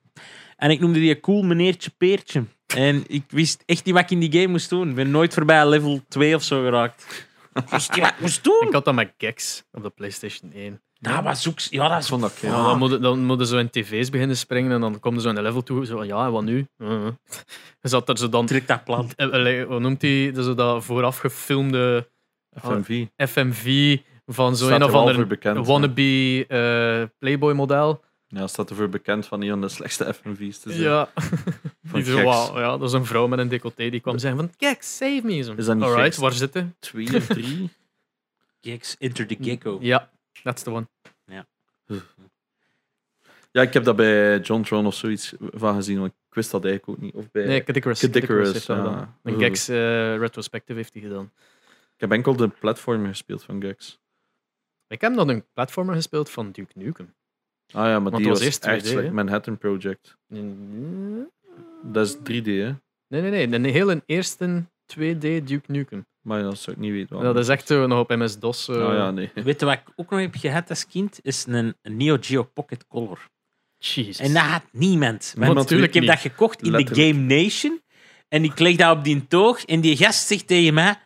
A: En ik noemde die cool meneertje Peertje. En ik wist echt niet wat ik in die game moest doen. Ik ben nooit voorbij level 2 of zo geraakt. Ik wist niet wat ik moest doen.
B: Ik had dat met Gex op de PlayStation 1.
A: Dat was ook... Ja, dat is
C: Vond dat,
B: Ja,
C: ja.
B: dan moeten dan moet je zo in tv's beginnen springen en dan komt er zo een level toe. Zo, ja, en wat nu? Uh, je zat er zo dan.
A: Trek dat plan.
B: eh, eh, Wat noemt die? Dat, zo dat vooraf gefilmde
C: FMV.
B: FMV van zo'n een
C: Staat er
B: of
C: wel voor
B: ander
C: bekend.
B: wannabe eh, Playboy-model.
C: Ja, staat ervoor bekend van een van de slechtste FMV's te zijn.
B: Ja.
C: Van
B: Die zo,
C: geks.
B: wauw, ja, dat is een vrouw met een decolleté die kwam zeggen van kijk, save me. Zo,
C: Is dat niet
B: Alright,
C: geks?
B: waar zitten?
C: Twee of drie.
A: Gex, Enter the Gecko.
B: Ja, that's the one.
C: ja, ik heb dat bij John Tron of zoiets van gezien, want ik wist dat eigenlijk ook niet. Of bij...
B: Nee, Kiddicorus.
C: Kid Icarus,
B: heeft dat
C: ja.
B: gedaan. Een
C: Oeh.
B: Gex eh, retrospective heeft hij gedaan.
C: Ik heb enkel de platformer gespeeld van Gex.
B: Ik heb dan een platformer gespeeld van Duke Nukem.
C: Ah ja, maar
B: het
C: die
B: was
C: was,
B: eerst
C: echt
B: 2D, hè?
C: slecht. Manhattan Project.
B: Mm,
C: Dat is 3D, hè?
B: Nee, nee, nee. Een hele eerste 2D Duke Nukem.
C: Maar ja, dat zou ik niet weten.
B: Dat is echt zo nog op MS-DOS. eh,
C: Ah Oh, ja, nee.
A: Weet je wat ik ook nog heb gehad als kind? Is een Neo Geo Pocket Color.
B: Jezus.
A: En dat had niemand.
C: Niemand
A: Want
B: weet
A: ik heb
B: niet.
A: dat gekocht in
C: Letterlijk.
A: de Game Nation. En ik leg dat op die toog. En die gast zegt tegen mij...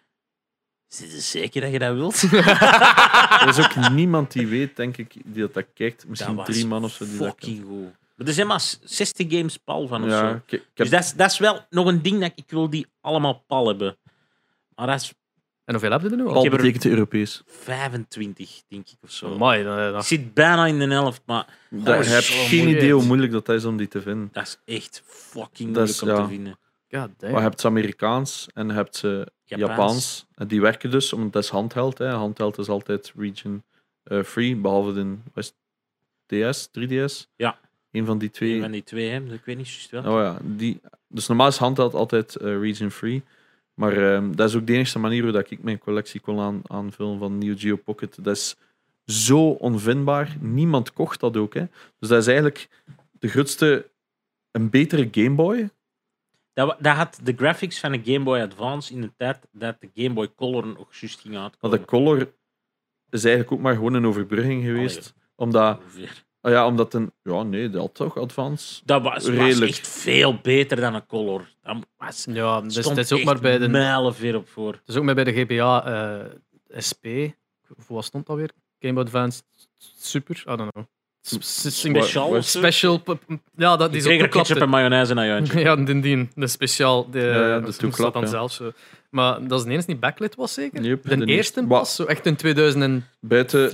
A: Zit je zeker dat je dat wilt?
C: Er is ook niemand die weet, denk ik, die dat, dat kijkt.
A: dat
C: Misschien
A: was
C: drie man of zo. Die dat
A: fucking goed. Maar er zijn maar 60 games pal van
C: kennen.
A: of
C: ja,
A: zo.
C: ik, ik heb
A: Dus dat is, dat is wel nog een ding dat ik, ik wil die allemaal pal hebben. Maar dat is
B: En hoeveel heb je er nu
C: Paul
B: al?
A: heb er-
C: betekent Europees.
A: 25, denk ik, of zo.
B: Amai, dan- dan-
A: Ik zit bijna in de helft, maar
C: Daar
A: is
C: heb
A: zo
C: je geen
A: moeilijk.
C: idee hoe moeilijk dat is om die te vinden.
A: dat is echt fucking
C: Dat
A: moeilijk
C: is-
A: om
C: ja.
A: te vinden.
B: God damn.
C: Maar je hebt ze Amerikaans en je hebt ze Japaans. En die werken dus, omdat dat is handheld. Hè. Handheld is altijd region eh, free, behalve in West DS, 3DS.
A: Ja.
C: Een van die twee.
A: Een van die twee, hè? ik weet niet juist wel.
C: Oh ja, die, dus normaal is handheld altijd eh, region free. Maar ehm, dat is ook de enige manier hoe dat ik mijn collectie kon aan, aanvullen van Neo Geo Pocket. Dat is zo onvindbaar. Niemand kocht dat ook. Hè. Dus dat is eigenlijk de grootste, een betere Game Boy.
A: Dat, wa- dat had de graphics van de Game Boy Advance in de tijd dat de Game Boy Color nog juist ging
C: Want de
A: uitkomen.
C: Color is eigenlijk ook maar gewoon een overbrugging geweest. Omdat,
A: Ongeveer.
C: ah ja, omdat een, ja nee, dat toch, Advance.
A: Dat was, was
C: Redelijk.
A: echt veel beter dan een Color. Dat was,
B: Ja, dus
A: stond
B: dat is ook
A: echt
B: maar bij de,
A: mijlenver op voor.
B: dat is ook maar bij de GBA eh, SP. Hoe wat stond dat weer? Game Boy Advance Super? I don't know. S- s-
A: Speciaal
C: wa-
A: of zo?
B: Special. p- p- Ja, dat,
A: Die kreeg
B: die zo
A: er ketchup en
B: toeklapte.
A: mayonaise naar juintje.
B: Ja, indien. De speciaal. De,
C: ja, de
B: moest dat
C: toeklap,
B: dan
C: ja.
B: zelf zo. Maar dat is ineens niet backlit was zeker?
C: Yep,
B: de, eerste
C: Wa-
B: pas, zo echt in 2003.
C: Buiten,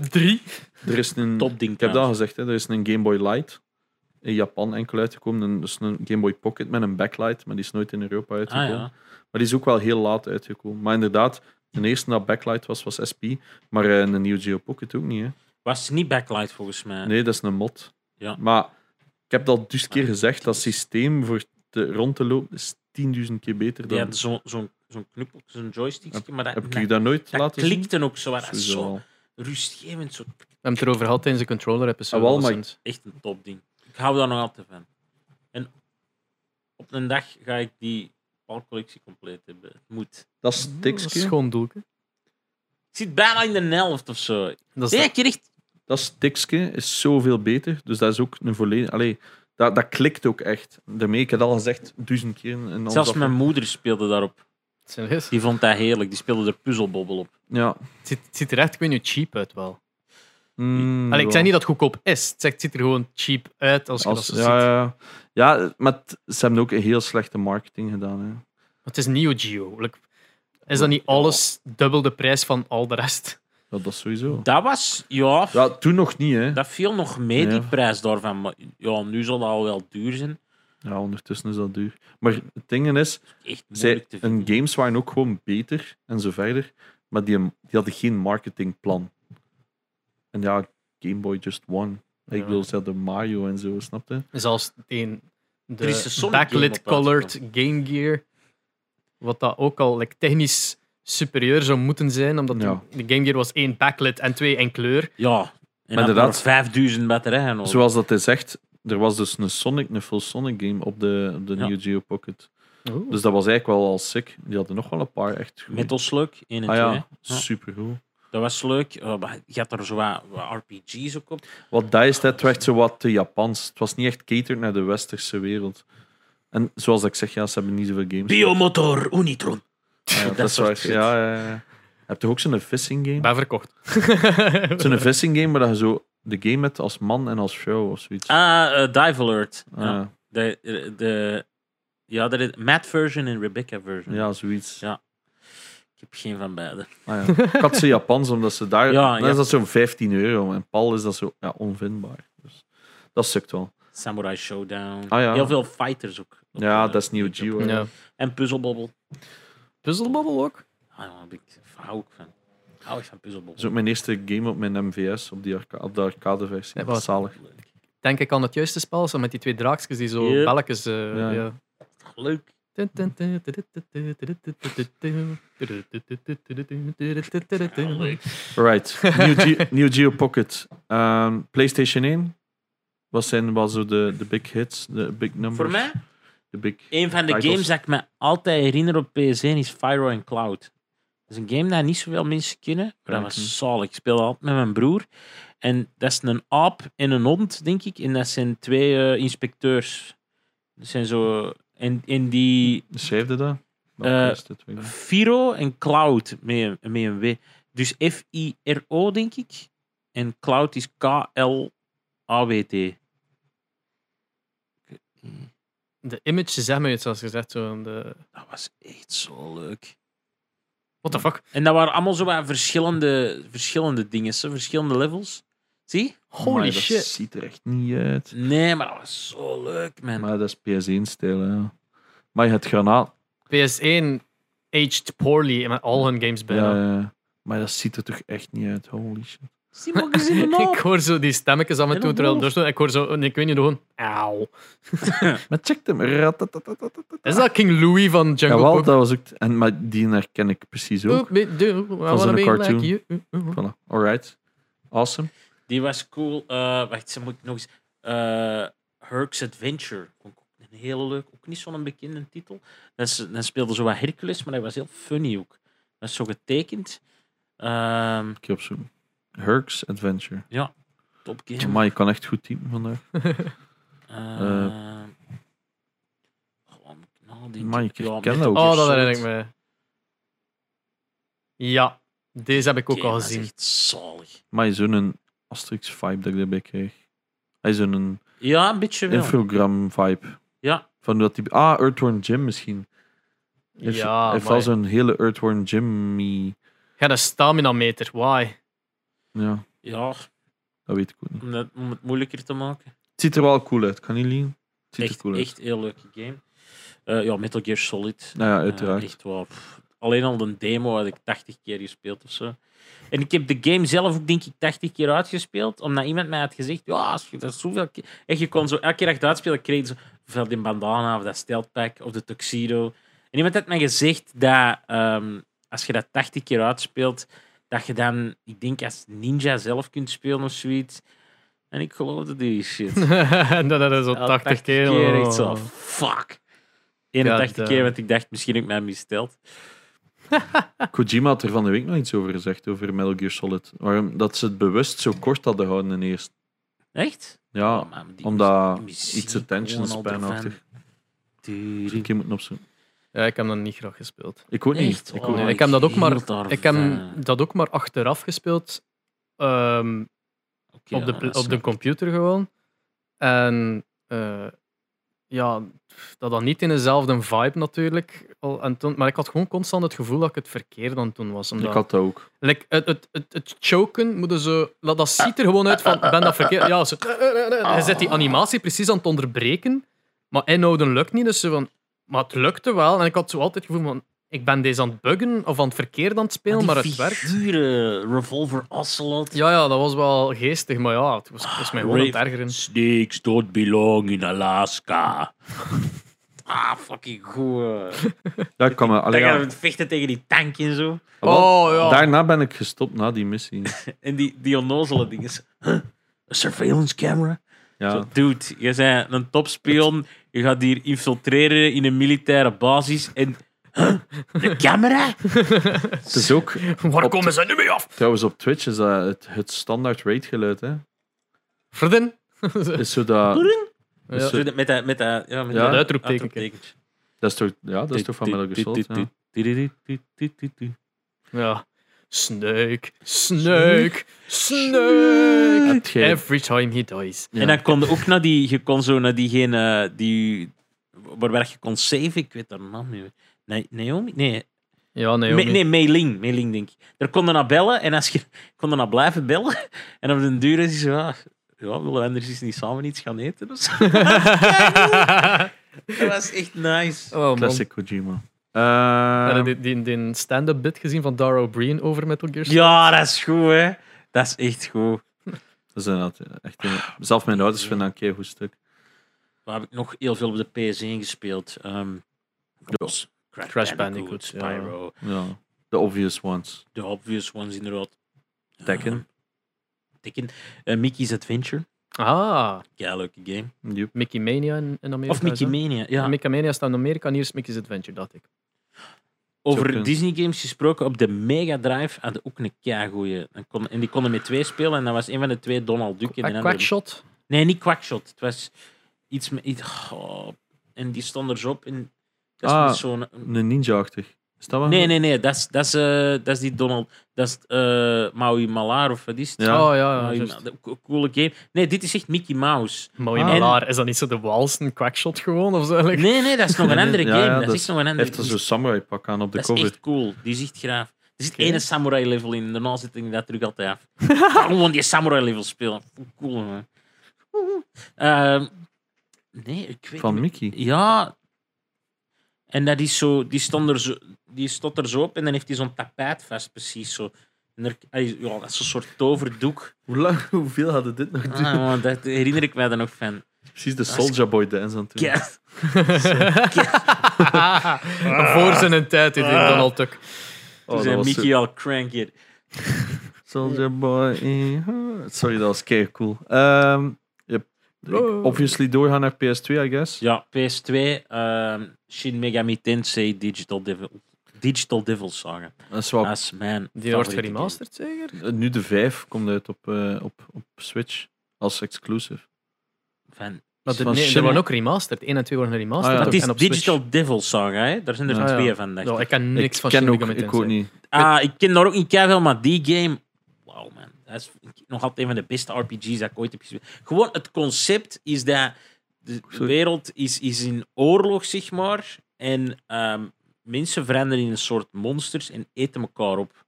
C: er is een
A: Topding
C: Ik heb dat
A: trouwens.
C: gezegd, hè. er is een Game Boy Light in Japan enkel uitgekomen. En dus een Game Boy Pocket met een backlight, maar die is nooit in Europa
A: Ah,
C: uitgekomen.
A: ja.
C: Maar die is ook wel heel laat uitgekomen. Maar inderdaad, de eerste dat backlight was, was SP. Maar eh, een Neo Geo Pocket ook niet. Hè.
A: Was niet backlight volgens mij.
C: Nee, dat is een mod.
A: Ja.
C: Maar ik heb dat dus keer gezegd, dat systeem voor te, rond te lopen is 10.000 keer beter dan.
A: Die had zo'n zo zo'n knuppel, zo'n joystickje, maar dat,
C: Heb ik
A: dat,
C: je dat nooit
A: dat
C: laten zien?
A: klikte ook zo. maar Dat is
C: Sowieso
A: zo
C: wel.
A: rustgevend, zo
B: We hebben het erover gehad tijdens de controller-episode.
C: Ah, wel, maar-
B: recent.
A: echt een topding. Ik hou daar nog altijd van. En op een dag ga ik die palcollectie compleet hebben. Het moet.
C: Dat
B: Dat
C: stikje.
B: is gewoon doelke.
A: Ik zit bijna in de helft of zo.
B: Dat is
A: Nee,
B: dat-
A: ik heb echt...
C: Dat stikje is zoveel beter. Dus dat is ook een volledig. Allee, dat, dat klikt ook echt. Daarmee, ik heb het al gezegd duizend keer. In onze
A: Zelfs mijn
C: aflevering.
A: moeder speelde daarop.
B: serieus.
A: Die vond dat heerlijk. Die speelde er puzzelbobbel op.
C: Ja.
B: Het ziet, het ziet er echt, ik weet niet, cheap uit wel.
C: Mm,
B: Allee, ik
C: wel.
B: zeg niet dat het goedkoop is. Het, zegt, het ziet er gewoon cheap uit als je
C: Als-
B: dat zo
C: ja,
B: ziet.
C: ja, ja. ja, maar het- ze hebben ook een heel slechte marketing gedaan. Hè.
B: Het is Neo Geo. Like, Is dat niet alles dubbel de prijs van al de rest?
C: Ja, dat is sowieso.
A: Dat was... Ja,
C: Ja, toen nog niet, hè.
A: dat viel nog mee, die
C: Ja.
A: prijs daarvan. Maar ja, nu zal dat al wel duur zijn.
C: Ja, ondertussen is dat duur. Maar het ding is,
A: Echt
C: zij,
A: moeilijk te
C: hun
A: vinden.
C: games waren ook gewoon beter en zo verder. Maar die, die hadden geen marketingplan. En ja, Game Boy just won. Ik
A: Ja.
C: bedoel, ze hadden Mario en zo, snap je?
B: Zelfs de, de
A: Er is een Sonic
B: backlit
A: game op
B: colored Game Gear. Wat dat ook al like, technisch superieur zou moeten zijn. Omdat
C: Ja.
B: de, de Game Gear was één backlit en twee in kleur.
A: Ja. En
C: Maar
A: dat
C: inderdaad.
A: maar 5000 batterijen nodig.
C: Zoals dat hij zegt, er was dus een Sonic, een full Sonic game op de, op de
A: Ja. Oh.
C: Neo Geo Pocket. Dus dat was eigenlijk wel al sick. Die hadden nog wel een paar echt goed.
A: Metal Slug 1 en
C: ah
A: 2.
C: ja,
A: hè.
C: supergoed.
A: Dat was leuk. Eh, maar je had er zo wat, wat RPG's ook op.
C: Wat dat is, dat werd zo wat te Japans. Het was niet echt catered naar de westerse wereld. En zoals ik zeg, ja, ze hebben niet zoveel games.
A: Biomotor Unitron.
C: Ja, dat,
A: dat
C: is
A: soort
C: waar.
A: shit.
C: Ja, ja, ja. Je hebt toch ook zo'n vissing game?
B: ben verkocht.
C: Zo'n vissing game waar dat je zo de game hebt als man en als vrouw of zoiets.
A: Ah, eh, Dive Alert. Ja.
C: ja.
A: De, de, ja, dat is Matt version en Rebecca version.
C: ja, zoiets.
A: Ja. Ik heb geen van beide.
C: Ah, ja. Ik had ze Japans, omdat ze daar...
A: Ja,
C: dan
A: ja.
C: is dat zo'n 15 euro. En Paul is dat zo ja, onvindbaar. Dus, dat sukt wel.
A: Samurai Showdown.
C: Ah, ja.
A: Heel veel fighters ook. Op,
C: Ja,
A: eh,
C: dat is Neo
A: YouTube.
C: Geo. hè.
B: ja.
A: En Puzzlebobbel.
B: Puzzlebubble ook?
A: Ah, daar heb ik, hou ik van. Hou ik van
C: Dat is
A: Puzzlebobbel.
C: ook mijn eerste game op mijn MVS, op, die arca op de arcadeversie.
B: Ja,
C: Dat is zalig.
A: Leuk.
B: Denk ik aan het juiste spel, zo met die twee draakjes die zo
A: Yep.
B: belletjes... eh,
C: Ja.
B: ja.
A: Leuk. Ja, leuk.
C: Right. Neo Geo, Neo Geo Pocket. Ehm, PlayStation 1. Wat zijn wel zo de, de big hits, de big numbers?
A: Voor mij,
C: De big...
A: een van de
C: Titles.
A: games dat ik me altijd herinner op PS1 is Fyro and Cloud. Dat is een game dat niet zoveel mensen kennen. Maar dat
C: Dank u.
A: was zalig. Ik speelde altijd met mijn broer. En dat is een aap en een hond, denk ik. En dat zijn twee eh, inspecteurs. Dat zijn zo... En, en die
C: Schrijf je dat? Nou,
A: Eh,
C: wat is dit? Weet ik niet.
A: Firo en Cloud met, een- met een W. Dus F-I-R-O, denk ik. En Cloud is K-L-A-W-T.
B: De image zegt me iets, zoals gezegd. Zo de...
A: Dat was echt zo leuk.
B: What the fuck?
A: En dat waren allemaal zo wat verschillende, verschillende dingen, zo, verschillende levels. Zie?
B: Holy
C: Maar dat
B: shit.
C: ziet er echt niet uit.
A: Nee, maar dat was zo leuk, man.
C: Maar dat is PS1-stijl, ja. Maar je hebt granaat.
B: PS1 aged poorly in al hun games
C: Ja.
B: bijna.
C: ja. maar dat ziet er toch echt niet uit. Holy shit.
A: Zie, maar ook eens in de naam.
B: ik hoor zo die stemmetjes aan me
A: En
B: toe
A: een
B: terwijl ik
A: wolf.
B: doorstond. Ik hoor zo, nee, ik weet niet, gewoon... Auw.
C: Maar check hem. Ratatatatata.
B: Is dat King Louis van Jungle
C: Jawel,
B: Book?
C: dat was ook... En, maar die herken ik precies ook.
B: Oeh, be- do- I wanna
C: zo'n
B: be
C: cartoon.
B: Like you. Oeh, oeh, oeh.
C: Voilà. Alright. Awesome.
A: Die was cool. Eh, wacht, ze moet ik nog eens. Eh Herc's Adventure. Vond ik ook een hele leuk. Ook niet zo'n bekende titel. Dan, s- dan speelde zo wat Hercules, maar dat was heel funny ook. Dat is zo getekend. Ehm
C: Ik op zoek. Herc's Adventure.
A: top
C: Maar
A: game.
C: je kan echt goed typen vandaag. eh,
A: Ehm, Gewoon nadenken.
C: Amai, ik
A: Ja,
C: herken
A: met
C: dat
A: de
C: ook.
B: Oh, dat
A: soort-
B: herinner ik me. Ja, deze heb ik ook
A: game,
B: al
A: dat is
B: gezien.
A: echt zalig.
C: Maar zo'n Asterix vibe dat ik daarbij kreeg. Hij is een
A: Ja, een beetje wel.
C: infogram vibe.
A: Ja.
C: Van dat die... Ah, Earthworm Jim misschien. Hij heeft-
B: Ja,
C: hij heeft
B: maar
C: wel zo'n hele Earthworm Jimmy.
B: ja, dat stamina meter, why?
C: Ja,
A: Ja,
C: dat weet ik ook niet.
A: om, dat, om het moeilijker te maken.
C: Het ziet er wel cool uit, kan niet liegen. Het ziet
A: Echt,
C: er cool uit.
A: echt heel leuke game. Eh, ja, Metal Gear Solid.
C: Nou ja,
A: Ja,
C: uiteraard.
A: echt waar. pff, alleen al de demo had ik 80 keer gespeeld of zo. En ik heb de game zelf ook, denk ik, 80 keer uitgespeeld. Omdat iemand mij had gezegd: Ja, als je dat zoveel keer. En je kon zo elke keer achteruit spelen. Ik kreeg zo. Of die bandana, of dat steltpak, of de tuxedo. En iemand had mij gezegd dat ehm, als je dat 80 keer uitspeelt, dat je dan, ik denk, als ninja zelf kunt spelen of zoiets. En ik geloofde die shit.
B: En dat is al
A: Ja,
B: 80 keer.
A: echt zo,
B: oh.
A: fuck. 81
B: God, eh.
A: keer, want ik dacht, misschien heb ik mij missteld.
C: Kojima had er van de week nog iets over gezegd, over Metal Gear Solid. Waarom dat ze het bewust zo kort hadden gehouden in eerst.
A: Echt?
C: Ja,
A: Oh, man, die
C: omdat
A: muziek-
C: iets attention
A: gewoon al
C: span-achtig. Dus
A: ervan.
C: een keer moeten opzoeken.
B: Ja, ik heb dat niet graag gespeeld.
C: Ik ook niet.
A: Echt?
C: Ik
A: Oh,
C: ook
B: nee,
C: niet.
B: ik heb dat ook maar-
A: hield daarvan.
B: Ik heb dat ook maar achteraf gespeeld. ehm,
A: Oké,
B: op, de,
A: ja,
B: pl-
A: dat
B: op de
A: snap ik.
B: computer gewoon. En eh, ja, dat dan niet in dezelfde vibe natuurlijk. Al- En toen, maar ik had gewoon constant het gevoel dat ik het verkeerd aan het doen was. Omdat,
C: Ik had dat ook.
B: like, het, het, het, het choken, moeten ze, dat, dat ziet er gewoon uit van, ben dat verkeerd? Ja, ze, je zet die animatie precies aan het onderbreken, maar inhouden lukt niet. Dus ze van, maar het lukte wel. En ik had zo altijd het gevoel van, ik ben deze aan het buggen of aan het verkeerd aan het spelen, maar,
A: die
B: het werkt.
A: figuren, eh, Revolver Ocelot.
B: Ja, ja, dat was wel geestig, maar ja, het was, het was mij gewoon aan het ergeren.
A: Snakes don't belong in Alaska. ah, fucking goed. eh.
C: Ja, ik kan me,
A: Dan
C: allee,
A: gaan
C: ja,
A: we vechten tegen die tank en zo.
B: Oh, ja.
C: Daarna ben ik gestopt na die missie.
A: En die, die onnozele dingen. Huh? Een surveillance camera?
C: Ja.
A: Zo, dude, je bent een topspion. Je gaat hier infiltreren in een militaire basis. En. Huh? De camera?
C: Het is ook,
B: Waar
C: Op
B: komen ze nu mee af?
C: trouwens op Twitch, is dat het, het standaard rate geluid. Hè?
B: Verden.
C: Is zo dat,
A: Poering.
B: Ja.
C: Zo-
A: Zo, Met dat, met dat, ja, met
C: Ja,
A: dat
C: dat
B: uitroepteken.
A: uitroeptekentje.
C: dat, is toch, ja, dat is toch van Metal Gear Solid. Ja.
B: ja. Snake, snake, snake.
C: Heb jij-
B: Every time he dies.
C: Ja.
A: En dan kon je ook naar die, je kon zo naar diegene die, waarbij je kon saven, ik weet haar naam niet meer. Nee, Naomi? Nee,
B: Ja, nee,
A: Me- nee Mei Ling, Mei Ling denk ik. Daar kon je naar bellen en als je kon je naar blijven bellen. En op den duur is ze, ja, ja, willen we anders eens niet samen iets gaan eten of zo? Dat was echt nice.
B: oh, man.
C: Classic Kojima.
B: Heb
C: Eh
B: je die, die, die stand-up bit gezien van Dara O'Brien over Metal Gear Solid?
A: Ja, dat is goed, hè. Dat is echt goed.
C: dat is inderdaad echt, een- zelf mijn ouders vinden dat een keer goed stuk.
A: Waar heb ik nog heel veel op de PS1 gespeeld? Ehm Crash,
B: Crash
A: Bandicoot,
B: Bandicoot, ja.
A: Spyro.
C: Ja. The obvious ones.
A: De obvious ones inderdaad.
C: Tekken.
A: Tekken. Eh, Mickey's Adventure.
B: Ah,
A: Ja, leuke game.
C: Yep.
B: Mickey Mania in, in Amerika.
A: Of Mickey
B: Mania.
A: Mania. Ja.
B: Mickey Mania staat in Amerika en hier is Mickey's Adventure, dacht ik.
A: Over
C: Zo
A: Disney games gesproken, op de Mega Drive hadden ook een keigoeie. En, kon, en die konden met twee spelen en dat was een van de twee Donald Duck. En de
B: Ah,
A: andere-
B: Quackshot.
A: Nee, niet Quackshot. Het was iets met... Iets, oh, en die stond er zo op en... Dat is
C: Ah.
A: met zo'n...
C: Een ninja-achtig. Is dat wel?
A: Nee, nee, nee. Dat is, dat is, eh, dat is die Donald... Dat is eh, Maui Malar of wat is het?
C: Ja.
B: Oh ja, ja.
A: Maui
B: juist.
A: Ma- co- coole game. Nee, dit is echt Mickey Mouse.
B: Mooi
C: Ah.
B: malaar. Is dat niet zo de Walsen Quackshot gewoon? Of zo? Like-
A: Nee, nee, dat is nog een
C: Nee,
A: andere
C: nee,
A: game.
C: ja, ja,
A: dat
C: dat
A: is echt nog een
C: Hij
A: andere
C: heeft er zo'n samurai-pak aan op de
A: Dat is
C: cover.
A: echt cool. Die is echt graaf. Er zit
B: Oké.
A: één samurai level in, daarna zit ik dat terug altijd af. Gewoon die samurai level spelen. Cool, man. Ehm, nee, ik weet
C: Van
A: niet.
C: Mickey.
A: Ja. En dat is zo, die, stond er zo, die stond er zo op en dan heeft hij zo'n tapijt vast, precies zo. En er, hij- ja, dat is zo'n soort toverdoek.
C: Hoe lang, hoeveel hadden dit nog
A: Ah, man, dat herinner ik mij dan nog van.
C: Precies de Soldier Boy dance aan het doen.
A: Ja.
B: Ah. Voor zijn tijd, die
C: Ah.
B: Donald Duck.
C: Oh,
A: Toen
C: dat
A: zei
C: was
A: Mickey al crank it.
C: Soldier Boy. in heart. Sorry, dat was kei cool. Ehm, yep. Ik-
B: Oh.
C: Obviously doorgaan naar PS2, I guess.
A: Ja, PS2, ehm, Shin Megami Tensei Digital Devil. Digital Devil Saga.
C: Dat is wel,
A: Dat is mijn
B: Die wordt
A: favoriete
B: geremasterd, zeker?
C: nu de 5 komt uit op, eh, op, op Switch als exclusive.
A: game. Van,
B: Maar de,
C: Van
B: nee, er
C: Shin-
B: worden ook remastered. 1 en 2 worden geremasterd.
C: Ah, ja.
A: dat is
B: en op
A: Digital
B: Switch.
A: Devil Saga, hè? daar zijn er
C: Ja,
A: twee
B: ja.
A: van. Dacht
B: Ja,
A: ik.
B: ik ken niks
C: ik
B: van
C: ken
B: Shin
C: ook,
B: Megami
C: ik
B: Tensei.
C: ook niet.
A: Ah, ik ken daar ook niet veel, maar die game. Wauw, man. Dat is nog altijd een van de beste RPG's dat ik ooit heb gespeeld. Gewoon het concept is dat de
C: Sorry.
A: wereld is, is in oorlog, zeg maar. En ehm, mensen veranderen in een soort monsters en eten elkaar op.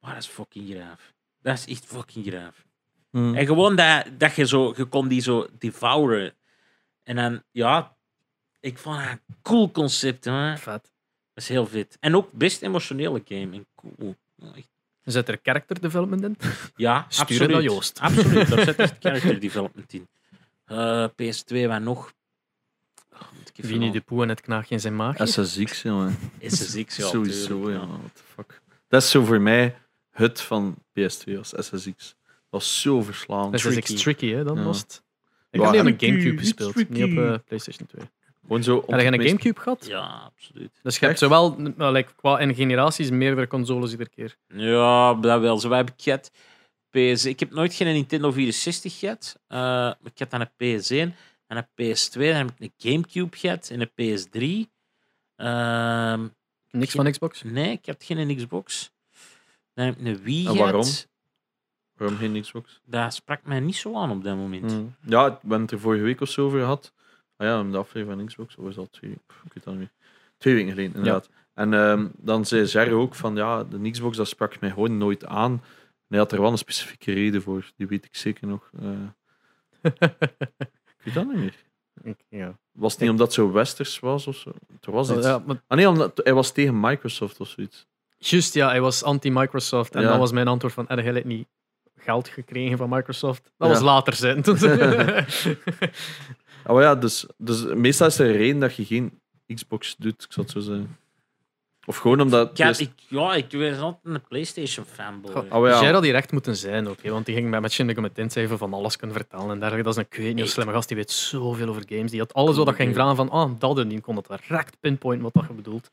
A: Maar dat is fucking graaf. Dat is echt fucking graaf.
C: Hmm.
A: En gewoon dat, dat je zo, je kon die zo devouren. En dan, ja, ik vond dat een cool concept, man.
B: Vet.
A: Dat is heel vet. En ook best emotionele game. En cool. Echt.
B: Zit er character development in?
A: Ja,
B: Stuur het
A: absoluut.
B: naar Joost.
A: Absoluut, daar zit echt character development in. Eh, PS2, waar nog? Oh, moet ik even
B: Winnie de
A: al-
B: Pooh en het knaagje in zijn maag.
C: Dat is zo ziek, jongen.
A: SSX, ja.
C: Sowieso,
A: tuurlijk,
C: ja. What the fuck. Dat is zo voor mij het van PS2 als SSX. Dat was zo verslaan.
B: Dat is
A: tricky.
B: echt tricky, hè? Dan
C: Ja.
B: was het. Ik
C: Ja,
B: heb die op een
C: tricky,
B: Gamecube gespeeld,
C: tricky.
B: niet op eh, PlayStation 2.
C: Gewoon zo.
B: Heb je een Gamecube gehad?
A: Ja, absoluut.
B: Dus je hebt
C: Echt?
B: zowel nou, like, qua in generaties meerdere consoles iedere keer.
A: Ja, dat wel. Zo heb ik gehad. PS... Ik heb nooit geen Nintendo 64 gehad. Eh, maar ik had dan een PS1 en een PS2. Dan heb ik een Gamecube gehad en een PS3. Ehm,
B: Niks van Xbox.
A: nee, ik had geen Xbox. Dan heb ik een Wii
C: En
A: gehad.
C: waarom? Waarom geen Xbox?
A: Dat sprak mij niet zo aan op dat moment.
C: Mm. Ja, ik ben het er vorige week of zo over gehad. Ah ja, in de aflevering van Xbox. Of was dat twee? pff, Ik weet dat niet meer. Twee weken geleden, inderdaad. En ehm, dan zei Zer ook van ja, de Xbox dat sprak mij gewoon nooit aan. En hij had er wel een specifieke reden voor. Die weet ik zeker nog. eh. ik weet dat niet meer.
B: Ja.
C: Was het niet omdat het zo westers was of zo? Er was iets.
B: ja, maar,
C: Ah nee, omdat, hij was tegen Microsoft of zoiets.
B: juist, ja, hij was anti-Microsoft. En
C: Ja.
B: dan was mijn antwoord van, heb jij het niet geld gekregen van Microsoft? Dat
C: Ja.
B: was later zijn.
C: Ah, maar ja, dus, dus meestal is er een reden dat je geen Xbox doet, ik zal het zo zeggen. Of gewoon omdat...
A: Ik, had,
C: PS-
A: ik, ja, ik was altijd een PlayStation fanboy.
B: Goh, dus
C: Ah, maar ja.
B: Jij had hier echt moeten zijn ook, hè, want die ging mij met Shindig met incijfer van alles kunnen vertellen en dergelijke. Dat is een kweet niet slimme gast, die weet zoveel over games. Die had alles wat dat ging vragen van, ah, dat en die kon dat direct pinpointen wat dat je bedoelt.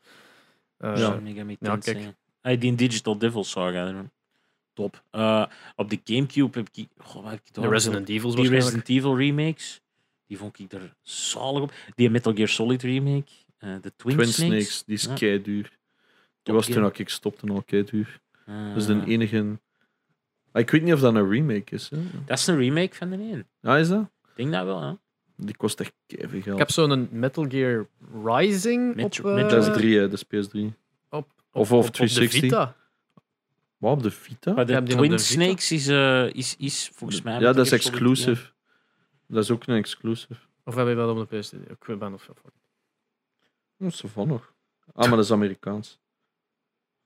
B: Eh,
A: ja. Megami
B: Ja,
A: Tensei.
B: kijk.
A: Hey, die Digital Devil Saga. Top. Eh, op de Gamecube heb ik... Goh, wat heb ik daar
B: de
A: nog?
B: Resident Evils
A: Die
B: waarschijnlijk.
A: Resident Evil remakes. Die vond ik er zalig op. Die Metal Gear Solid remake. eh, de Twin,
C: Twin
A: Snakes.
C: Snakes, die is
A: Ja.
C: keiduur. Die
A: Top
C: was
A: game.
C: toen ik stopte al keiduur.
A: Eh,
C: Dat is de enige... Ah, Ik weet niet of dat een remake is. Hè.
A: dat is een remake van de een.
C: Ja, is dat?
A: Ik denk dat wel, hè.
C: Die kost echt keiveel geld.
B: Ik heb zo'n Metal Gear Rising
A: Met-
B: op, eh,
A: met-
C: Dat is 3, hè. Dat is PS3.
B: op,
C: of
B: op- op de
C: 360.
B: Vita.
C: Wat, op de Vita?
A: Maar de
B: heb die op
A: Twin
B: de Vita.
A: Snakes is, eh, is, is volgens mij...
C: Ja,
A: Metal
C: dat is
A: Gear Solid,
C: exclusive. Dat is ook een exclusive.
B: Of heb je dat op de PS3? Ik weet ben of
C: Dat is van nog. Ah, maar dat is Amerikaans.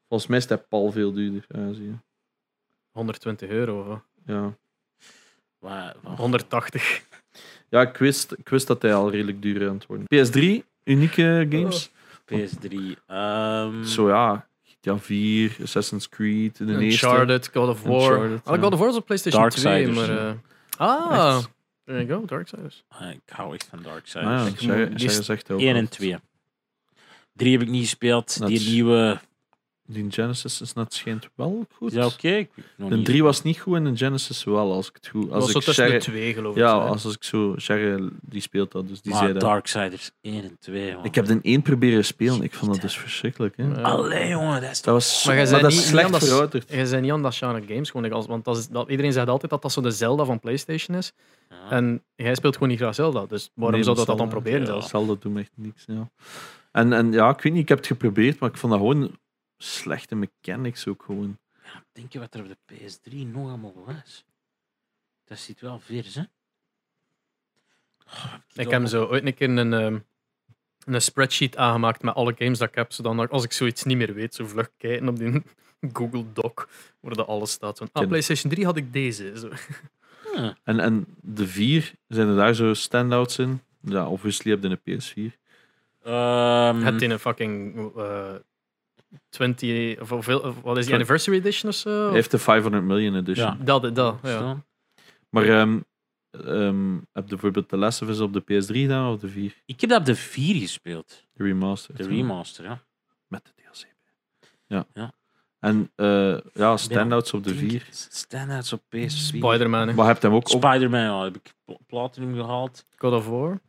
C: Volgens mij is dat pal veel duurder. Ja, zie je.
B: 120 euro of wat?
C: Ja.
A: ja. Waar- waar-
B: 180.
C: Ja, ik wist, ik wist dat hij al redelijk duur aan het worden. PS3, unieke games.
A: PS3. ehm,
C: Zo ja, GTA 4, Assassin's Creed, de eerste.
B: Oh. Uncharted, God of War.
C: Uncharted,
B: Ah, God of War is op PlayStation
A: Darksiders,
B: 2, maar...
A: ja.
B: eh, ah,
C: Echt.
B: there you go, Darksiders.
A: eh, ik hou echt van Darkseid.
C: Ah, ja,
A: Ik
C: zij-
A: moet-
C: zij is echt ook
A: 1 en
C: oud.
A: 2. 3 heb ik niet gespeeld.
C: Dat
A: Die
C: is-
A: nieuwe...
C: Die Genesis is net schijnt wel goed.
A: Ja, oké. ik weet nog
C: De
A: niet.
C: 3 was niet goed en de Genesis wel, als ik het goed...
B: Dat was
C: Als
B: zo
C: ik
B: tussen de
C: Sherry,
B: twee, geloof ik.
C: ja,
B: hè.
C: als, als ik zo... Sherry, die speelt dat, dus die
A: Maar
C: zei dat.
A: Darksiders 1 en 2, man.
C: Ik heb de 1 proberen spelen, ik vond dat dus verschrikkelijk. Hè.
B: Ja.
A: Allee, jongen, dat is
C: Dat was zo,
B: Maar jij
C: maar,
B: zei
C: dat
B: niet-
C: is
B: niet
C: slecht
B: anders-
C: verouderd.
B: Je bent niet aan dat genre games, gewoon, ik als- want dat is, dat, iedereen zegt altijd dat dat zo de Zelda van PlayStation is.
A: Ja.
B: En jij speelt gewoon niet graag Zelda, dus waarom
C: Nee,
B: zou dat,
C: dat
B: dat dan
C: zal-
B: proberen
A: ja.
B: zelfs?
C: Zelda doet me echt niks. Ja. En, en ja, ik weet niet, ik heb het geprobeerd, maar ik vond dat gewoon slechte mechanics ook gewoon.
A: Denk je wat er op de PS3 nog allemaal was? Dat zit wel vers, hè? Oh,
B: Ik heb zo ooit een keer een, ehm, een spreadsheet aangemaakt met alle games dat ik heb, zodat als ik zoiets niet meer weet, zo vlug kijken op die Google Doc, waar dat alles staat. Van, ah,
C: Ken-
B: PlayStation 3 had ik deze. Zo.
A: Ja,
C: En, en de vier, zijn er daar zo standouts in? Ja, obviously heb je een PS4. Mhm.
A: ehm,
B: Het in een fucking eh 20... Of, hoeveel- of wat is die,
C: Sorry.
B: Anniversary Edition of zo?
C: Hij heeft de 500 million edition.
A: Ja.
B: Dat, dat, ja.
A: staan.
C: Maar ehm, ehm, heb je bijvoorbeeld The Last of Us op de PS3 gedaan of de 4?
A: Ik heb dat op de 4 gespeeld.
C: De remaster.
A: De remaster, ja.
C: Met de DLC. Ja.
A: Ja.
C: En eh, ja, standouts op de 4.
A: Standouts op PS4.
B: Spider-Man, hè.
C: Maar heb je hem ook op...
A: Spider-Man, ja, heb ik pl- platinum gehaald.
B: God of War.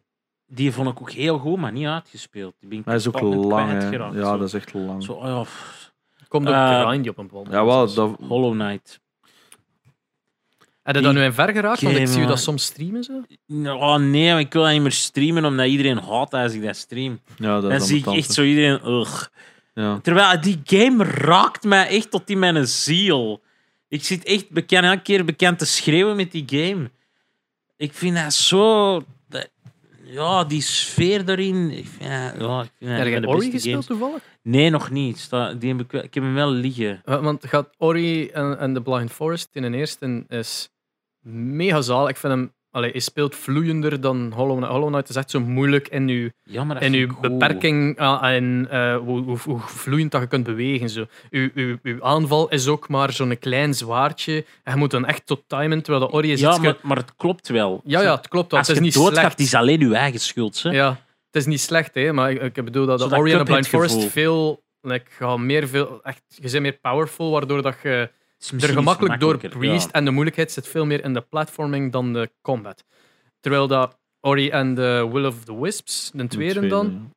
A: Die vond ik ook heel goed, maar niet uitgespeeld. Die ben ik
C: Hij is ook
A: platinum
C: lang, hè.
A: kwijtgeraakt,
C: Ja,
A: zo.
C: dat is echt lang.
A: Zo, oh ja, pff,
B: Komt ook
A: Eh,
B: Grindje op een bepaald moment.
C: Ja, wel, dat,
A: Hollow Knight.
B: Heb je daar nu in ver geraakt? Want ik
A: Game, eh,
B: zie je dat
A: man.
B: soms streamen. Zo.
A: Oh nee, maar ik wil dat niet meer streamen, omdat iedereen haat als ik dat stream.
C: ja, dat is
A: Dan zie ik
C: ambetant,
A: echt
C: hè.
A: zo iedereen... Ugh.
C: Ja.
A: Terwijl eh, die game raakt mij echt tot in mijn ziel. Ik zit echt bekend, elke keer bekend te schreeuwen met die game. Ik vind dat zo. dat- ja, die sfeer erin. Ik vind, ja, ja, ik vind
B: Heb
A: een
B: je
A: van de
B: Ori
A: beste
B: gespeeld
A: games.
B: toevallig?
A: Nee, nog niet. Sta- Die heb ik, wel- ik heb hem wel liggen.
B: Wa- Want gaat Ori en, en The Blind Forest in een eerste is mega zaal. Ik vind hem, allee, hij speelt vloeiender dan Hollow Knight. Hollow Knight is echt zo moeilijk in uw,
A: Ja, maar dat
B: in
A: vind
B: uw
A: ik cool.
B: beperking ah, en eh, hoe, hoe, hoe vloeiend dat je kunt bewegen. Zo. Uw, uw, uw aanval is ook maar zo'n klein zwaardje. En je moet dan echt tot timen, terwijl de Ori is
A: Ja,
B: iets ge-
A: maar, maar het klopt wel.
B: ja, ja, het klopt. wel.
A: Als
B: het is
A: je
B: niet
A: doodgaat,
B: slecht.
A: is alleen uw eigen schuld. Hè?
B: Ja, het is niet slecht, hè, maar ik, ik bedoel dat
A: Zo
B: de
A: dat
B: Ori en de Blind
A: Cuphead-gevoel.
B: Forest veel, like, ga meer, veel echt, je bent meer powerful, waardoor dat je
A: Het is
B: er
A: misschien iets
B: gemakkelijk door
A: makkelijker,
B: priest en de moeilijkheid zit veel meer in de platforming dan de combat. Terwijl dat Ori en de Will of the Wisps, de tweede, dan,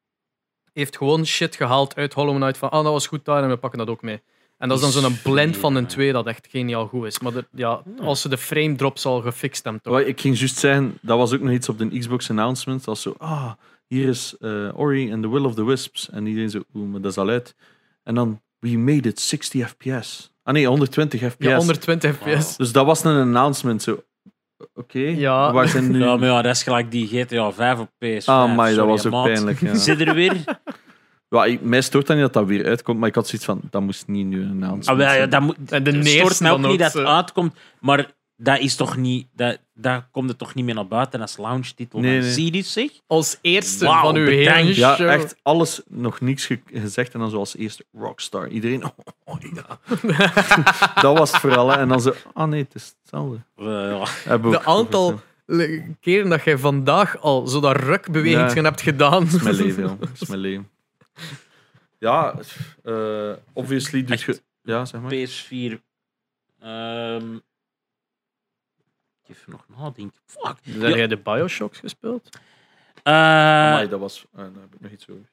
B: heeft gewoon shit gehaald uit Hollow Knight van ah, dat was goed daar en we pakken dat ook mee. En dat is
A: Die
B: dan zo'n blend van de
A: sfeer,
B: twee dat echt geniaal goed is. Maar de- ja, als ze de frame drops al gefixt hebben, toch?
C: Wel, Ik ging juist zeggen, dat was ook nog iets op de Xbox announcement. Dat zo, ah, hier is eh, Ori and the Will of the Wisps. En iedereen zo, oeh, maar dat is al uit. En dan, we made it 60 fps. Ah nee, 120 fps.
B: Ja, 120 fps.
C: Dus dat was een announcement. Zo, oké,
B: Ja.
C: waar zijn nu...
A: Ja. Ja, maar ja, dat is gelijk die GTA 5 op PS5.
C: ah, maar dat
A: Sorry,
C: was ook
A: maat.
C: pijnlijk. Ja.
A: Zit er weer?
C: Ja, ik- mij stoort dat niet dat dat weer uitkomt, maar ik had zoiets van, dat moest niet nu een announcement
A: Ah, wel, ja,
C: zijn.
A: dat moet,
B: En de
A: het
B: neerste
A: stoort mij ook
B: dan
A: niet
B: ook, eh.
A: dat het
B: zo.
A: uitkomt, maar dat is toch niet, dat, daar komt het toch niet meer naar buiten als launchtitel.
C: Nee,
A: Nee,
C: nee.
A: Zie je dit, zeg?
B: Als eerste
A: Wauw,
B: van uw
A: bedankt.
B: hele
C: Ja,
B: show.
C: echt alles, nog niks ge- gezegd. En dan zoals eerst Rockstar. Iedereen, oh, oh, ja. dat was het vooral. Hè. En dan zo, ah nee, het is hetzelfde.
A: Eh, ja.
C: Hebben we
B: De
C: ook
B: aantal
C: gezegd.
B: le- keren dat jij vandaag al zo dat rukbeweging
C: Ja.
B: hebt gedaan.
C: Dat is mijn leven, joh. Dat is mijn leven. Ja, eh, obviously doet
A: Echt.
C: je... Ja, zeg maar.
A: PS4. Ehm even nog nadenken. Fuck.
B: Heb jij de Bioshocks gespeeld?
A: Eh,
C: Amai, dat was... eh, daar heb ik nog iets over.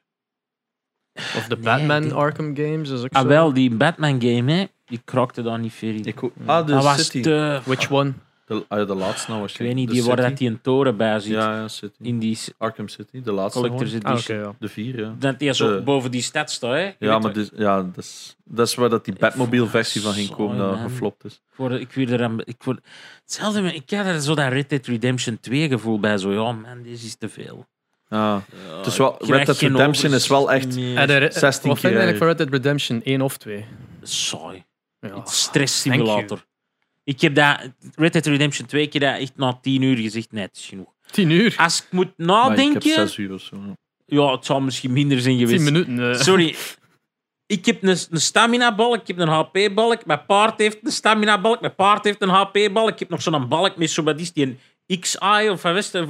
B: Of de
A: Nee,
B: Batman
A: die-
B: Arkham Games? Is ook
A: ah,
B: zo.
A: wel, die Batman game, hè, die krokte daar niet veel in.
C: Ik, ho- ah, de
A: dat was
C: City.
A: te...
B: Which one?
C: De, ah, ja, de laatste nou was
A: Ik weet niet, die waar dat die een toren bij zit.
C: Ja, ja, City.
A: In die
C: Arkham City, de laatste
A: Collector's
C: gewoon.
A: Edition.
B: Ah, oké, ja.
C: De vier, ja.
A: Dat die zo
C: De-
A: boven die stad staat, hè? Je
C: Ja,
A: weet
C: maar
A: wat-
C: dus, ja, dat, is, dat is waar dat die Batmobile-versie van ging komen,
A: Sorry,
C: dat
A: man.
C: geflopt is.
A: Ik word, ik word er aan- ik word, hetzelfde, met- ik heb er zo dat Red Dead Redemption 2 gevoel bij. Zo, ja man, dit is te veel.
C: Ah.
A: Ja,
C: Het is wel-
A: ik
C: Red
A: krijg
C: Dead
A: geen
C: Redemption is wel echt-
A: overzicht meer.
B: En er-
C: 16
B: Wat vind je
C: keer
B: eigenlijk van Red Dead Redemption 1 of 2?
A: Saai.
B: Ja.
C: Ah,
A: Het is stresssimulator. Ik heb dat, Red Dead Redemption 2 keer dat echt na 10 uur gezegd, nee, het is genoeg.
B: 10 uur?
A: Als ik moet
C: Maar ik heb
A: nadenken...
C: zes uur of zo. ja.
A: Ja, het zou misschien minder zijn
B: 10
A: geweest.
B: minuten. eh.
A: Sorry. Ik heb een, een stamina-balk, ik heb een HP-balk. Mijn paard heeft een stamina-balk, mijn paard heeft een HP-balk. Ik heb nog zo'n balk met zo, wat is die, een X-Eye of wat is het?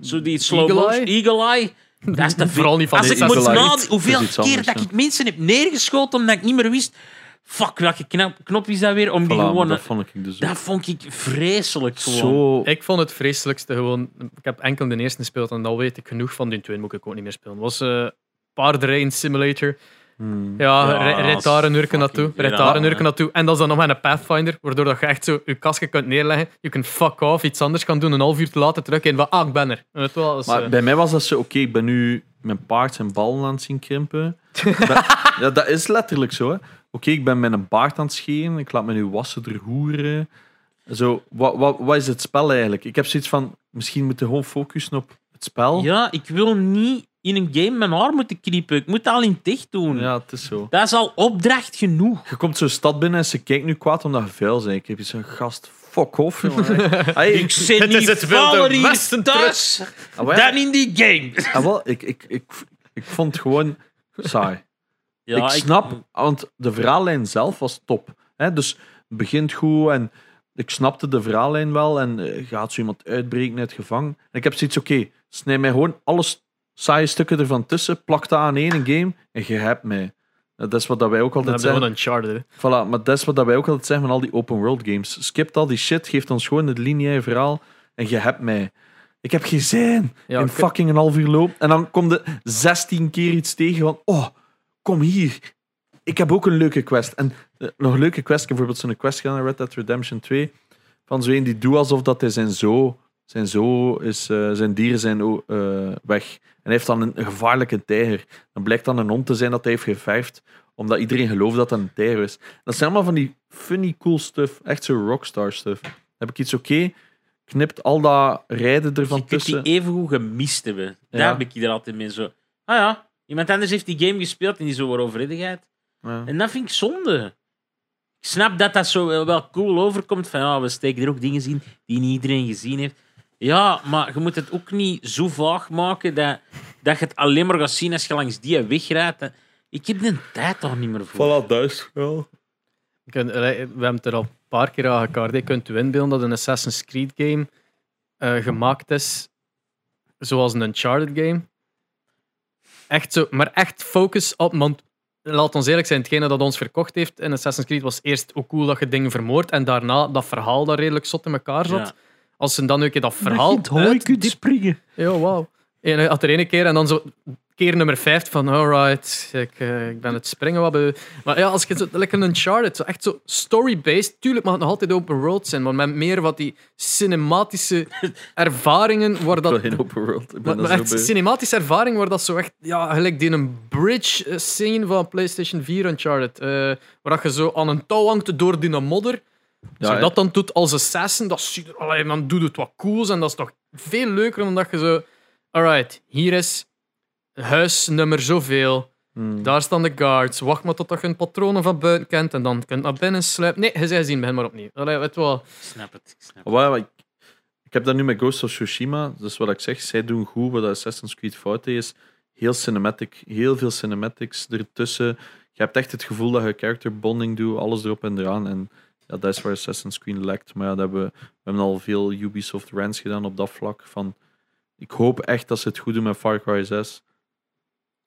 A: Zo die slow
B: Eagle
A: motion-
B: Eye?
A: Eagle Eye. Dat is te veel.
B: Vooral niet van
A: Als
B: de
A: ik
C: Eagle
A: moet
C: Eye.
A: nadenken hoeveel
C: Dat is iets
A: keer
C: anders,
A: dat ik mensen heb neergeschoten omdat ik niet meer wist... Fuck, welke knap, knop is dat weer om die
C: Voilà, maar
A: gewoon...
C: dat vond ik dus ook
A: Dat vond ik vreselijk gewoon.
C: zo...
B: Ik vond het vreselijkste gewoon. Ik heb enkel de eerste gespeeld en dan weet ik genoeg van die tweede moet ik ook niet meer spelen. Was eh Paardrain Simulator.
C: Hmm.
B: Ja,
A: Ja,
B: re- rijd daar een uur
A: fucking
B: naartoe. Rijd
A: irritant,
B: daar een uur
A: hè.
B: naartoe. En dat is dan nog maar een Pathfinder, waardoor dat je echt zo je kastje kunt neerleggen. Je kunt fuck off, iets anders gaan doen, een half uur te later terug en van, ah, ik ben er. Weet je wel, dat is,
C: Maar
B: eh,
C: bij mij was dat zo, oké, ik ben nu mijn paard zijn ballen aan het zien krimpen. Dat- ja, dat is letterlijk zo, hè. Oké, ik ben met een paard aan het scheren, ik laat me nu wassen door hoeren. Zo, wat, wat, wat is het spel eigenlijk? Ik heb zoiets van, misschien moeten we gewoon focussen op het spel.
A: Ja, ik wil niet in een game mijn haar moeten kniepen. Ik moet dat al in het dicht doen.
C: ja het is zo.
A: Dat is al opdracht genoeg.
C: Je komt zo'n stad binnen en ze kijkt nu kwaad omdat je vuil bent. Ik heb zo'n gast, fuck off, jongen. Hey,
A: Ik zit
B: Het is
A: niet
B: het wilde
A: vuiler hier
B: westen
A: thuis
C: ah, wel,
A: dan in die game.
C: ah, wel, ik, ik, ik, ik vond het gewoon saai. ik snap, want de verhaallijn zelf was top. Hè? Dus het begint goed en ik snapte de verhaallijn wel. En eh, gaat zo iemand uitbreken uit gevangen. En ik heb zoiets, oké, snij mij gewoon alle s- saaie stukken ervan tussen, plak dat aan één game en je hebt mij. Dat is wat dat wij ook
B: dan
C: altijd
B: heb je gewoon
C: zeggen.
B: een charter.
C: Voilà, maar dat is wat dat wij ook altijd zeggen van al die open world games. Skip al die shit, geef ons gewoon het lineaire verhaal en je hebt mij. Ik heb geen zin
B: Ja,
C: in
B: ik-
C: fucking een half uur loop. En dan komt er 16 keer iets tegen van, oh, kom hier. Ik heb ook een leuke quest. En eh, nog een leuke quest, ik heb bijvoorbeeld zo'n quest gedaan in Red Dead Redemption 2, van zo een die doet alsof dat hij zijn zo, zijn zo is, eh, zijn dieren zijn o- eh, weg. En hij heeft dan een, een gevaarlijke tijger. Dan blijkt dan een hond te zijn dat hij heeft geverfd, omdat iedereen gelooft dat dat een tijger is. Dat zijn allemaal van die funny, cool stuff. Echt zo rockstar stuff. Dan heb ik iets oké. knipt al dat rijden
A: Je
C: ervan
A: kunt die
C: tussen.
A: evengoed gemist hebben. Daar
C: Ja.
A: heb ik er altijd mee zo. Ah ja, iemand anders heeft die game gespeeld en die zo waarover redigheid.
C: Ja.
A: En dat vind ik zonde. Ik snap dat dat zo wel- wel cool overkomt. Van ja, we steken er ook dingen in die niet iedereen gezien heeft. Ja, maar je moet het ook niet zo vaag maken dat, dat je het alleen maar gaat zien als je langs die weg rijdt. Dat- Ik heb de tijd toch niet meer voor.
D: Voilà, duis. Ja.
B: Je kunt- allee, we hebben het er al een paar keer aan gekaart. hè. Je kunt je inbeelden dat een Assassin's Creed game eh, gemaakt is zoals een Uncharted game. Echt zo, maar echt focus op... Want laat ons eerlijk zijn, hetgene dat ons verkocht heeft in Assassin's Creed was eerst ook cool dat je dingen vermoordt en daarna dat verhaal dat redelijk zot in elkaar zat.
A: Ja.
B: Als ze dan een keer dat verhaal uitdiepen-
C: springen.
B: Ja, wauw. En hij had er ene keer en dan zo keer nummer 50 van alright, ik, eh, ik ben het springen wat beu. Maar ja, als je zo lekker een Uncharted, zo echt zo story-based, tuurlijk mag het nog altijd open world zijn, maar met meer wat die cinematische ervaringen waar dat...
C: in open world. Ik
B: Maar,
C: ben
B: maar
C: daar
B: echt
C: zo bij.
B: cinematische ervaring waar dat zo echt, ja, gelijk die een bridge eh, scene van PlayStation 4 Uncharted, eh waar dat je zo aan een touw hangt door die modder. Als
C: Ja,
B: je
C: hè.
B: dat dan doet als assassin, dat zie je, allee, dan doet het wat cools en dat is toch veel leuker dan dat je zo, alright, hier is huis nummer zoveel,
C: Hmm.
B: daar staan de guards, wacht maar totdat je hun patronen van buiten kent en dan kunt naar binnen sluipen. Nee, je zei zien, begin maar opnieuw. Allee, weet wel.
A: Ik snap het. Ik snap het.
C: Waar- waar ik, ik heb dat nu met Ghost of Tsushima. Dus wat ik zeg, zij doen goed wat Assassin's Creed fout deed, is. Heel cinematic. Heel veel cinematics ertussen. Je hebt echt het gevoel dat je character bonding doet. Alles erop en eraan. En ja, dat is waar Assassin's Creed lekt. Maar ja, dat hebben, we we hebben al veel Ubisoft rants gedaan op dat vlak. Van, ik hoop echt dat ze het goed doen met Far Cry 6.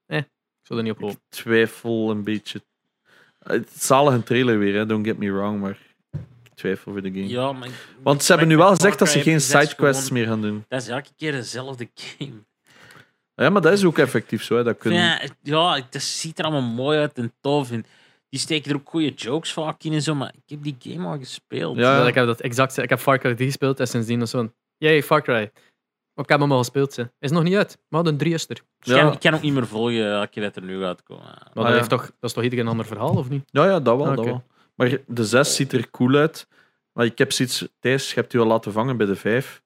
B: Ik zou er niet op
C: Ik
B: hopen.
C: twijfel een beetje. Het is zalig een trailer weer, hè. don't get me wrong. Maar ik twijfel voor de game.
A: Ja, maar ik-
C: Want ze hebben nu wel gezegd dat ze
A: Far Cry
C: geen
A: zes
C: sidequests
A: gewoon-
C: meer gaan doen.
A: Dat is elke keer dezelfde game.
C: Ja, maar dat is ook effectief zo. Hè. Dat kunnen...
A: Ja, het- ja, het- dat ziet er allemaal mooi uit en tof. En die steken er ook goede jokes vaak in en zo, maar ik heb die game al gespeeld.
C: Ja.
B: Dat ik heb dat exact. Ik heb Far Cry 3 gespeeld en sindsdien was zo'n. Yay, Far Cry. Maar Ik heb hem al gespeeld. Ze. Is nog niet uit. Maar een 3 is er.
A: Ik, kan,
C: Ja.
A: ik kan ook niet meer volgen welke keer dat er nu gaat komen.
B: Maar
C: Ah,
B: dat,
C: ja.
B: heeft toch, dat is toch iedereen een ander verhaal, of niet?
C: Ja, ja, dat wel,
B: Oké.
C: dat wel. Maar de 6 ziet er cool uit. Maar ik heb zoiets... Thijs, je hebt u al laten vangen bij de 5.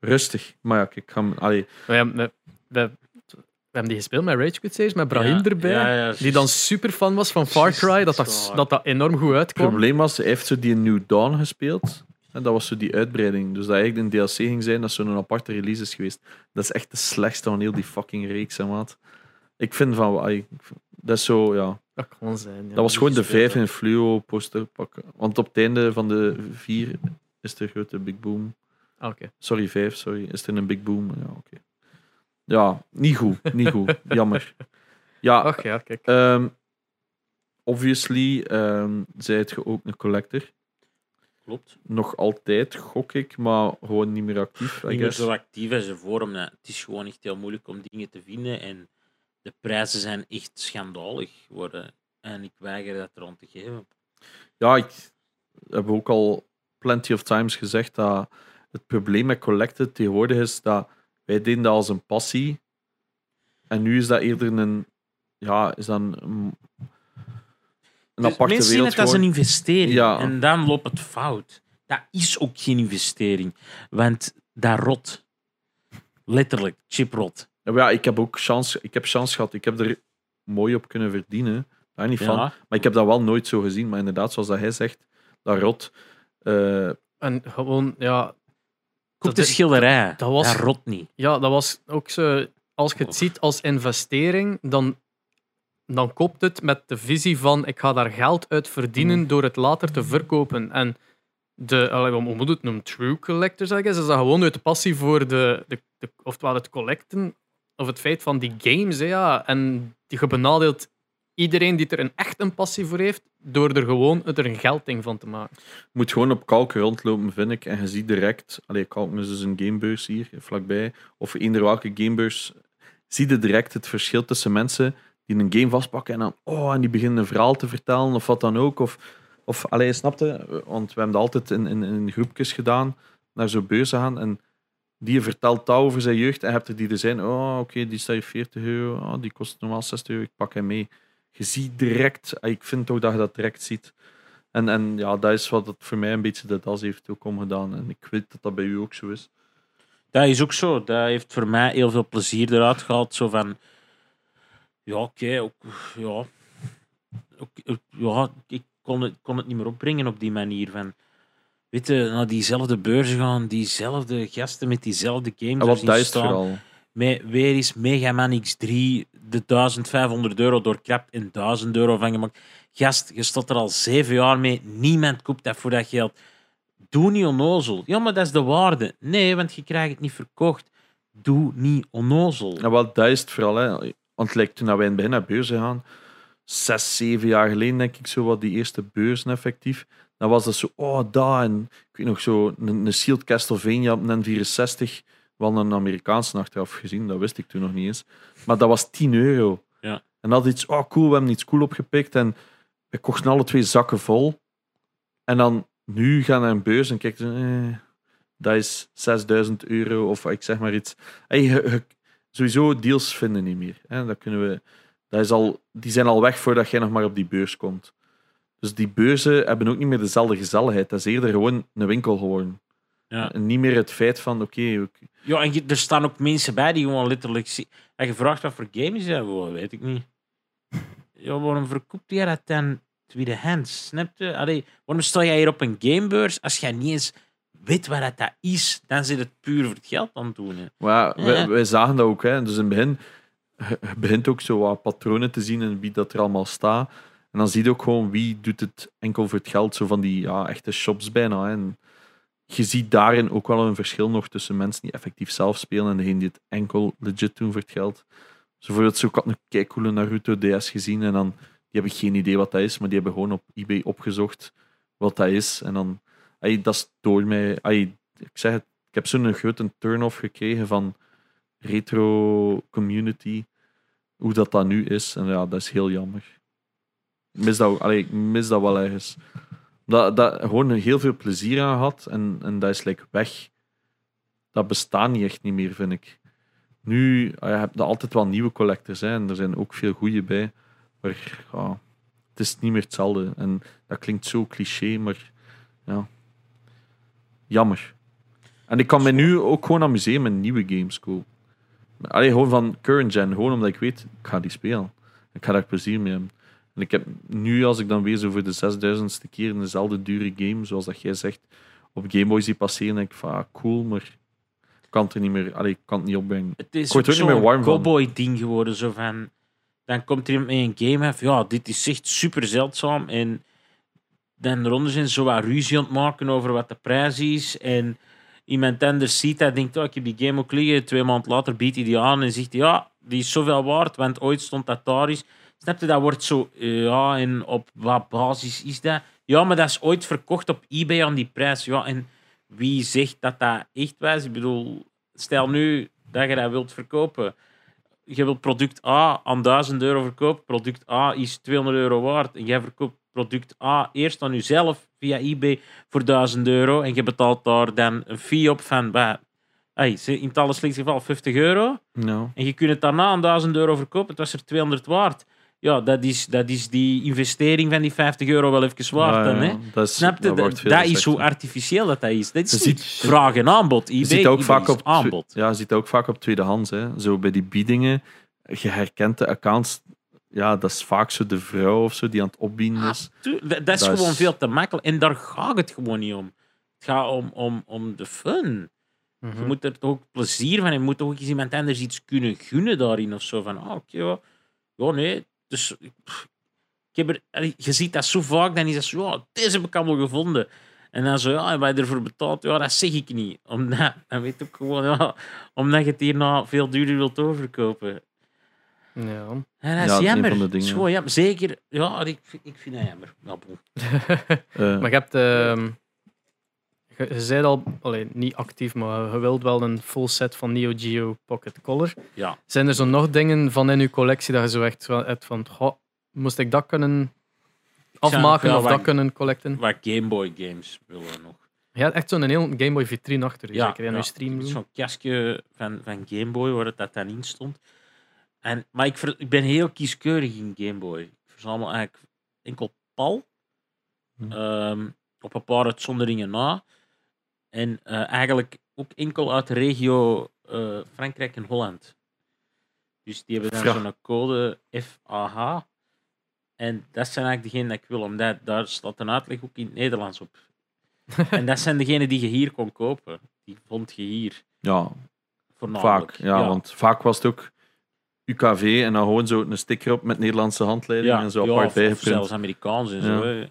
C: Rustig. Maar ja, kijk, ik ga... hem- Allee,
B: We hebben, we, we- we hebben die gespeeld met Rage Quit Saves, met Brahim
A: Ja,
B: erbij.
A: ja, ja,
B: die dan super fan was van Far
A: Precies,
B: Cry. Dat
A: dat is
B: dat,
A: waar.
B: dat, dat enorm goed
C: het
B: uitkwam.
C: probleem was, hij heeft zo die New Dawn gespeeld. En dat was zo die uitbreiding. Dus dat eigenlijk een DLC ging zijn, dat zo'n aparte release is geweest. Dat is echt de slechtste van heel die fucking reeks, hè, maat. Ik vind van... allee, ik vind- Dat is zo, ja...
B: Dat kan zijn. Ja.
C: Dat was
A: die
C: gewoon de
A: gespeeld
C: 5 in fluo poster pakken. Want op het einde van de 4 is de grote big boom.
B: Ah, oké.
C: Sorry, vijf, sorry. Is het in een big boom? Ja, oké. Ja, niet goed. Niet goed. Jammer. Ja,
B: Ach ja, kijk.
C: ehm, obviously ehm zijt je ook een collector.
A: Klopt.
C: Nog altijd, gok ik, maar gewoon niet meer actief, I
A: Niet meer
C: guess.
A: zo actief als ervoor, omdat het is gewoon echt heel moeilijk om dingen te vinden. En de prijzen zijn echt schandalig geworden. En ik weiger dat rond te geven.
C: Ja, ik heb ook al plenty of times gezegd dat het probleem met collecten tegenwoordig is dat wij deden dat als een passie. En nu is dat eerder een... Ja, is dat een... een
A: Dus
C: aparte
A: mensen zien
C: wereld
A: het als een
C: geworden.
A: investering
C: Ja.
A: en dan loopt het fout. Dat is ook geen investering, want dat rot. Letterlijk, chip rot.
C: Ja, maar ja, ik heb ook chance, ik heb chance gehad. Ik heb er mooi op kunnen verdienen. Daar niet van.
A: Ja.
C: Maar ik heb dat wel nooit zo gezien. Maar inderdaad, zoals dat hij zegt, dat rot. Eh,
B: En gewoon, ja,
A: Koop
B: Dat
A: de
B: is-
A: schilderij. dus Dat,
B: dat was-
A: rot niet.
B: Ja, dat was ook zo. Als je het
A: Och.
B: ziet als investering, dan, dan koopt het met de visie van ik ga daar geld uit verdienen
A: Mhm.
B: door het later te verkopen. En de, allee, hoe moet het noemen, true collector, zeg ik, is dat gewoon uit de passie voor de, de, de oftewel het collecten of het feit van die games. Hè, ja. En die je benadeelt iedereen die er een, echt een passie voor heeft, door er gewoon er een geldding van te maken.
C: moet gewoon op kalk rondlopen, vind ik. En je ziet direct. Allee, kalk is dus een gamebeurs hier vlakbij. Of eender welke gamebeurs. Zie je direct het verschil tussen mensen die een game vastpakken en dan. Oh, en die beginnen een verhaal te vertellen of wat dan ook. Of, of allee, snapte? Want we hebben dat altijd in, in, in groepjes gedaan. Naar zo'n beurzen gaan. En die vertelt dat over zijn jeugd. En je hebt er die er zijn. Oh, oké, die staat hier 40 euro. Oh, die kost normaal 60 euro. Ik pak hem mee. Je ziet direct. Ik vind ook dat je dat direct ziet. En, en ja, dat is wat het voor mij een beetje de das heeft ook omgedaan. En ik weet dat dat bij u ook zo is.
A: Dat is ook zo. Dat heeft voor mij heel veel plezier eruit gehaald. Zo van... Ja, oké. ook- ja. Ook, ook- ja, ik kon het, kon het niet meer opbrengen op die manier. Van, weet je, naar diezelfde beurzen gaan, diezelfde gasten met diezelfde games
C: En
A: er
C: wat
A: zien
C: dat is
A: staan.
C: vooral.
A: Me- weer is Mega Man X3 de 1500 euro door krap in 1000 euro van gemaakt. Gast, je stond er al zeven jaar mee. Niemand koopt dat voor dat geld. Doe niet onnozel. Ja, maar dat is de waarde. Nee, want je krijgt het niet verkocht. Doe niet onnozel.
C: En wat dat is het vooral. Hè. Want like, toen wij in het begin naar beurzen gaan, zes, zeven jaar geleden denk ik zo wat die eerste beurzen effectief. Dan was dat zo, oh daar en ik weet nog zo, een, een Sealed Castlevania op een N64. Wel een Amerikaanse achteraf gezien, dat wist ik toen nog niet eens. Maar dat was 10 euro.
A: Ja.
C: En dat iets, oh cool, we hebben iets cool opgepikt. En we kochten alle twee zakken vol. En dan nu gaan we naar een beurs en kijken, eh, dat is 6000 euro of ik zeg maar iets. Hey, je- je- sowieso deals vinden niet meer. Hè? Dat kunnen we, dat is al, die zijn al weg voordat jij nog maar op die beurs komt. Dus die beurzen hebben ook niet meer dezelfde gezelligheid. Dat is eerder gewoon een winkel geworden.
A: Ja.
C: En niet meer het feit van, oké, ik-
A: Ja, en je- er staan ook mensen bij die gewoon letterlijk... zie- En je vraagt wat voor game is dat? Wow, weet ik niet. Ja, waarom verkoopt jij dat dan tweedehands? Snap je? Allee, waarom sta jij hier op een gamebeurs als jij niet eens weet wat dat, dat is? Dan zit het puur voor het geld aan het doen. hè.
C: Maar ja, wij,
A: Ja.
C: wij zagen dat ook. Hè. Dus in het begin je- je begint ook zo wat patronen te zien en wie dat er allemaal staat. En dan zie je ook gewoon wie doet het enkel voor het geld. Zo van die ja, echte shops bijna. Hè. En je ziet daarin ook wel een verschil nog tussen mensen die effectief zelf spelen en degenen die het enkel legit doen voor het geld. Zo bijvoorbeeld, zo, ik had een keicoole Naruto DS gezien en dan, die hebben geen idee wat dat is, maar die hebben gewoon op eBay opgezocht wat dat is. En dan, ey, dat is door mij... ey, ik zeg het, ik heb zo'n grote turn-off gekregen van retro community, hoe dat dat nu is. En ja, dat is heel jammer. Ik mis dat, ook- allee, ik mis dat wel ergens. Dat, dat gewoon heel veel plezier aan had en, en dat is like weg. Dat bestaat niet echt niet meer, vind ik. Nu ah ja, je hebt er altijd wel nieuwe collectors hè, en er zijn ook veel goede bij. Maar ja, het is niet meer hetzelfde. En dat klinkt zo cliché, maar ja. Jammer. En ik kan me nu ook gewoon amuseren met nieuwe games kopen. Allee, gewoon van current gen. Gewoon omdat ik weet, ik ga die spelen. Ik ga daar plezier mee hebben. En ik heb nu, als ik dan weer zo voor de 6000ste keer een dezelfde dure game, zoals dat jij zegt, op Gameboy zie passeren, denk ik van, ah, cool, maar ik kan het er niet meer, allee, ik kan het niet opbrengen.
A: Het is
C: Ik word er
A: ook
C: ook niet meer warm
A: zo'n
C: van.
A: cowboy-ding geworden. Zo van, dan komt er iemand met een game af. Ja, dit is echt super zeldzaam. En dan eronder zijn ze zo wat ruzie aan het maken over wat de prijs is. En iemand anders ziet dat denkt, oh, ik heb die game ook liggen. Twee maanden later biedt hij die aan en zegt, hij, ja, die is zoveel waard, want ooit stond dat daar is. Snap je, dat wordt zo, eh, ja, en op wat basis is dat? Ja, maar dat is ooit verkocht op eBay aan die prijs. Ja, en wie zegt dat dat echt was? Ik bedoel, stel nu dat je dat wilt verkopen. Je wilt product A aan 1000 euro verkopen. Product A is 200 euro waard. En jij verkoopt product A eerst aan jezelf via eBay voor 1000 euro. En je betaalt daar dan een fee op van, bah, hey, in het allerslechtste geval 50 euro.
C: Nou.
A: En je kunt het daarna aan 1000 euro verkopen. Het was er 200 waard. Ja, dat is, dat is die investering van die 50 euro wel even waard.
C: Ja,
A: dan,
C: ja,
A: hè?
C: ja. Dat is,
A: Snap je?
C: dat
A: Dat,
C: wordt
A: dat,
C: veel
A: is
C: gezegd,
A: hoe
C: hè.
A: artificieel dat, dat is. Dat is
C: Je
A: niet
C: ziet-
A: vraag en aanbod. eBay,
C: Je ziet dat ook
A: eBay
C: vaak
A: is
C: op,
A: aanbod.
C: ja, je ziet dat ook vaak op tweedehands. Hè. Zo bij die biedingen, je herkent de accounts. Ja, dat is vaak zo de vrouw of zo die aan het opbieden
A: Ah,
C: is.
A: tu- dat, dat is
C: dat is-
A: gewoon veel te makkelijk. En daar gaat het gewoon niet om. Het gaat om, om, om de fun.
C: Mhm.
A: Je moet er toch ook plezier van hebben. Je moet toch ook eens iemand anders iets kunnen gunnen daarin of zo. Van, ah, oké, ja. Ja, nee. Dus, ik- pff, ik heb er, allee, je ziet dat zo vaak, dan is dat zo, ja, deze heb ik allemaal gevonden. En dan zo, ja, en wat je ervoor betaalt, ja, dat zeg ik niet. Omdat, dan weet ik ook gewoon, ja, omdat je het hierna veel duurder wilt doorverkopen.
B: Mhm. Ja.
A: En
C: Ja,
A: dat
C: dat
A: is
C: is een
A: jammer.
C: van de
A: Dat is
C: dingen.
A: gewoon jammer. Zeker, ja, ik, ik vind dat jammer. Ja, bon. Ah,
C: Eh,
B: maar je hebt... ehm, je, je zei al, allee, niet actief, maar je wilt wel een full set van Neo Geo Pocket Color.
A: Ja.
B: Zijn er zo nog dingen van in je collectie dat je zo echt wel hebt van... Goh, moest ik dat kunnen afmaken
A: ja,
B: of
A: wat-
B: dat kunnen collecten?
A: Waar Game Boy games willen we nog.
B: Je had echt zo'n heel Game Boy vitrine achter je, zeker in je streamroom.
A: Zo'n kastje van, van Game Boy waar het dat dan in stond. En, maar ik, ver- ik ben heel kieskeurig in Game Boy. Ik verzamel eigenlijk enkel PAL
B: Mhm.
A: ehm, op een paar uitzonderingen na. En eh, eigenlijk ook enkel uit de regio eh, Frankrijk en Holland. Dus die hebben
C: Ja.
A: dan zo'n code FAH. En dat zijn eigenlijk degenen die ik wil, omdat daar staat een uitleg ook in het Nederlands op. en dat zijn degenen die je hier kon kopen. Die vond je hier,
C: Ja,
A: voornamelijk.
C: vaak. Ja, want vaak was het ook UKV en dan gewoon zo een sticker op met Nederlandse handleiding en zo apart
A: of- of zelfs
C: bijgeprint.
A: Amerikaans en
C: Ja.
A: zo. hè.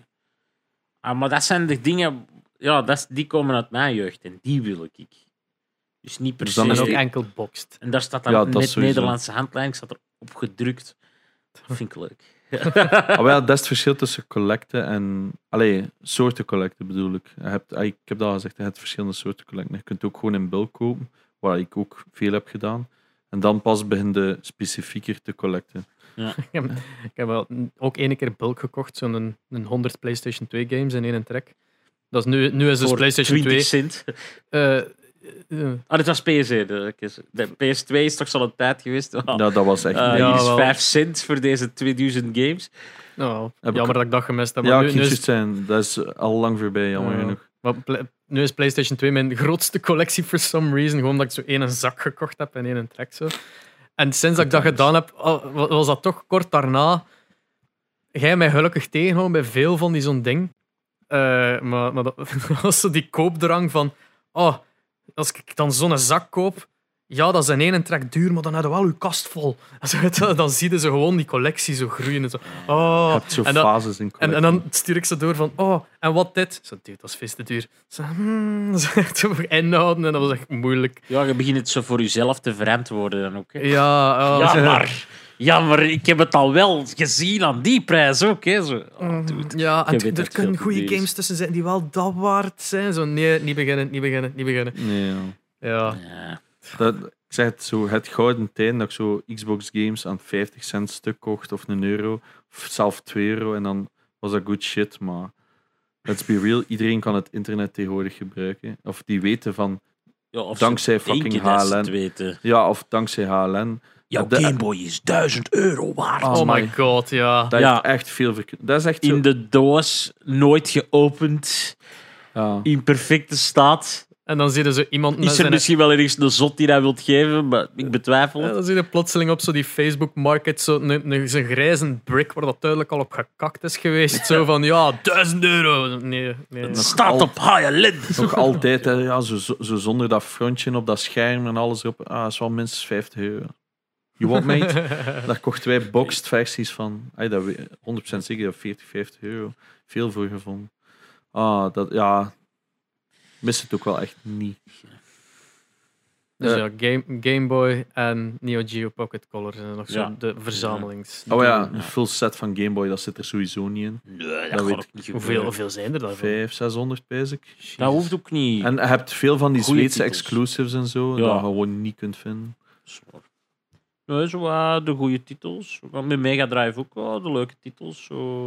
A: Ah, maar dat zijn de dingen, ja, dat, is- die komen uit mijn jeugd en die wil ik. Dus niet per
C: Dus
A: se.
C: dan
B: En
C: is
B: ook
C: die-
B: enkel boxed.
A: En daar staat dan
C: Ja, dat
A: net
C: sowieso.
A: Nederlandse handlijn, staat erop gedrukt. Dat vind ik leuk.
C: Ah, wel, dat is het verschil tussen collecten en... Allee, soorten collecten bedoel ik. Je hebt, ah, ik heb dat al gezegd, je hebt verschillende soorten collecten. Je kunt ook gewoon in bulk kopen, waar ik ook veel heb gedaan. En dan pas begin je specifieker te collecten.
B: Ik heb wel n- ook één keer bulk gekocht, zo'n een, 100 PlayStation 2 games in één trek. Dat is nu, nu is dus
A: Voor
B: PlayStation
A: 20
B: 2.
A: cent.
B: eh, eh,
A: Ah, dat was PS1. de- De PS2 is toch zo'n tijd geweest. Oh,
C: Ja, dat was echt...
A: eh,
B: Ah. ja,
A: hier is
B: wel.
A: 5 cent voor deze 2000 games.
B: nou,
C: Heb ik-
B: jammer dat ik dat gemist heb.
C: ja,
B: Maar nu,
C: ik
B: nu,
C: ging juist
B: is,
C: zijn. Dat is al lang voorbij, jammer
B: Ja.
C: genoeg.
B: maar pla- nu is PlayStation 2 mijn grootste collectie for some reason. Gewoon omdat ik zo één zak gekocht heb en één trek zo. En sinds dat ik dat gedaan heb, al- wa- was dat toch kort daarna. Jij mij gelukkig tegenhouden bij veel van die zo'n ding. Eh, maar, maar dat was zo die koopdrang van. Oh, als ik dan zo'n zak koop. Ja, dat is in één trek duur, maar dan heb je wel je kast vol. Zo, Dan zie je ze gewoon die collectie zo groeien. En zo.
C: Je
B: Oh,
C: hebt zo
B: en dan-
C: fases in
B: En,
C: collecten.
B: en dan stuur ik ze door van, oh, en wat dit? Zo, dude, dat is veel te duur. Zo, hmm, zo echt zo inhouden en dat was echt moeilijk.
A: Ja, je begint het zo voor jezelf te verantwoorden dan ook. hè.
B: Ja, oh,
A: Ja, maar, ja, maar ik heb het al wel gezien aan die prijs ook. Hè, zo. Oh, dude.
B: ja en
A: Je
B: t-
A: weet dat
B: er
A: het veel
B: kunnen
A: te
B: goede
A: duur is.
B: games tussen zijn die wel dat waard zijn. Zo, nee, niet beginnen, niet beginnen, niet beginnen.
C: Nee, ja.
B: Ja,
A: Ja.
C: Dat, ik zeg het zo, het gouden tijd dat ik zo Xbox games aan 50 cent stuk kocht of een euro, of zelf 2 euro, en dan was dat good shit, maar let's be real, iedereen kan het internet tegenwoordig gebruiken. Of die weten van,
A: Ja, of ze
C: dankzij
A: denken
C: fucking
A: dat ze het
C: HLN.
A: weten.
C: Ja, of dankzij HLN.
A: Jouw
C: de-
A: Gameboy is 1000 euro waard.
C: Oh,
B: oh, my
C: amai.
B: god, ja.
C: Dat
A: Ja.
C: heeft echt veel verkeerd. Dat is echt zo...
A: Oh, In de doos, nooit geopend,
C: Ja.
A: in perfecte staat.
B: En dan zie je zo iemand met
A: Is er
B: zijn...
A: misschien wel ergens een zot die dat wilt geven, maar ik betwijfel
B: Ja,
A: het.
B: dan zie je plotseling op zo die Facebook Market zo een, een, zo'n grijze brick waar dat duidelijk al op gekakt is geweest. Zo van, ja, duizend euro. Nee, nee.
A: Het staat op HLN.
C: Nog altijd, hè, ja, zo, zo, zo zonder dat frontje op dat scherm en alles erop. Ah, is wel minstens 50 euro. You want mate? Daar kochten wij boxed versies van. Ay, dat we- 100% zeker dat 40, 50 euro. Veel voor gevonden. Ah, dat, ja. Mis het ook wel echt niet.
B: Dus
C: Eh.
B: ja, Game, Game Boy en Neo Geo Pocket Color zijn nog zo
A: Ja.
B: de verzamelings.
C: Oh ja, een full set van Game Boy, dat zit er sowieso niet in.
A: Nee, dat, gaat
C: Dat weet
A: ook niet
B: Hoeveel,
A: gebeuren.
B: hoeveel zijn er daarvan?
C: 500, 600 basic.
A: Dat hoeft ook niet.
C: En je hebt veel van die
A: Goeie
C: Zweedse
A: titels.
C: exclusives en zo,
A: Ja.
C: dat je gewoon niet kunt vinden.
A: Zwaar. Nee, Nou, zo wat de goede titels. Want Met Mega Drive ook wel de leuke titels. Zo.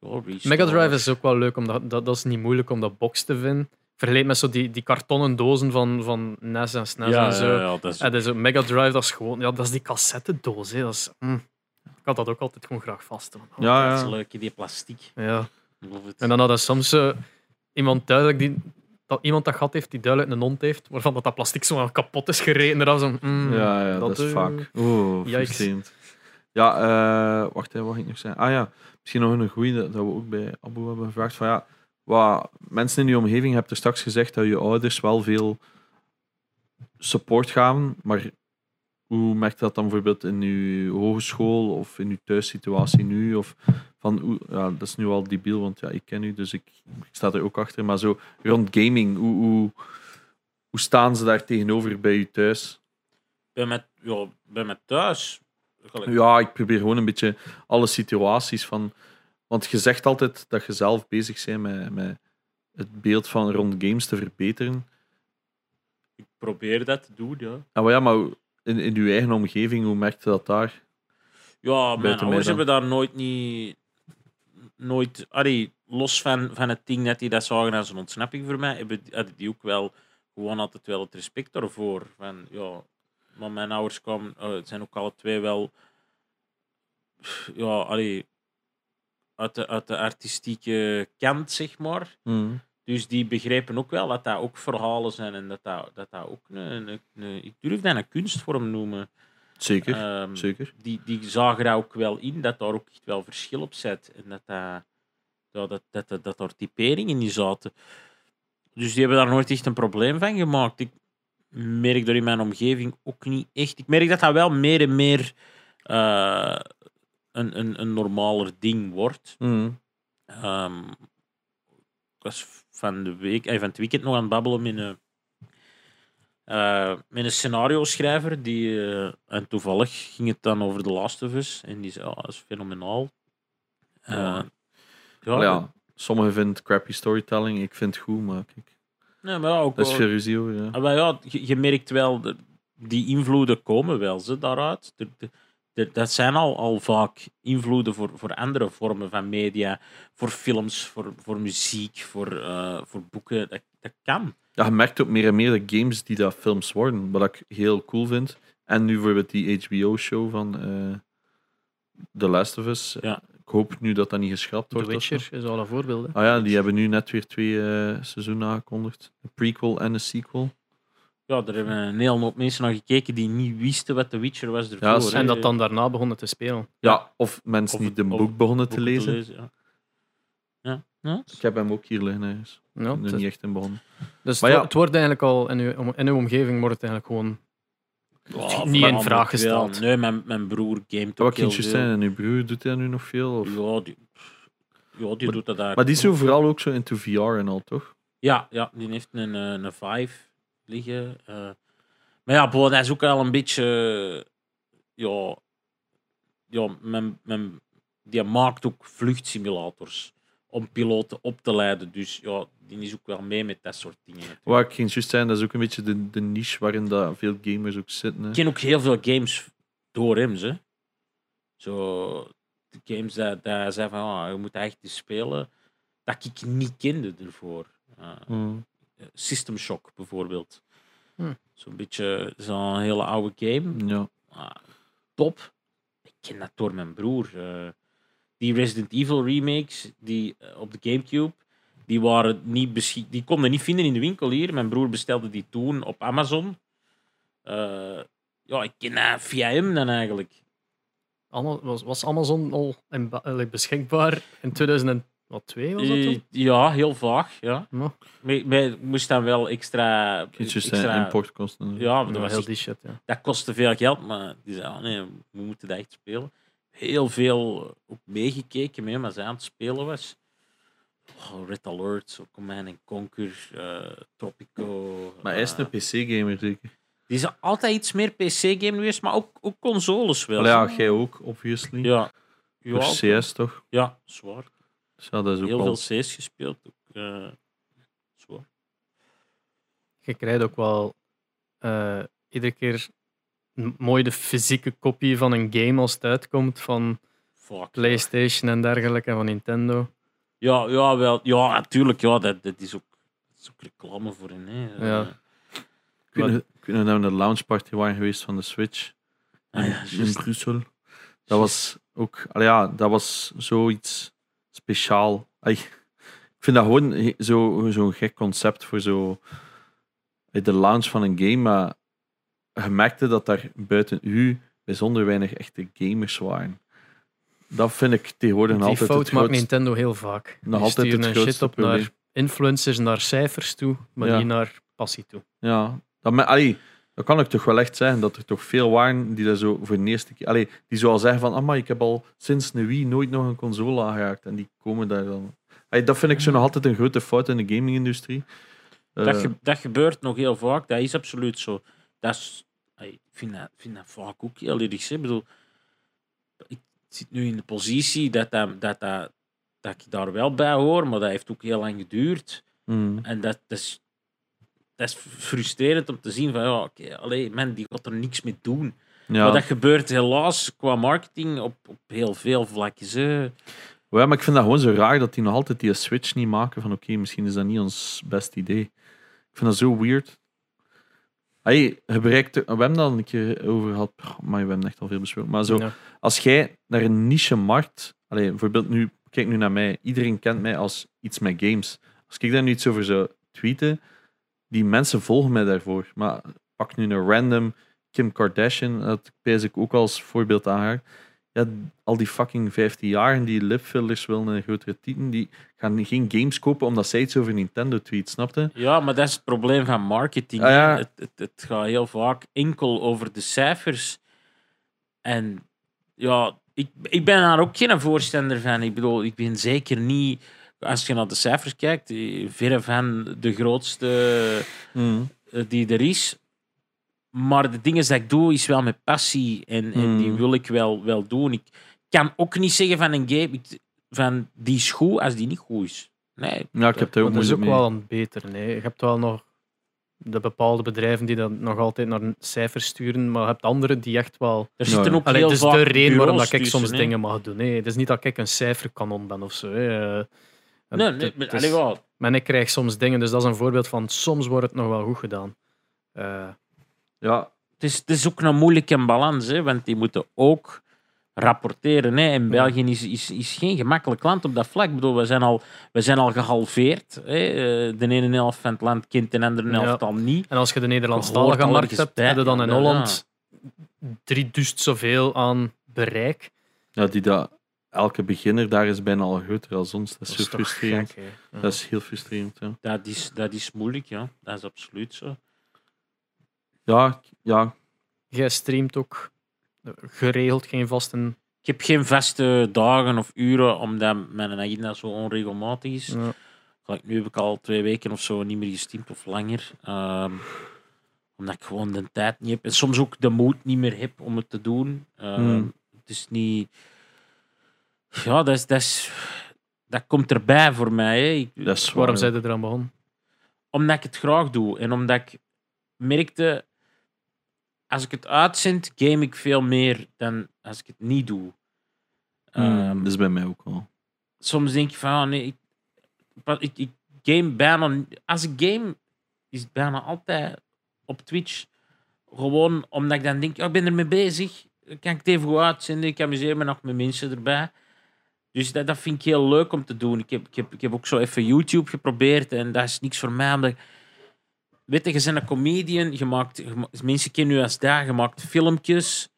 A: Ja, Restore.
B: Mega Drive is ook wel leuk, omdat dat, dat is niet moeilijk om dat box te vinden. Vergeleken met zo die, die kartonnen dozen van, van NES en SNES
A: ja,
B: en zo.
A: ja, ja, dat is
B: En dus ook Mega Drive, dat is gewoon, ja, dat is die cassettedoos. Hè. Dat is, mm. Ik had dat ook altijd gewoon graag vast. want-
C: Ja,
A: dat is
C: ja.
A: leuk in die plastic.
B: ja.
A: Ik geloof het.
B: En dan hadden soms eh, iemand duidelijk die. Dat iemand dat gat heeft die duidelijk een hond heeft, waarvan dat, dat plastic zo wel kapot is gereden. En dan zo, mm,
C: Ja, ja, dat,
B: dat,
C: is
B: eh,
C: vaak. Oeh,
B: yikes.
C: frustrerend. Ja, eh, wacht, hè, wat ging ik nog zeggen? Ah ja, misschien nog een goeie dat, dat we ook bij Abu hebben gevraagd. Van, ja, wat, mensen in je omgeving hebben er straks gezegd dat je ouders wel veel support gaven, maar hoe merkt dat dan bijvoorbeeld in je hogeschool of in je thuissituatie nu? Of van, hoe, ja, dat is nu al debiel, want ja, ik ken u, dus ik, ik sta er ook achter. Maar zo rond gaming, hoe, hoe, hoe staan ze daar tegenover bij je thuis?
A: Bij mij ja, bij mij thuis. Gelijk.
C: Ja, ik probeer gewoon een beetje alle situaties van. Want je zegt altijd dat je zelf bezig bent met, met het beeld van rond games te verbeteren.
A: Ik probeer dat te doen, ja.
C: Ja, maar, ja, maar in, in je eigen omgeving, hoe merk je dat daar?
A: Ja,
C: mij
A: mijn
C: dan.
A: ouders hebben daar nooit niet... Nooit... Allee, los van, van het ding dat die dat zagen als een ontsnapping voor mij, hebben, die- hadden die ook wel gewoon altijd wel het respect ervoor. Van, ja, maar mijn ouders kwamen, eh, zijn ook alle twee wel... Ja, allee... uit de, uit de artistieke kant, zeg maar.
C: Mm.
A: Dus die begrepen ook wel dat dat ook verhalen zijn en dat dat, dat, dat ook een, een, een- Ik durf dat een kunstvorm noemen.
C: Zeker,
A: Ehm,
C: zeker.
A: die, die zagen daar ook wel in dat daar ook echt wel verschil op zit. En dat, dat, ja, dat, dat, dat, dat daar typeringen in zaten. Dus die hebben daar nooit echt een probleem van gemaakt. Ik merk dat in mijn omgeving ook niet echt. Ik merk dat dat wel meer en meer eh, een, een, een normaler ding wordt.
C: Mm.
A: Ehm, ik was van, de week, eh, van het weekend nog aan het babbelen met een, eh, met een scenario-schrijver. Die, eh, en toevallig ging het dan over The Last of Us. En die zei, oh, dat is fenomenaal. Eh,
C: Ja.
A: ja,
C: Maar ja, sommigen vinden het crappy storytelling, ik vind het goed, maar kijk,
A: nee, maar ja, ook
C: dat is
A: wel-
C: veel ruzie over. Ja.
A: Ah, maar ja, je, je merkt wel, de- die invloeden komen wel ze, daaruit. De- de- de- dat zijn al, al vaak invloeden voor, voor andere vormen van media, voor films, voor, voor muziek, voor, eh, voor boeken. Dat, dat kan.
C: Ja, je merkt ook meer en meer de games die dat films worden, wat ik heel cool vind. En nu bijvoorbeeld die HBO-show van eh, The Last of Us.
A: Ja.
C: Ik hoop nu dat dat niet geschrapt
B: The
C: wordt. of zo.
B: Witcher is al een voorbeeld. hè.
C: Ah ja, die hebben nu net weer twee eh, seizoenen aangekondigd. Een prequel en een sequel.
A: Ja, er hebben een hele hoop mensen naar gekeken die niet wisten wat The Witcher was ervoor.
C: Ja, ze-
A: hè.
B: En dat dan daarna begonnen te spelen.
C: Ja, of mensen
A: Of
C: die
A: het-
C: de
A: of
C: boek begonnen te
A: boeken
C: lezen.
A: ja. Ja. Ja.
C: Ik heb hem ook hier liggen ergens.
B: Ja,
C: Ik ben er
B: dus
C: niet echt in begonnen.
B: dus
C: Maar
B: het wo-
C: ja.
B: het wordt eigenlijk al, in uw, om- in uw omgeving wordt het eigenlijk gewoon...
A: Ja,
B: Niet in
A: vooral
B: vraag
A: ook wel.
B: gesteld.
A: Nee, mijn, mijn broer gamet
C: Ja,
A: ook
C: wat
A: heel
C: kindjes
A: veel.
C: zijn en uw broer doet hij nu nog veel? Of?
A: Ja, die, ja, die doet dat eigenlijk.
C: Maar die
A: ook.
C: is zo vooral ook zo into VR en al, toch?
A: Ja, ja die heeft een, eh, een 5 liggen. eh. maar ja, boah, dat is ook al een beetje. eh, ja, ja men, men, die maakt ook vluchtsimulators om piloten op te leiden. Dus ja, die is ook wel mee met dat soort dingen.
C: Waar ik geen juist zijn, dat is ook een beetje de, de niche waarin dat veel gamers ook zitten. hè.
A: Ik ken ook heel veel games door hem, hè. Zo, de games dat, dat zei van, ah, je moet dat echt eens spelen, dat ik niet kende ervoor. Eh,
C: Mm.
A: System Shock bijvoorbeeld.
B: Hm.
A: Zo'n beetje zo'n hele oude game.
C: Ja.
A: maar top. Ik ken dat door mijn broer. eh. die Resident Evil remakes die, eh, op de Gamecube, die, waren niet beschik- die konden we niet vinden in de winkel hier. Mijn broer bestelde die toen op Amazon. Eh, ja, ik ken dat via hem dan eigenlijk.
B: Ama- Was, was Amazon al in ba- eigenlijk beschikbaar in 2002 was dat
A: Eh,
B: toen?
A: ja, heel vaag. Ja.
B: Ja.
A: Maar ik- maar ik moest dan wel extra...
C: Kindjes zijn
A: extra
C: importkosten. Ja.
A: ja, dat
B: Ja,
A: was
B: heel die shit, ja.
A: dat kostte veel geld, maar die zei, "Ah, nee, we moeten dat echt spelen. Heel veel eh, ook meegekeken mee, maar ze aan het spelen was. Oh, Red Alert, zo Command and Conquer, eh, Tropico.
C: Maar hij is
A: eh,
C: een PC-gamer, zeker.
A: Die is altijd iets meer PC-game geweest, maar ook, ook consoles wel.
C: Allee, ja,
A: zo.
C: jij ook, obviously.
A: ja.
C: Voor
A: Ja,
C: CS toch?
A: ja, zwaar.
C: Dus ja, dat is ook
A: Heel
C: wel-
A: veel C's gespeeld. Ook, eh, zwaar.
B: je krijgt ook wel eh, iedere keer m- mooi de fysieke kopie van een game als het uitkomt van
A: Fuck.
B: PlayStation en dergelijke en van Nintendo.
A: Ja, ja, wel. Ja, natuurlijk. Ja, dat, dat, is ook, dat is ook reclame voor hen. Hè.
B: Ja.
A: Eh,
C: Ik weet nog- ik weet nog dat we nou naar de launchparty waren geweest van de Switch.
A: Ah
C: in,
A: ja,
C: in
A: juist.
C: Brussel. Dat was ook, allee, ja, dat was zoiets speciaal. Ai, ik vind dat gewoon he- zo- zo'n gek concept voor zo eh, de launch van een game. Maar je merkte dat daar buiten u bijzonder weinig echte gamers waren. Dat vind ik tegenwoordig nog
B: Die
C: altijd
B: fout
C: het
B: maakt
C: grootste-
B: Nintendo heel vaak.
C: Nog
B: Die
C: altijd
B: sturen
C: het
B: hun
C: grootste
B: shit op
C: probleem.
B: naar influencers, naar cijfers toe, maar
C: Ja.
B: niet naar passie toe.
C: Ja, dat, me, allee, dat kan ik toch wel echt zeggen, dat er toch veel waren die daar zo voor de eerste keer... Allee, die zo al zeggen van, amai, ik heb al sinds een Wii nooit nog een console aangeraakt. En die komen daar dan... Allee, dat vind ik zo nog altijd een grote fout in de gaming-industrie.
A: Dat,
C: Eh,
A: ge- dat gebeurt nog heel vaak. Dat is absoluut zo. Dat is, Ey, ik vind dat, vind dat vaak ook heel erg. zeg. Ik bedoel, ik zit nu in de positie dat, dat, dat, dat, dat ik daar wel bij hoor, maar dat heeft ook heel lang geduurd.
C: mm,
A: En dat, dat, is, dat is frustrerend om te zien van, ja, oké, allee, man, die gaat er niks mee doen.
C: ja.
A: Maar dat gebeurt helaas qua marketing op, op heel veel vlakjes. hè.
C: Ja, maar ik vind dat gewoon zo raar dat die nog altijd die switch niet maken van oké, misschien is dat niet ons best idee. Ik vind dat zo weird. Hey, je bereikt... We hebben dat een keer over gehad. Maar we hebben echt al veel besproken. Maar zo,
B: Ja.
C: als jij naar een niche markt, allee, bijvoorbeeld nu kijk nu naar mij. Iedereen kent mij als iets met games. Als ik daar nu iets over zou tweeten, die mensen volgen mij daarvoor. Maar pak nu een random Kim Kardashian, dat pijs ik ook als voorbeeld aan haar. Ja, al die fucking 15 jaar die lipfillers willen een grotere titel, die gaan geen games kopen omdat zij iets over Nintendo tweet, snapte?
A: Ja, maar dat is het probleem van marketing.
C: Ah, ja.
A: het, het, het gaat heel vaak enkel over de cijfers. En ja, ik, ik ben daar ook geen voorstander van. Ik bedoel, ik ben zeker niet, als je naar de cijfers kijkt, eh, verre van de grootste
C: Mm.
A: eh, die er is. Maar de dingen die ik doe, is wel met passie. En, en die
C: Mm.
A: wil ik wel, wel doen. Ik kan ook niet zeggen van een game, ik- van die is goed als die niet goed is. Nee,
C: Ja, ik heb daar ook
B: Maar dat is
C: moeilijk
B: ook
C: mee.
B: wel een beter. Nee. Je hebt wel nog de bepaalde bedrijven die dat nog altijd naar cijfers sturen, maar je hebt anderen die echt wel.
A: er
C: Ja,
A: zitten
C: ja.
A: ook
B: Allee,
A: heel
B: het is
A: vaak
B: de reden waarom dat ik
A: bureaus tussen,
B: soms
A: hè.
B: dingen mag doen. Nee, het is niet dat ik een cijferkanon ben of zo. hè. Eh,
A: Nee,
B: het-
A: nee, maar,
B: het is-
A: allee, wel.
B: maar ik krijg soms dingen, dus dat is een voorbeeld van soms wordt het nog wel goed gedaan. Eh,
C: Ja,
A: het, is, het is ook een moeilijke balans, hè, want die moeten ook rapporteren. Hè. En België is, is, is geen gemakkelijk land op dat vlak. Ik bedoel, we zijn al, we zijn al gehalveerd. Hè. Eh, De ene helft van het land kent de andere
B: Ja.
A: helft al niet.
B: en als je de
A: Je
B: Nederlandstalige
A: hoort al
B: markt
A: ergens
B: hebt,
A: bij,
B: heb je dan in
A: ja,
B: Holland drie duist zoveel aan bereik.
C: ja die dat, elke beginner daar is bijna al groter als ons. Dat is,
B: Dat
C: zo
B: is toch
C: frustrerend.
B: gek, hè. Ja.
C: Dat is heel frustrerend, ja.
A: Dat is, dat is moeilijk, ja. Dat is absoluut zo.
C: Ja, ik- ja.
B: Jij streamt ook eh, geregeld geen vasten.
A: Ik heb geen vaste dagen of uren, omdat mijn agenda zo onregelmatig is.
B: Ja.
A: Gelijk, nu heb ik al twee weken of zo niet meer gesteamd of langer. Ehm, omdat ik gewoon de tijd niet heb. En soms ook de moed niet meer heb om het te doen. Ehm,
C: Hmm.
A: Het is niet. Ja, dat, is, dat, is, dat komt erbij voor mij. Hè. Ik-
C: Dat is
B: Waarom
C: waar.
B: zijn ze eraan begonnen?
A: omdat ik het graag doe en omdat ik merkte, als ik het uitzend, game ik veel meer dan als ik het niet doe.
C: Hmm,
A: Ehm,
C: dat is bij mij ook wel.
A: soms denk je van, ah, nee, ik, pa- ik, ik game bijna... Als ik game, is het bijna altijd op Twitch. Gewoon omdat ik dan denk, ja, ik ben ermee bezig. Dan Kan ik het even goed uitzenden? Ik amuseer me nog met mensen erbij. Dus dat, dat vind ik heel leuk om te doen. Ik heb, ik, heb, ik heb ook zo even YouTube geprobeerd en dat is niks voor mij. Omdat, weet je, je bent een comedian, je maakt, je ma- mensen kennen je als daar, je maakt filmpjes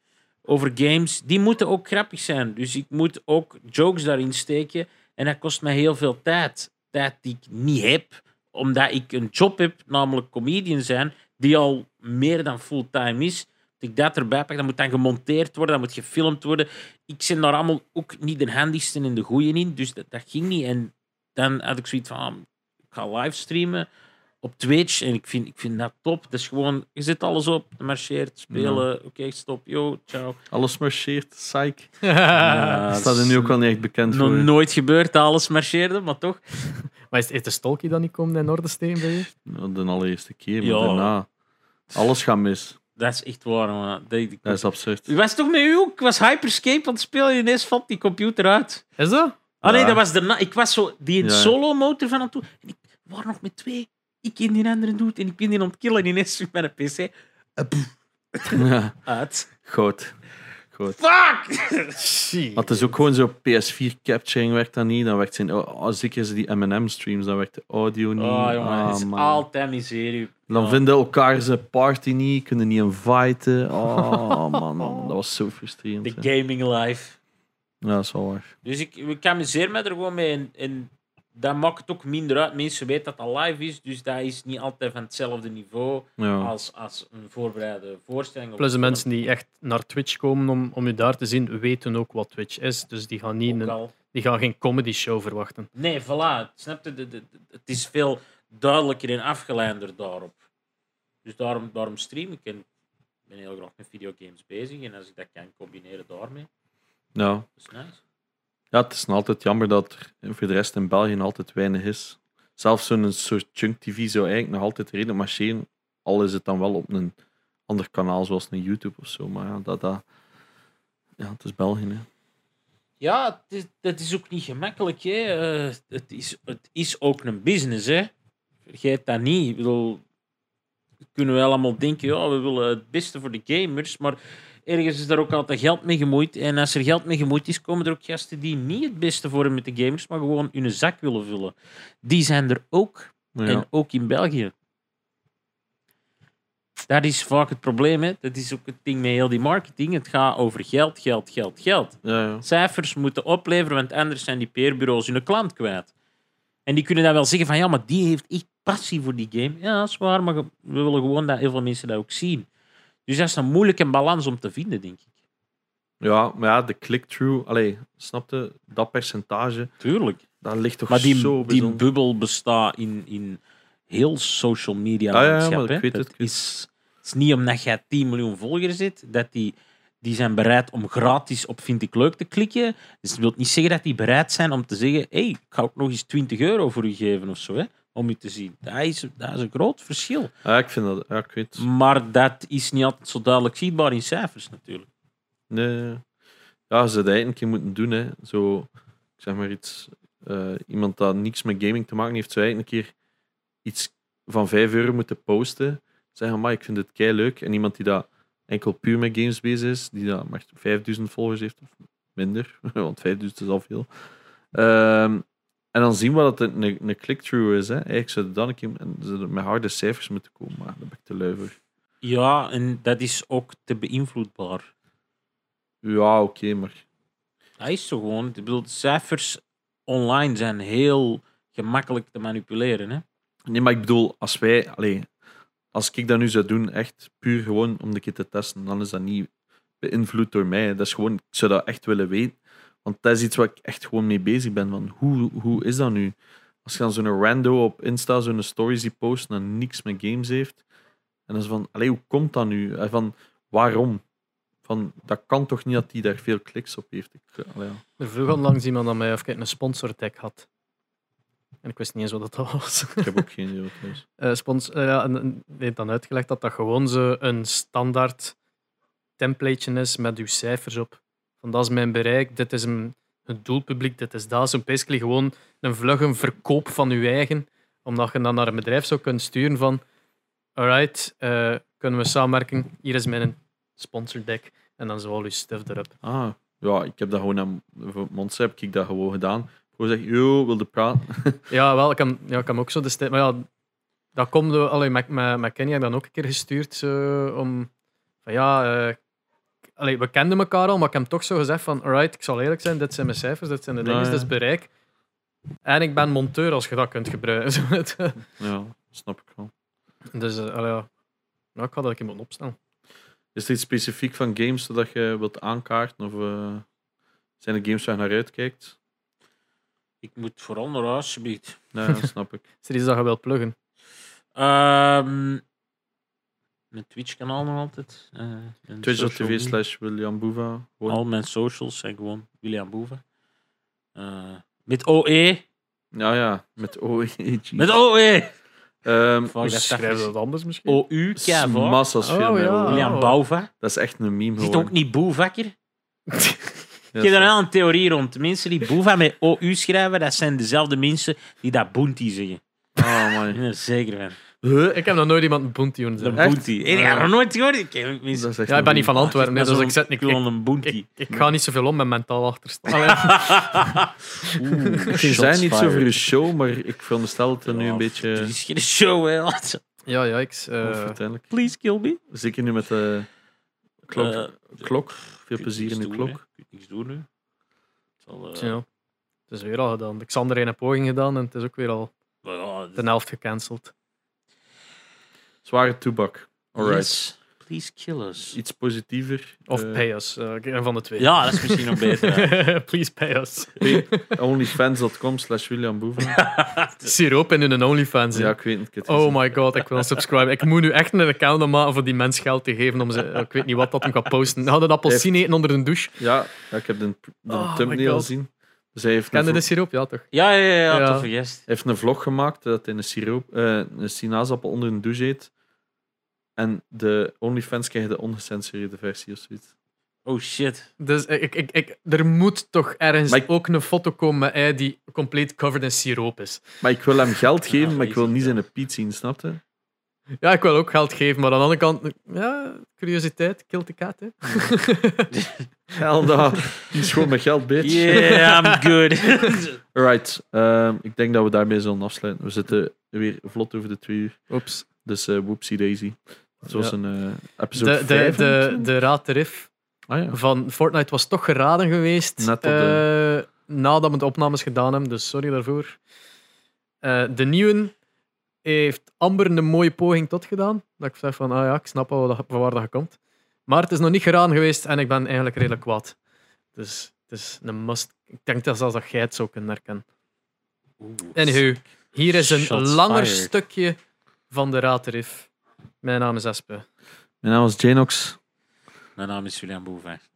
A: over games, die moeten ook grappig zijn. Dus ik moet ook jokes daarin steken. En dat kost mij heel veel tijd. Tijd die ik niet heb, omdat ik een job heb, namelijk comedian zijn, die al meer dan fulltime is. Dat ik dat erbij pak, dat moet dan gemonteerd worden, dat moet gefilmd worden. Ik ben daar allemaal ook niet de handigste en de goeie in, dus dat, dat ging niet. En dan had ik zoiets van, ah, ik ga livestreamen op Twitch en ik vind, ik vind dat top. Dat is gewoon, je zet alles op, je marcheert, spelen, oké, stop, yo, ciao.
C: Alles marcheert, psych.
A: Ja,
C: Dat staat er nu ook wel niet echt bekend
A: nog
C: voor.
A: nooit gebeurd, dat alles marcheerde, maar toch.
B: Maar is is de stolkie dan niet komen in orde steen bij je?
C: Nou, De allereerste keer, maar
A: Ja.
C: daarna. Alles gaat mis.
A: Dat is echt waar, man. Dat, ik,
C: Dat is absurd.
A: Ik was toch met u ook? Ik was Hyperscape aan het spelen en ineens valt die computer uit.
B: Is dat?
A: Ah nee,
C: Ja.
A: dat was daarna. Ik was zo die
C: Ja.
A: solo motor van aan toe. En ik was nog met twee. Ik in die andere doet en ik ben die aan het killen en ineens zit mijn PC
C: Ja,
A: uit.
C: Goud. Goud.
A: Fuck!
C: Maar het is ook gewoon zo, PS4 capturing werkt dan niet, dan werkt zijn, oh, oh, zeker is die M&M streams, dan werkt de audio niet.
A: Oh jongen,
C: Ah,
A: het is
C: man.
A: altijd miserie.
C: Dan
A: Ja.
C: vinden elkaar zijn party niet, kunnen niet inviten. Oh man, dat was zo frustrerend.
A: De
C: hè.
A: gaming life.
C: Ja, dat is wel waar.
A: Dus ik, ik amuseer me er gewoon mee. En, en dat maakt het ook minder uit. Mensen weten dat dat live is, dus dat is niet altijd van hetzelfde niveau
C: Ja.
A: als, als een voorbereide voorstelling. of
B: Plus de
A: film.
B: mensen die echt naar Twitch komen om, om je daar te zien, weten ook wat Twitch is. Dus die gaan, niet
A: Ook
B: een,
A: al.
B: die gaan geen comedy show verwachten.
A: Nee, voilà. Snap je? De- de- de- Het is veel duidelijker en afgeleider daarop. Dus daarom, daarom stream ik. En ik ben heel graag met videogames bezig. En als ik dat kan combineren daarmee,
C: Ja.
A: dat is nice.
C: ja, het is nog altijd jammer dat er voor de rest in België nog altijd weinig is. Zelfs zo'n soort chunk TV zou eigenlijk nog altijd redelijk marcheren, al is het dan wel op een ander kanaal, zoals een YouTube of zo. Maar ja, dat, dat... ja het is België. Hè.
A: Ja, het is- dat is ook niet gemakkelijk. Hè. Eh, het, is, het is ook een business. Hè. Vergeet dat niet. Ik bedoel, we kunnen wel allemaal denken, ja, we willen het beste voor de gamers. Maar ergens is daar ook altijd geld mee gemoeid. En als er geld mee gemoeid is, komen er ook gasten die niet het beste vormen met de gamers, maar gewoon hun zak willen vullen. Die zijn er ook. En ook in België. Dat is vaak het probleem. Hè? Dat is ook het ding met heel die marketing. Het gaat over geld, geld, geld, geld.
C: Ja, ja.
A: Cijfers moeten opleveren, want anders zijn die peerbureaus hun klant kwijt. En die kunnen dan wel zeggen van ja, maar die heeft echt passie voor die game. Ja, dat is waar, maar we willen gewoon dat heel veel mensen dat ook zien. Dus dat is een moeilijke balans om te vinden, denk ik.
C: Ja, maar ja, de click-through, allee, snapte dat percentage,
A: Tuurlijk.
C: dat ligt toch
A: Maar
C: zo
A: die, die
C: bijzonder.
A: bubbel bestaat in, in heel social media
C: Ah, ja, ja,
A: landschap.
C: maar ik
A: hè.
C: weet het,
A: Dat
C: ik weet
A: Is, het is niet omdat jij 10 miljoen volgers zit, dat die, die zijn bereid om gratis op vind ik leuk te klikken. Dus dat wil niet zeggen dat die bereid zijn om te zeggen, hey, ik ga ook nog eens 20 euro voor u geven of zo, hè, om je te zien. Dat is, dat is een groot verschil.
C: Ja, ik vind dat, ja, ik weet.
A: Maar dat is niet altijd zo duidelijk zichtbaar in cijfers natuurlijk.
C: Nee. Ja, ze dat een keer moeten doen. Hè. Zo, ik zeg maar iets. eh, iemand dat niks met gaming te maken heeft, zou eigenlijk een keer iets van 5 euro moeten posten. Zeggen, maar ik vind het kei leuk. En iemand die dat enkel puur met games bezig is, die dat maar 5000 volgers heeft, of minder, want 5000 is al veel. Ehm, en dan zien we dat het een, een click-through is. Hè. Eigenlijk zou het dan een keer en ze zouden met harde cijfers moeten komen, maar daar ben ik te lui voor.
A: Ja, en dat is ook te beïnvloedbaar.
C: Ja, oké, maar
A: Hij is zo gewoon. Ik bedoel, de cijfers online zijn heel gemakkelijk te manipuleren. Hè?
C: Nee, maar ik bedoel, als wij, allee, als ik dat nu zou doen, echt puur gewoon om de keer te testen, dan is dat niet beïnvloed door mij. Dat is gewoon, ik zou dat echt willen weten. Want dat is iets waar ik echt gewoon mee bezig ben. Van hoe, hoe is dat nu? Als je dan zo'n rando op Insta zo'n story ziet posten en niks met games heeft. En dan is van, allee, hoe komt dat nu? En van, waarom? Van, dat kan toch niet dat die daar veel kliks op heeft? Ik, allee, ja.
B: Er vroeg onlangs iemand aan mij of ik een sponsortag had. En ik wist niet eens wat dat was.
C: ik heb ook geen idee wat dat is.
B: Eh, spons eh, ja, en, en die heeft dan uitgelegd dat dat gewoon zo een standaard templateje is met uw cijfers op. Van dat is mijn bereik, dit is een, het doelpubliek, dit is dat. Zo basically gewoon een vlugge verkoop van uw eigen. Omdat je dan naar een bedrijf zou kunnen sturen van alright, eh, kunnen we samenwerken? Hier is mijn sponsordeck. En dan zo al je stuff erop.
C: Ah, ja, ik heb dat gewoon aan voor Monster heb ik dat gewoon gedaan. Gewoon zeg, yo, wilde praten.
B: Ja, wel, ik kan, ja, ik kan ook zo de stem. Maar ja, dat komt door. Allee, met, met, met Kenny heb ik dan ook een keer gestuurd. zo, om, van ja, eh, allee, we kenden elkaar al, maar ik heb toch zo gezegd: van alright, ik zal eerlijk zijn, dit zijn mijn cijfers, dit zijn de
C: Nou,
B: dingen,
C: ja.
B: dit is bereik. En ik ben monteur als je dat kunt gebruiken. Zo het.
C: Ja, snap ik wel.
B: dus eh, allee, ja. Nou, ik had dat ik moet opstellen.
C: Is er iets specifiek van games dat je wilt aankaarten? Of eh, zijn er games waar je naar uitkijkt?
A: Ik moet vooral naar huis, alsjeblieft.
C: Nee, dat snap ik.
B: Is er iets dat je wilt pluggen?
A: Ehm, mijn Twitch-kanaal nog altijd. eh, en social
C: Twitch.tv
A: media.
C: slash William Boeva. Gewoon-
A: Al mijn socials zijn gewoon William Boeven. Eh, met OE.
C: Ja, ja, met OEG.
A: Met E! OE!
C: Ehm,
A: Fuck, dat
B: Schrijf dat anders misschien?
A: OU, Kavo.
C: Massa's
B: Oh,
C: veel.
B: ja.
C: Ja.
A: William
B: Oh.
A: Bouva.
C: Dat is echt een meme
A: Zit
C: geworden.
A: ook niet Boevakker?
C: Ja,
A: Ik heb
C: dat
A: daar
C: is-
A: wel een theorie rond. Mensen die Boeva met OU schrijven, dat zijn dezelfde mensen die dat Bounty zeggen.
C: Ah,
A: Ik
C: man.
A: ben er zeker van.
C: Huh?
B: Ik heb nog nooit iemand een bounty horen
A: De
B: zeggen.
C: Echt?
A: bounty. Hey, die gaan we nooit gehoord. Ik ken ook niet.
C: Dat is echt
B: Ja, ik
C: een
B: ben niet van
C: meme.
B: Antwerpen, hè, dus ik zet niet.
A: Ik wil
B: Ik,
A: een bounty.
B: ik, ik ga niet zoveel om met mentaal achterstand. Allee.
A: Oeh, Oh,
C: Ze zijn niet zo voor
A: verustig.
C: je show, maar ik veronderstel dat er nu een beetje...
A: Het is geen show, hè. laat.
B: Ja, ja, ik. eh,
C: Of uiteindelijk.
A: Please kill me.
C: Zeker nu met de klok.
A: Eh,
C: klok. Veel
A: ik
C: plezier
A: niks
C: in de
A: doen, hè.
C: klok.
A: Ik kan niks doen nu. Het zal, eh,
B: ja. Het is weer al gedaan. De Xander heeft een poging gedaan en het is ook weer al
A: maar ja,
B: de helft gecanceld.
C: Zware toebak. Alright.
A: yes, please kill us.
C: Iets positiever.
B: Of
C: Eh,
B: pay us. eh, een van de twee.
A: Ja, dat is misschien nog beter. hè.
B: Please pay us.
C: Onlyfans.com slash William Boeven.
B: Siroop in hun OnlyFans. hè.
C: ja, ik weet het. ik heb het gezien.
B: Oh my god, ik wil subscriben. Ik moet nu echt een account maken voor die mens geld te geven. Om ze, ik weet niet wat dat hem gaat posten. Hadden dat appelsien eten onder een douche.
C: Ja, ja, ik heb de, de
B: Oh my
C: thumbnail
B: God.
C: gezien. Dus hij heeft, een,
B: Kende
C: vlo-
B: de siroop? Ja, toch?
A: ja, ja, ja,
B: Ja.
A: ja, toffe gest.
C: hij heeft een vlog gemaakt dat hij een, siroop, eh, een sinaasappel onder een douche eet. En de Onlyfans krijgen de ongecensureerde versie of zoiets.
A: Oh shit.
B: Dus ik, ik, ik, er moet toch ergens
C: Maar ik-
B: ook een foto komen met hij die compleet covered in siroop is.
C: Maar ik wil hem geld geven,
A: Ja,
C: maar ik wil
A: easy,
C: niet
A: ja.
C: zijn piet zien, snapte?
B: Ja, ik wil ook geld geven, maar aan de andere kant, ja, curiositeit, kill the cat. Hè.
C: Hell da. Die is gewoon met geld, bitch.
A: Yeah, I'm good.
C: Alright. ehm, ik denk dat we daarmee zullen afsluiten. We zitten weer vlot over de twee uur.
B: Oeps.
C: Dus eh whoopsie daisy. Het was
B: Ja.
C: een eh,
B: De,
C: episode
B: de,
C: 5.
B: de, de raadtarief
C: Ah ja.
B: van Fortnite was toch geraden geweest
C: Net op
B: eh, nadat we de opnames gedaan hebben, dus sorry daarvoor. Eh, de nieuwe heeft Amber een mooie poging tot gedaan. Dat ik zeg van, ah ja, ik snap wel wat- van waar dat je komt. Maar het is nog niet geraden geweest en ik ben eigenlijk redelijk kwaad. Dus het is een must. Ik denk dat zelfs dat jij het zou kunnen herkennen. Anywho, hier is een
A: Shots
B: langer
A: fired.
B: stukje van de raadtarief. Mijn naam is Espe.
C: Mijn naam is Janox.
A: Mijn naam is Julian Boeven.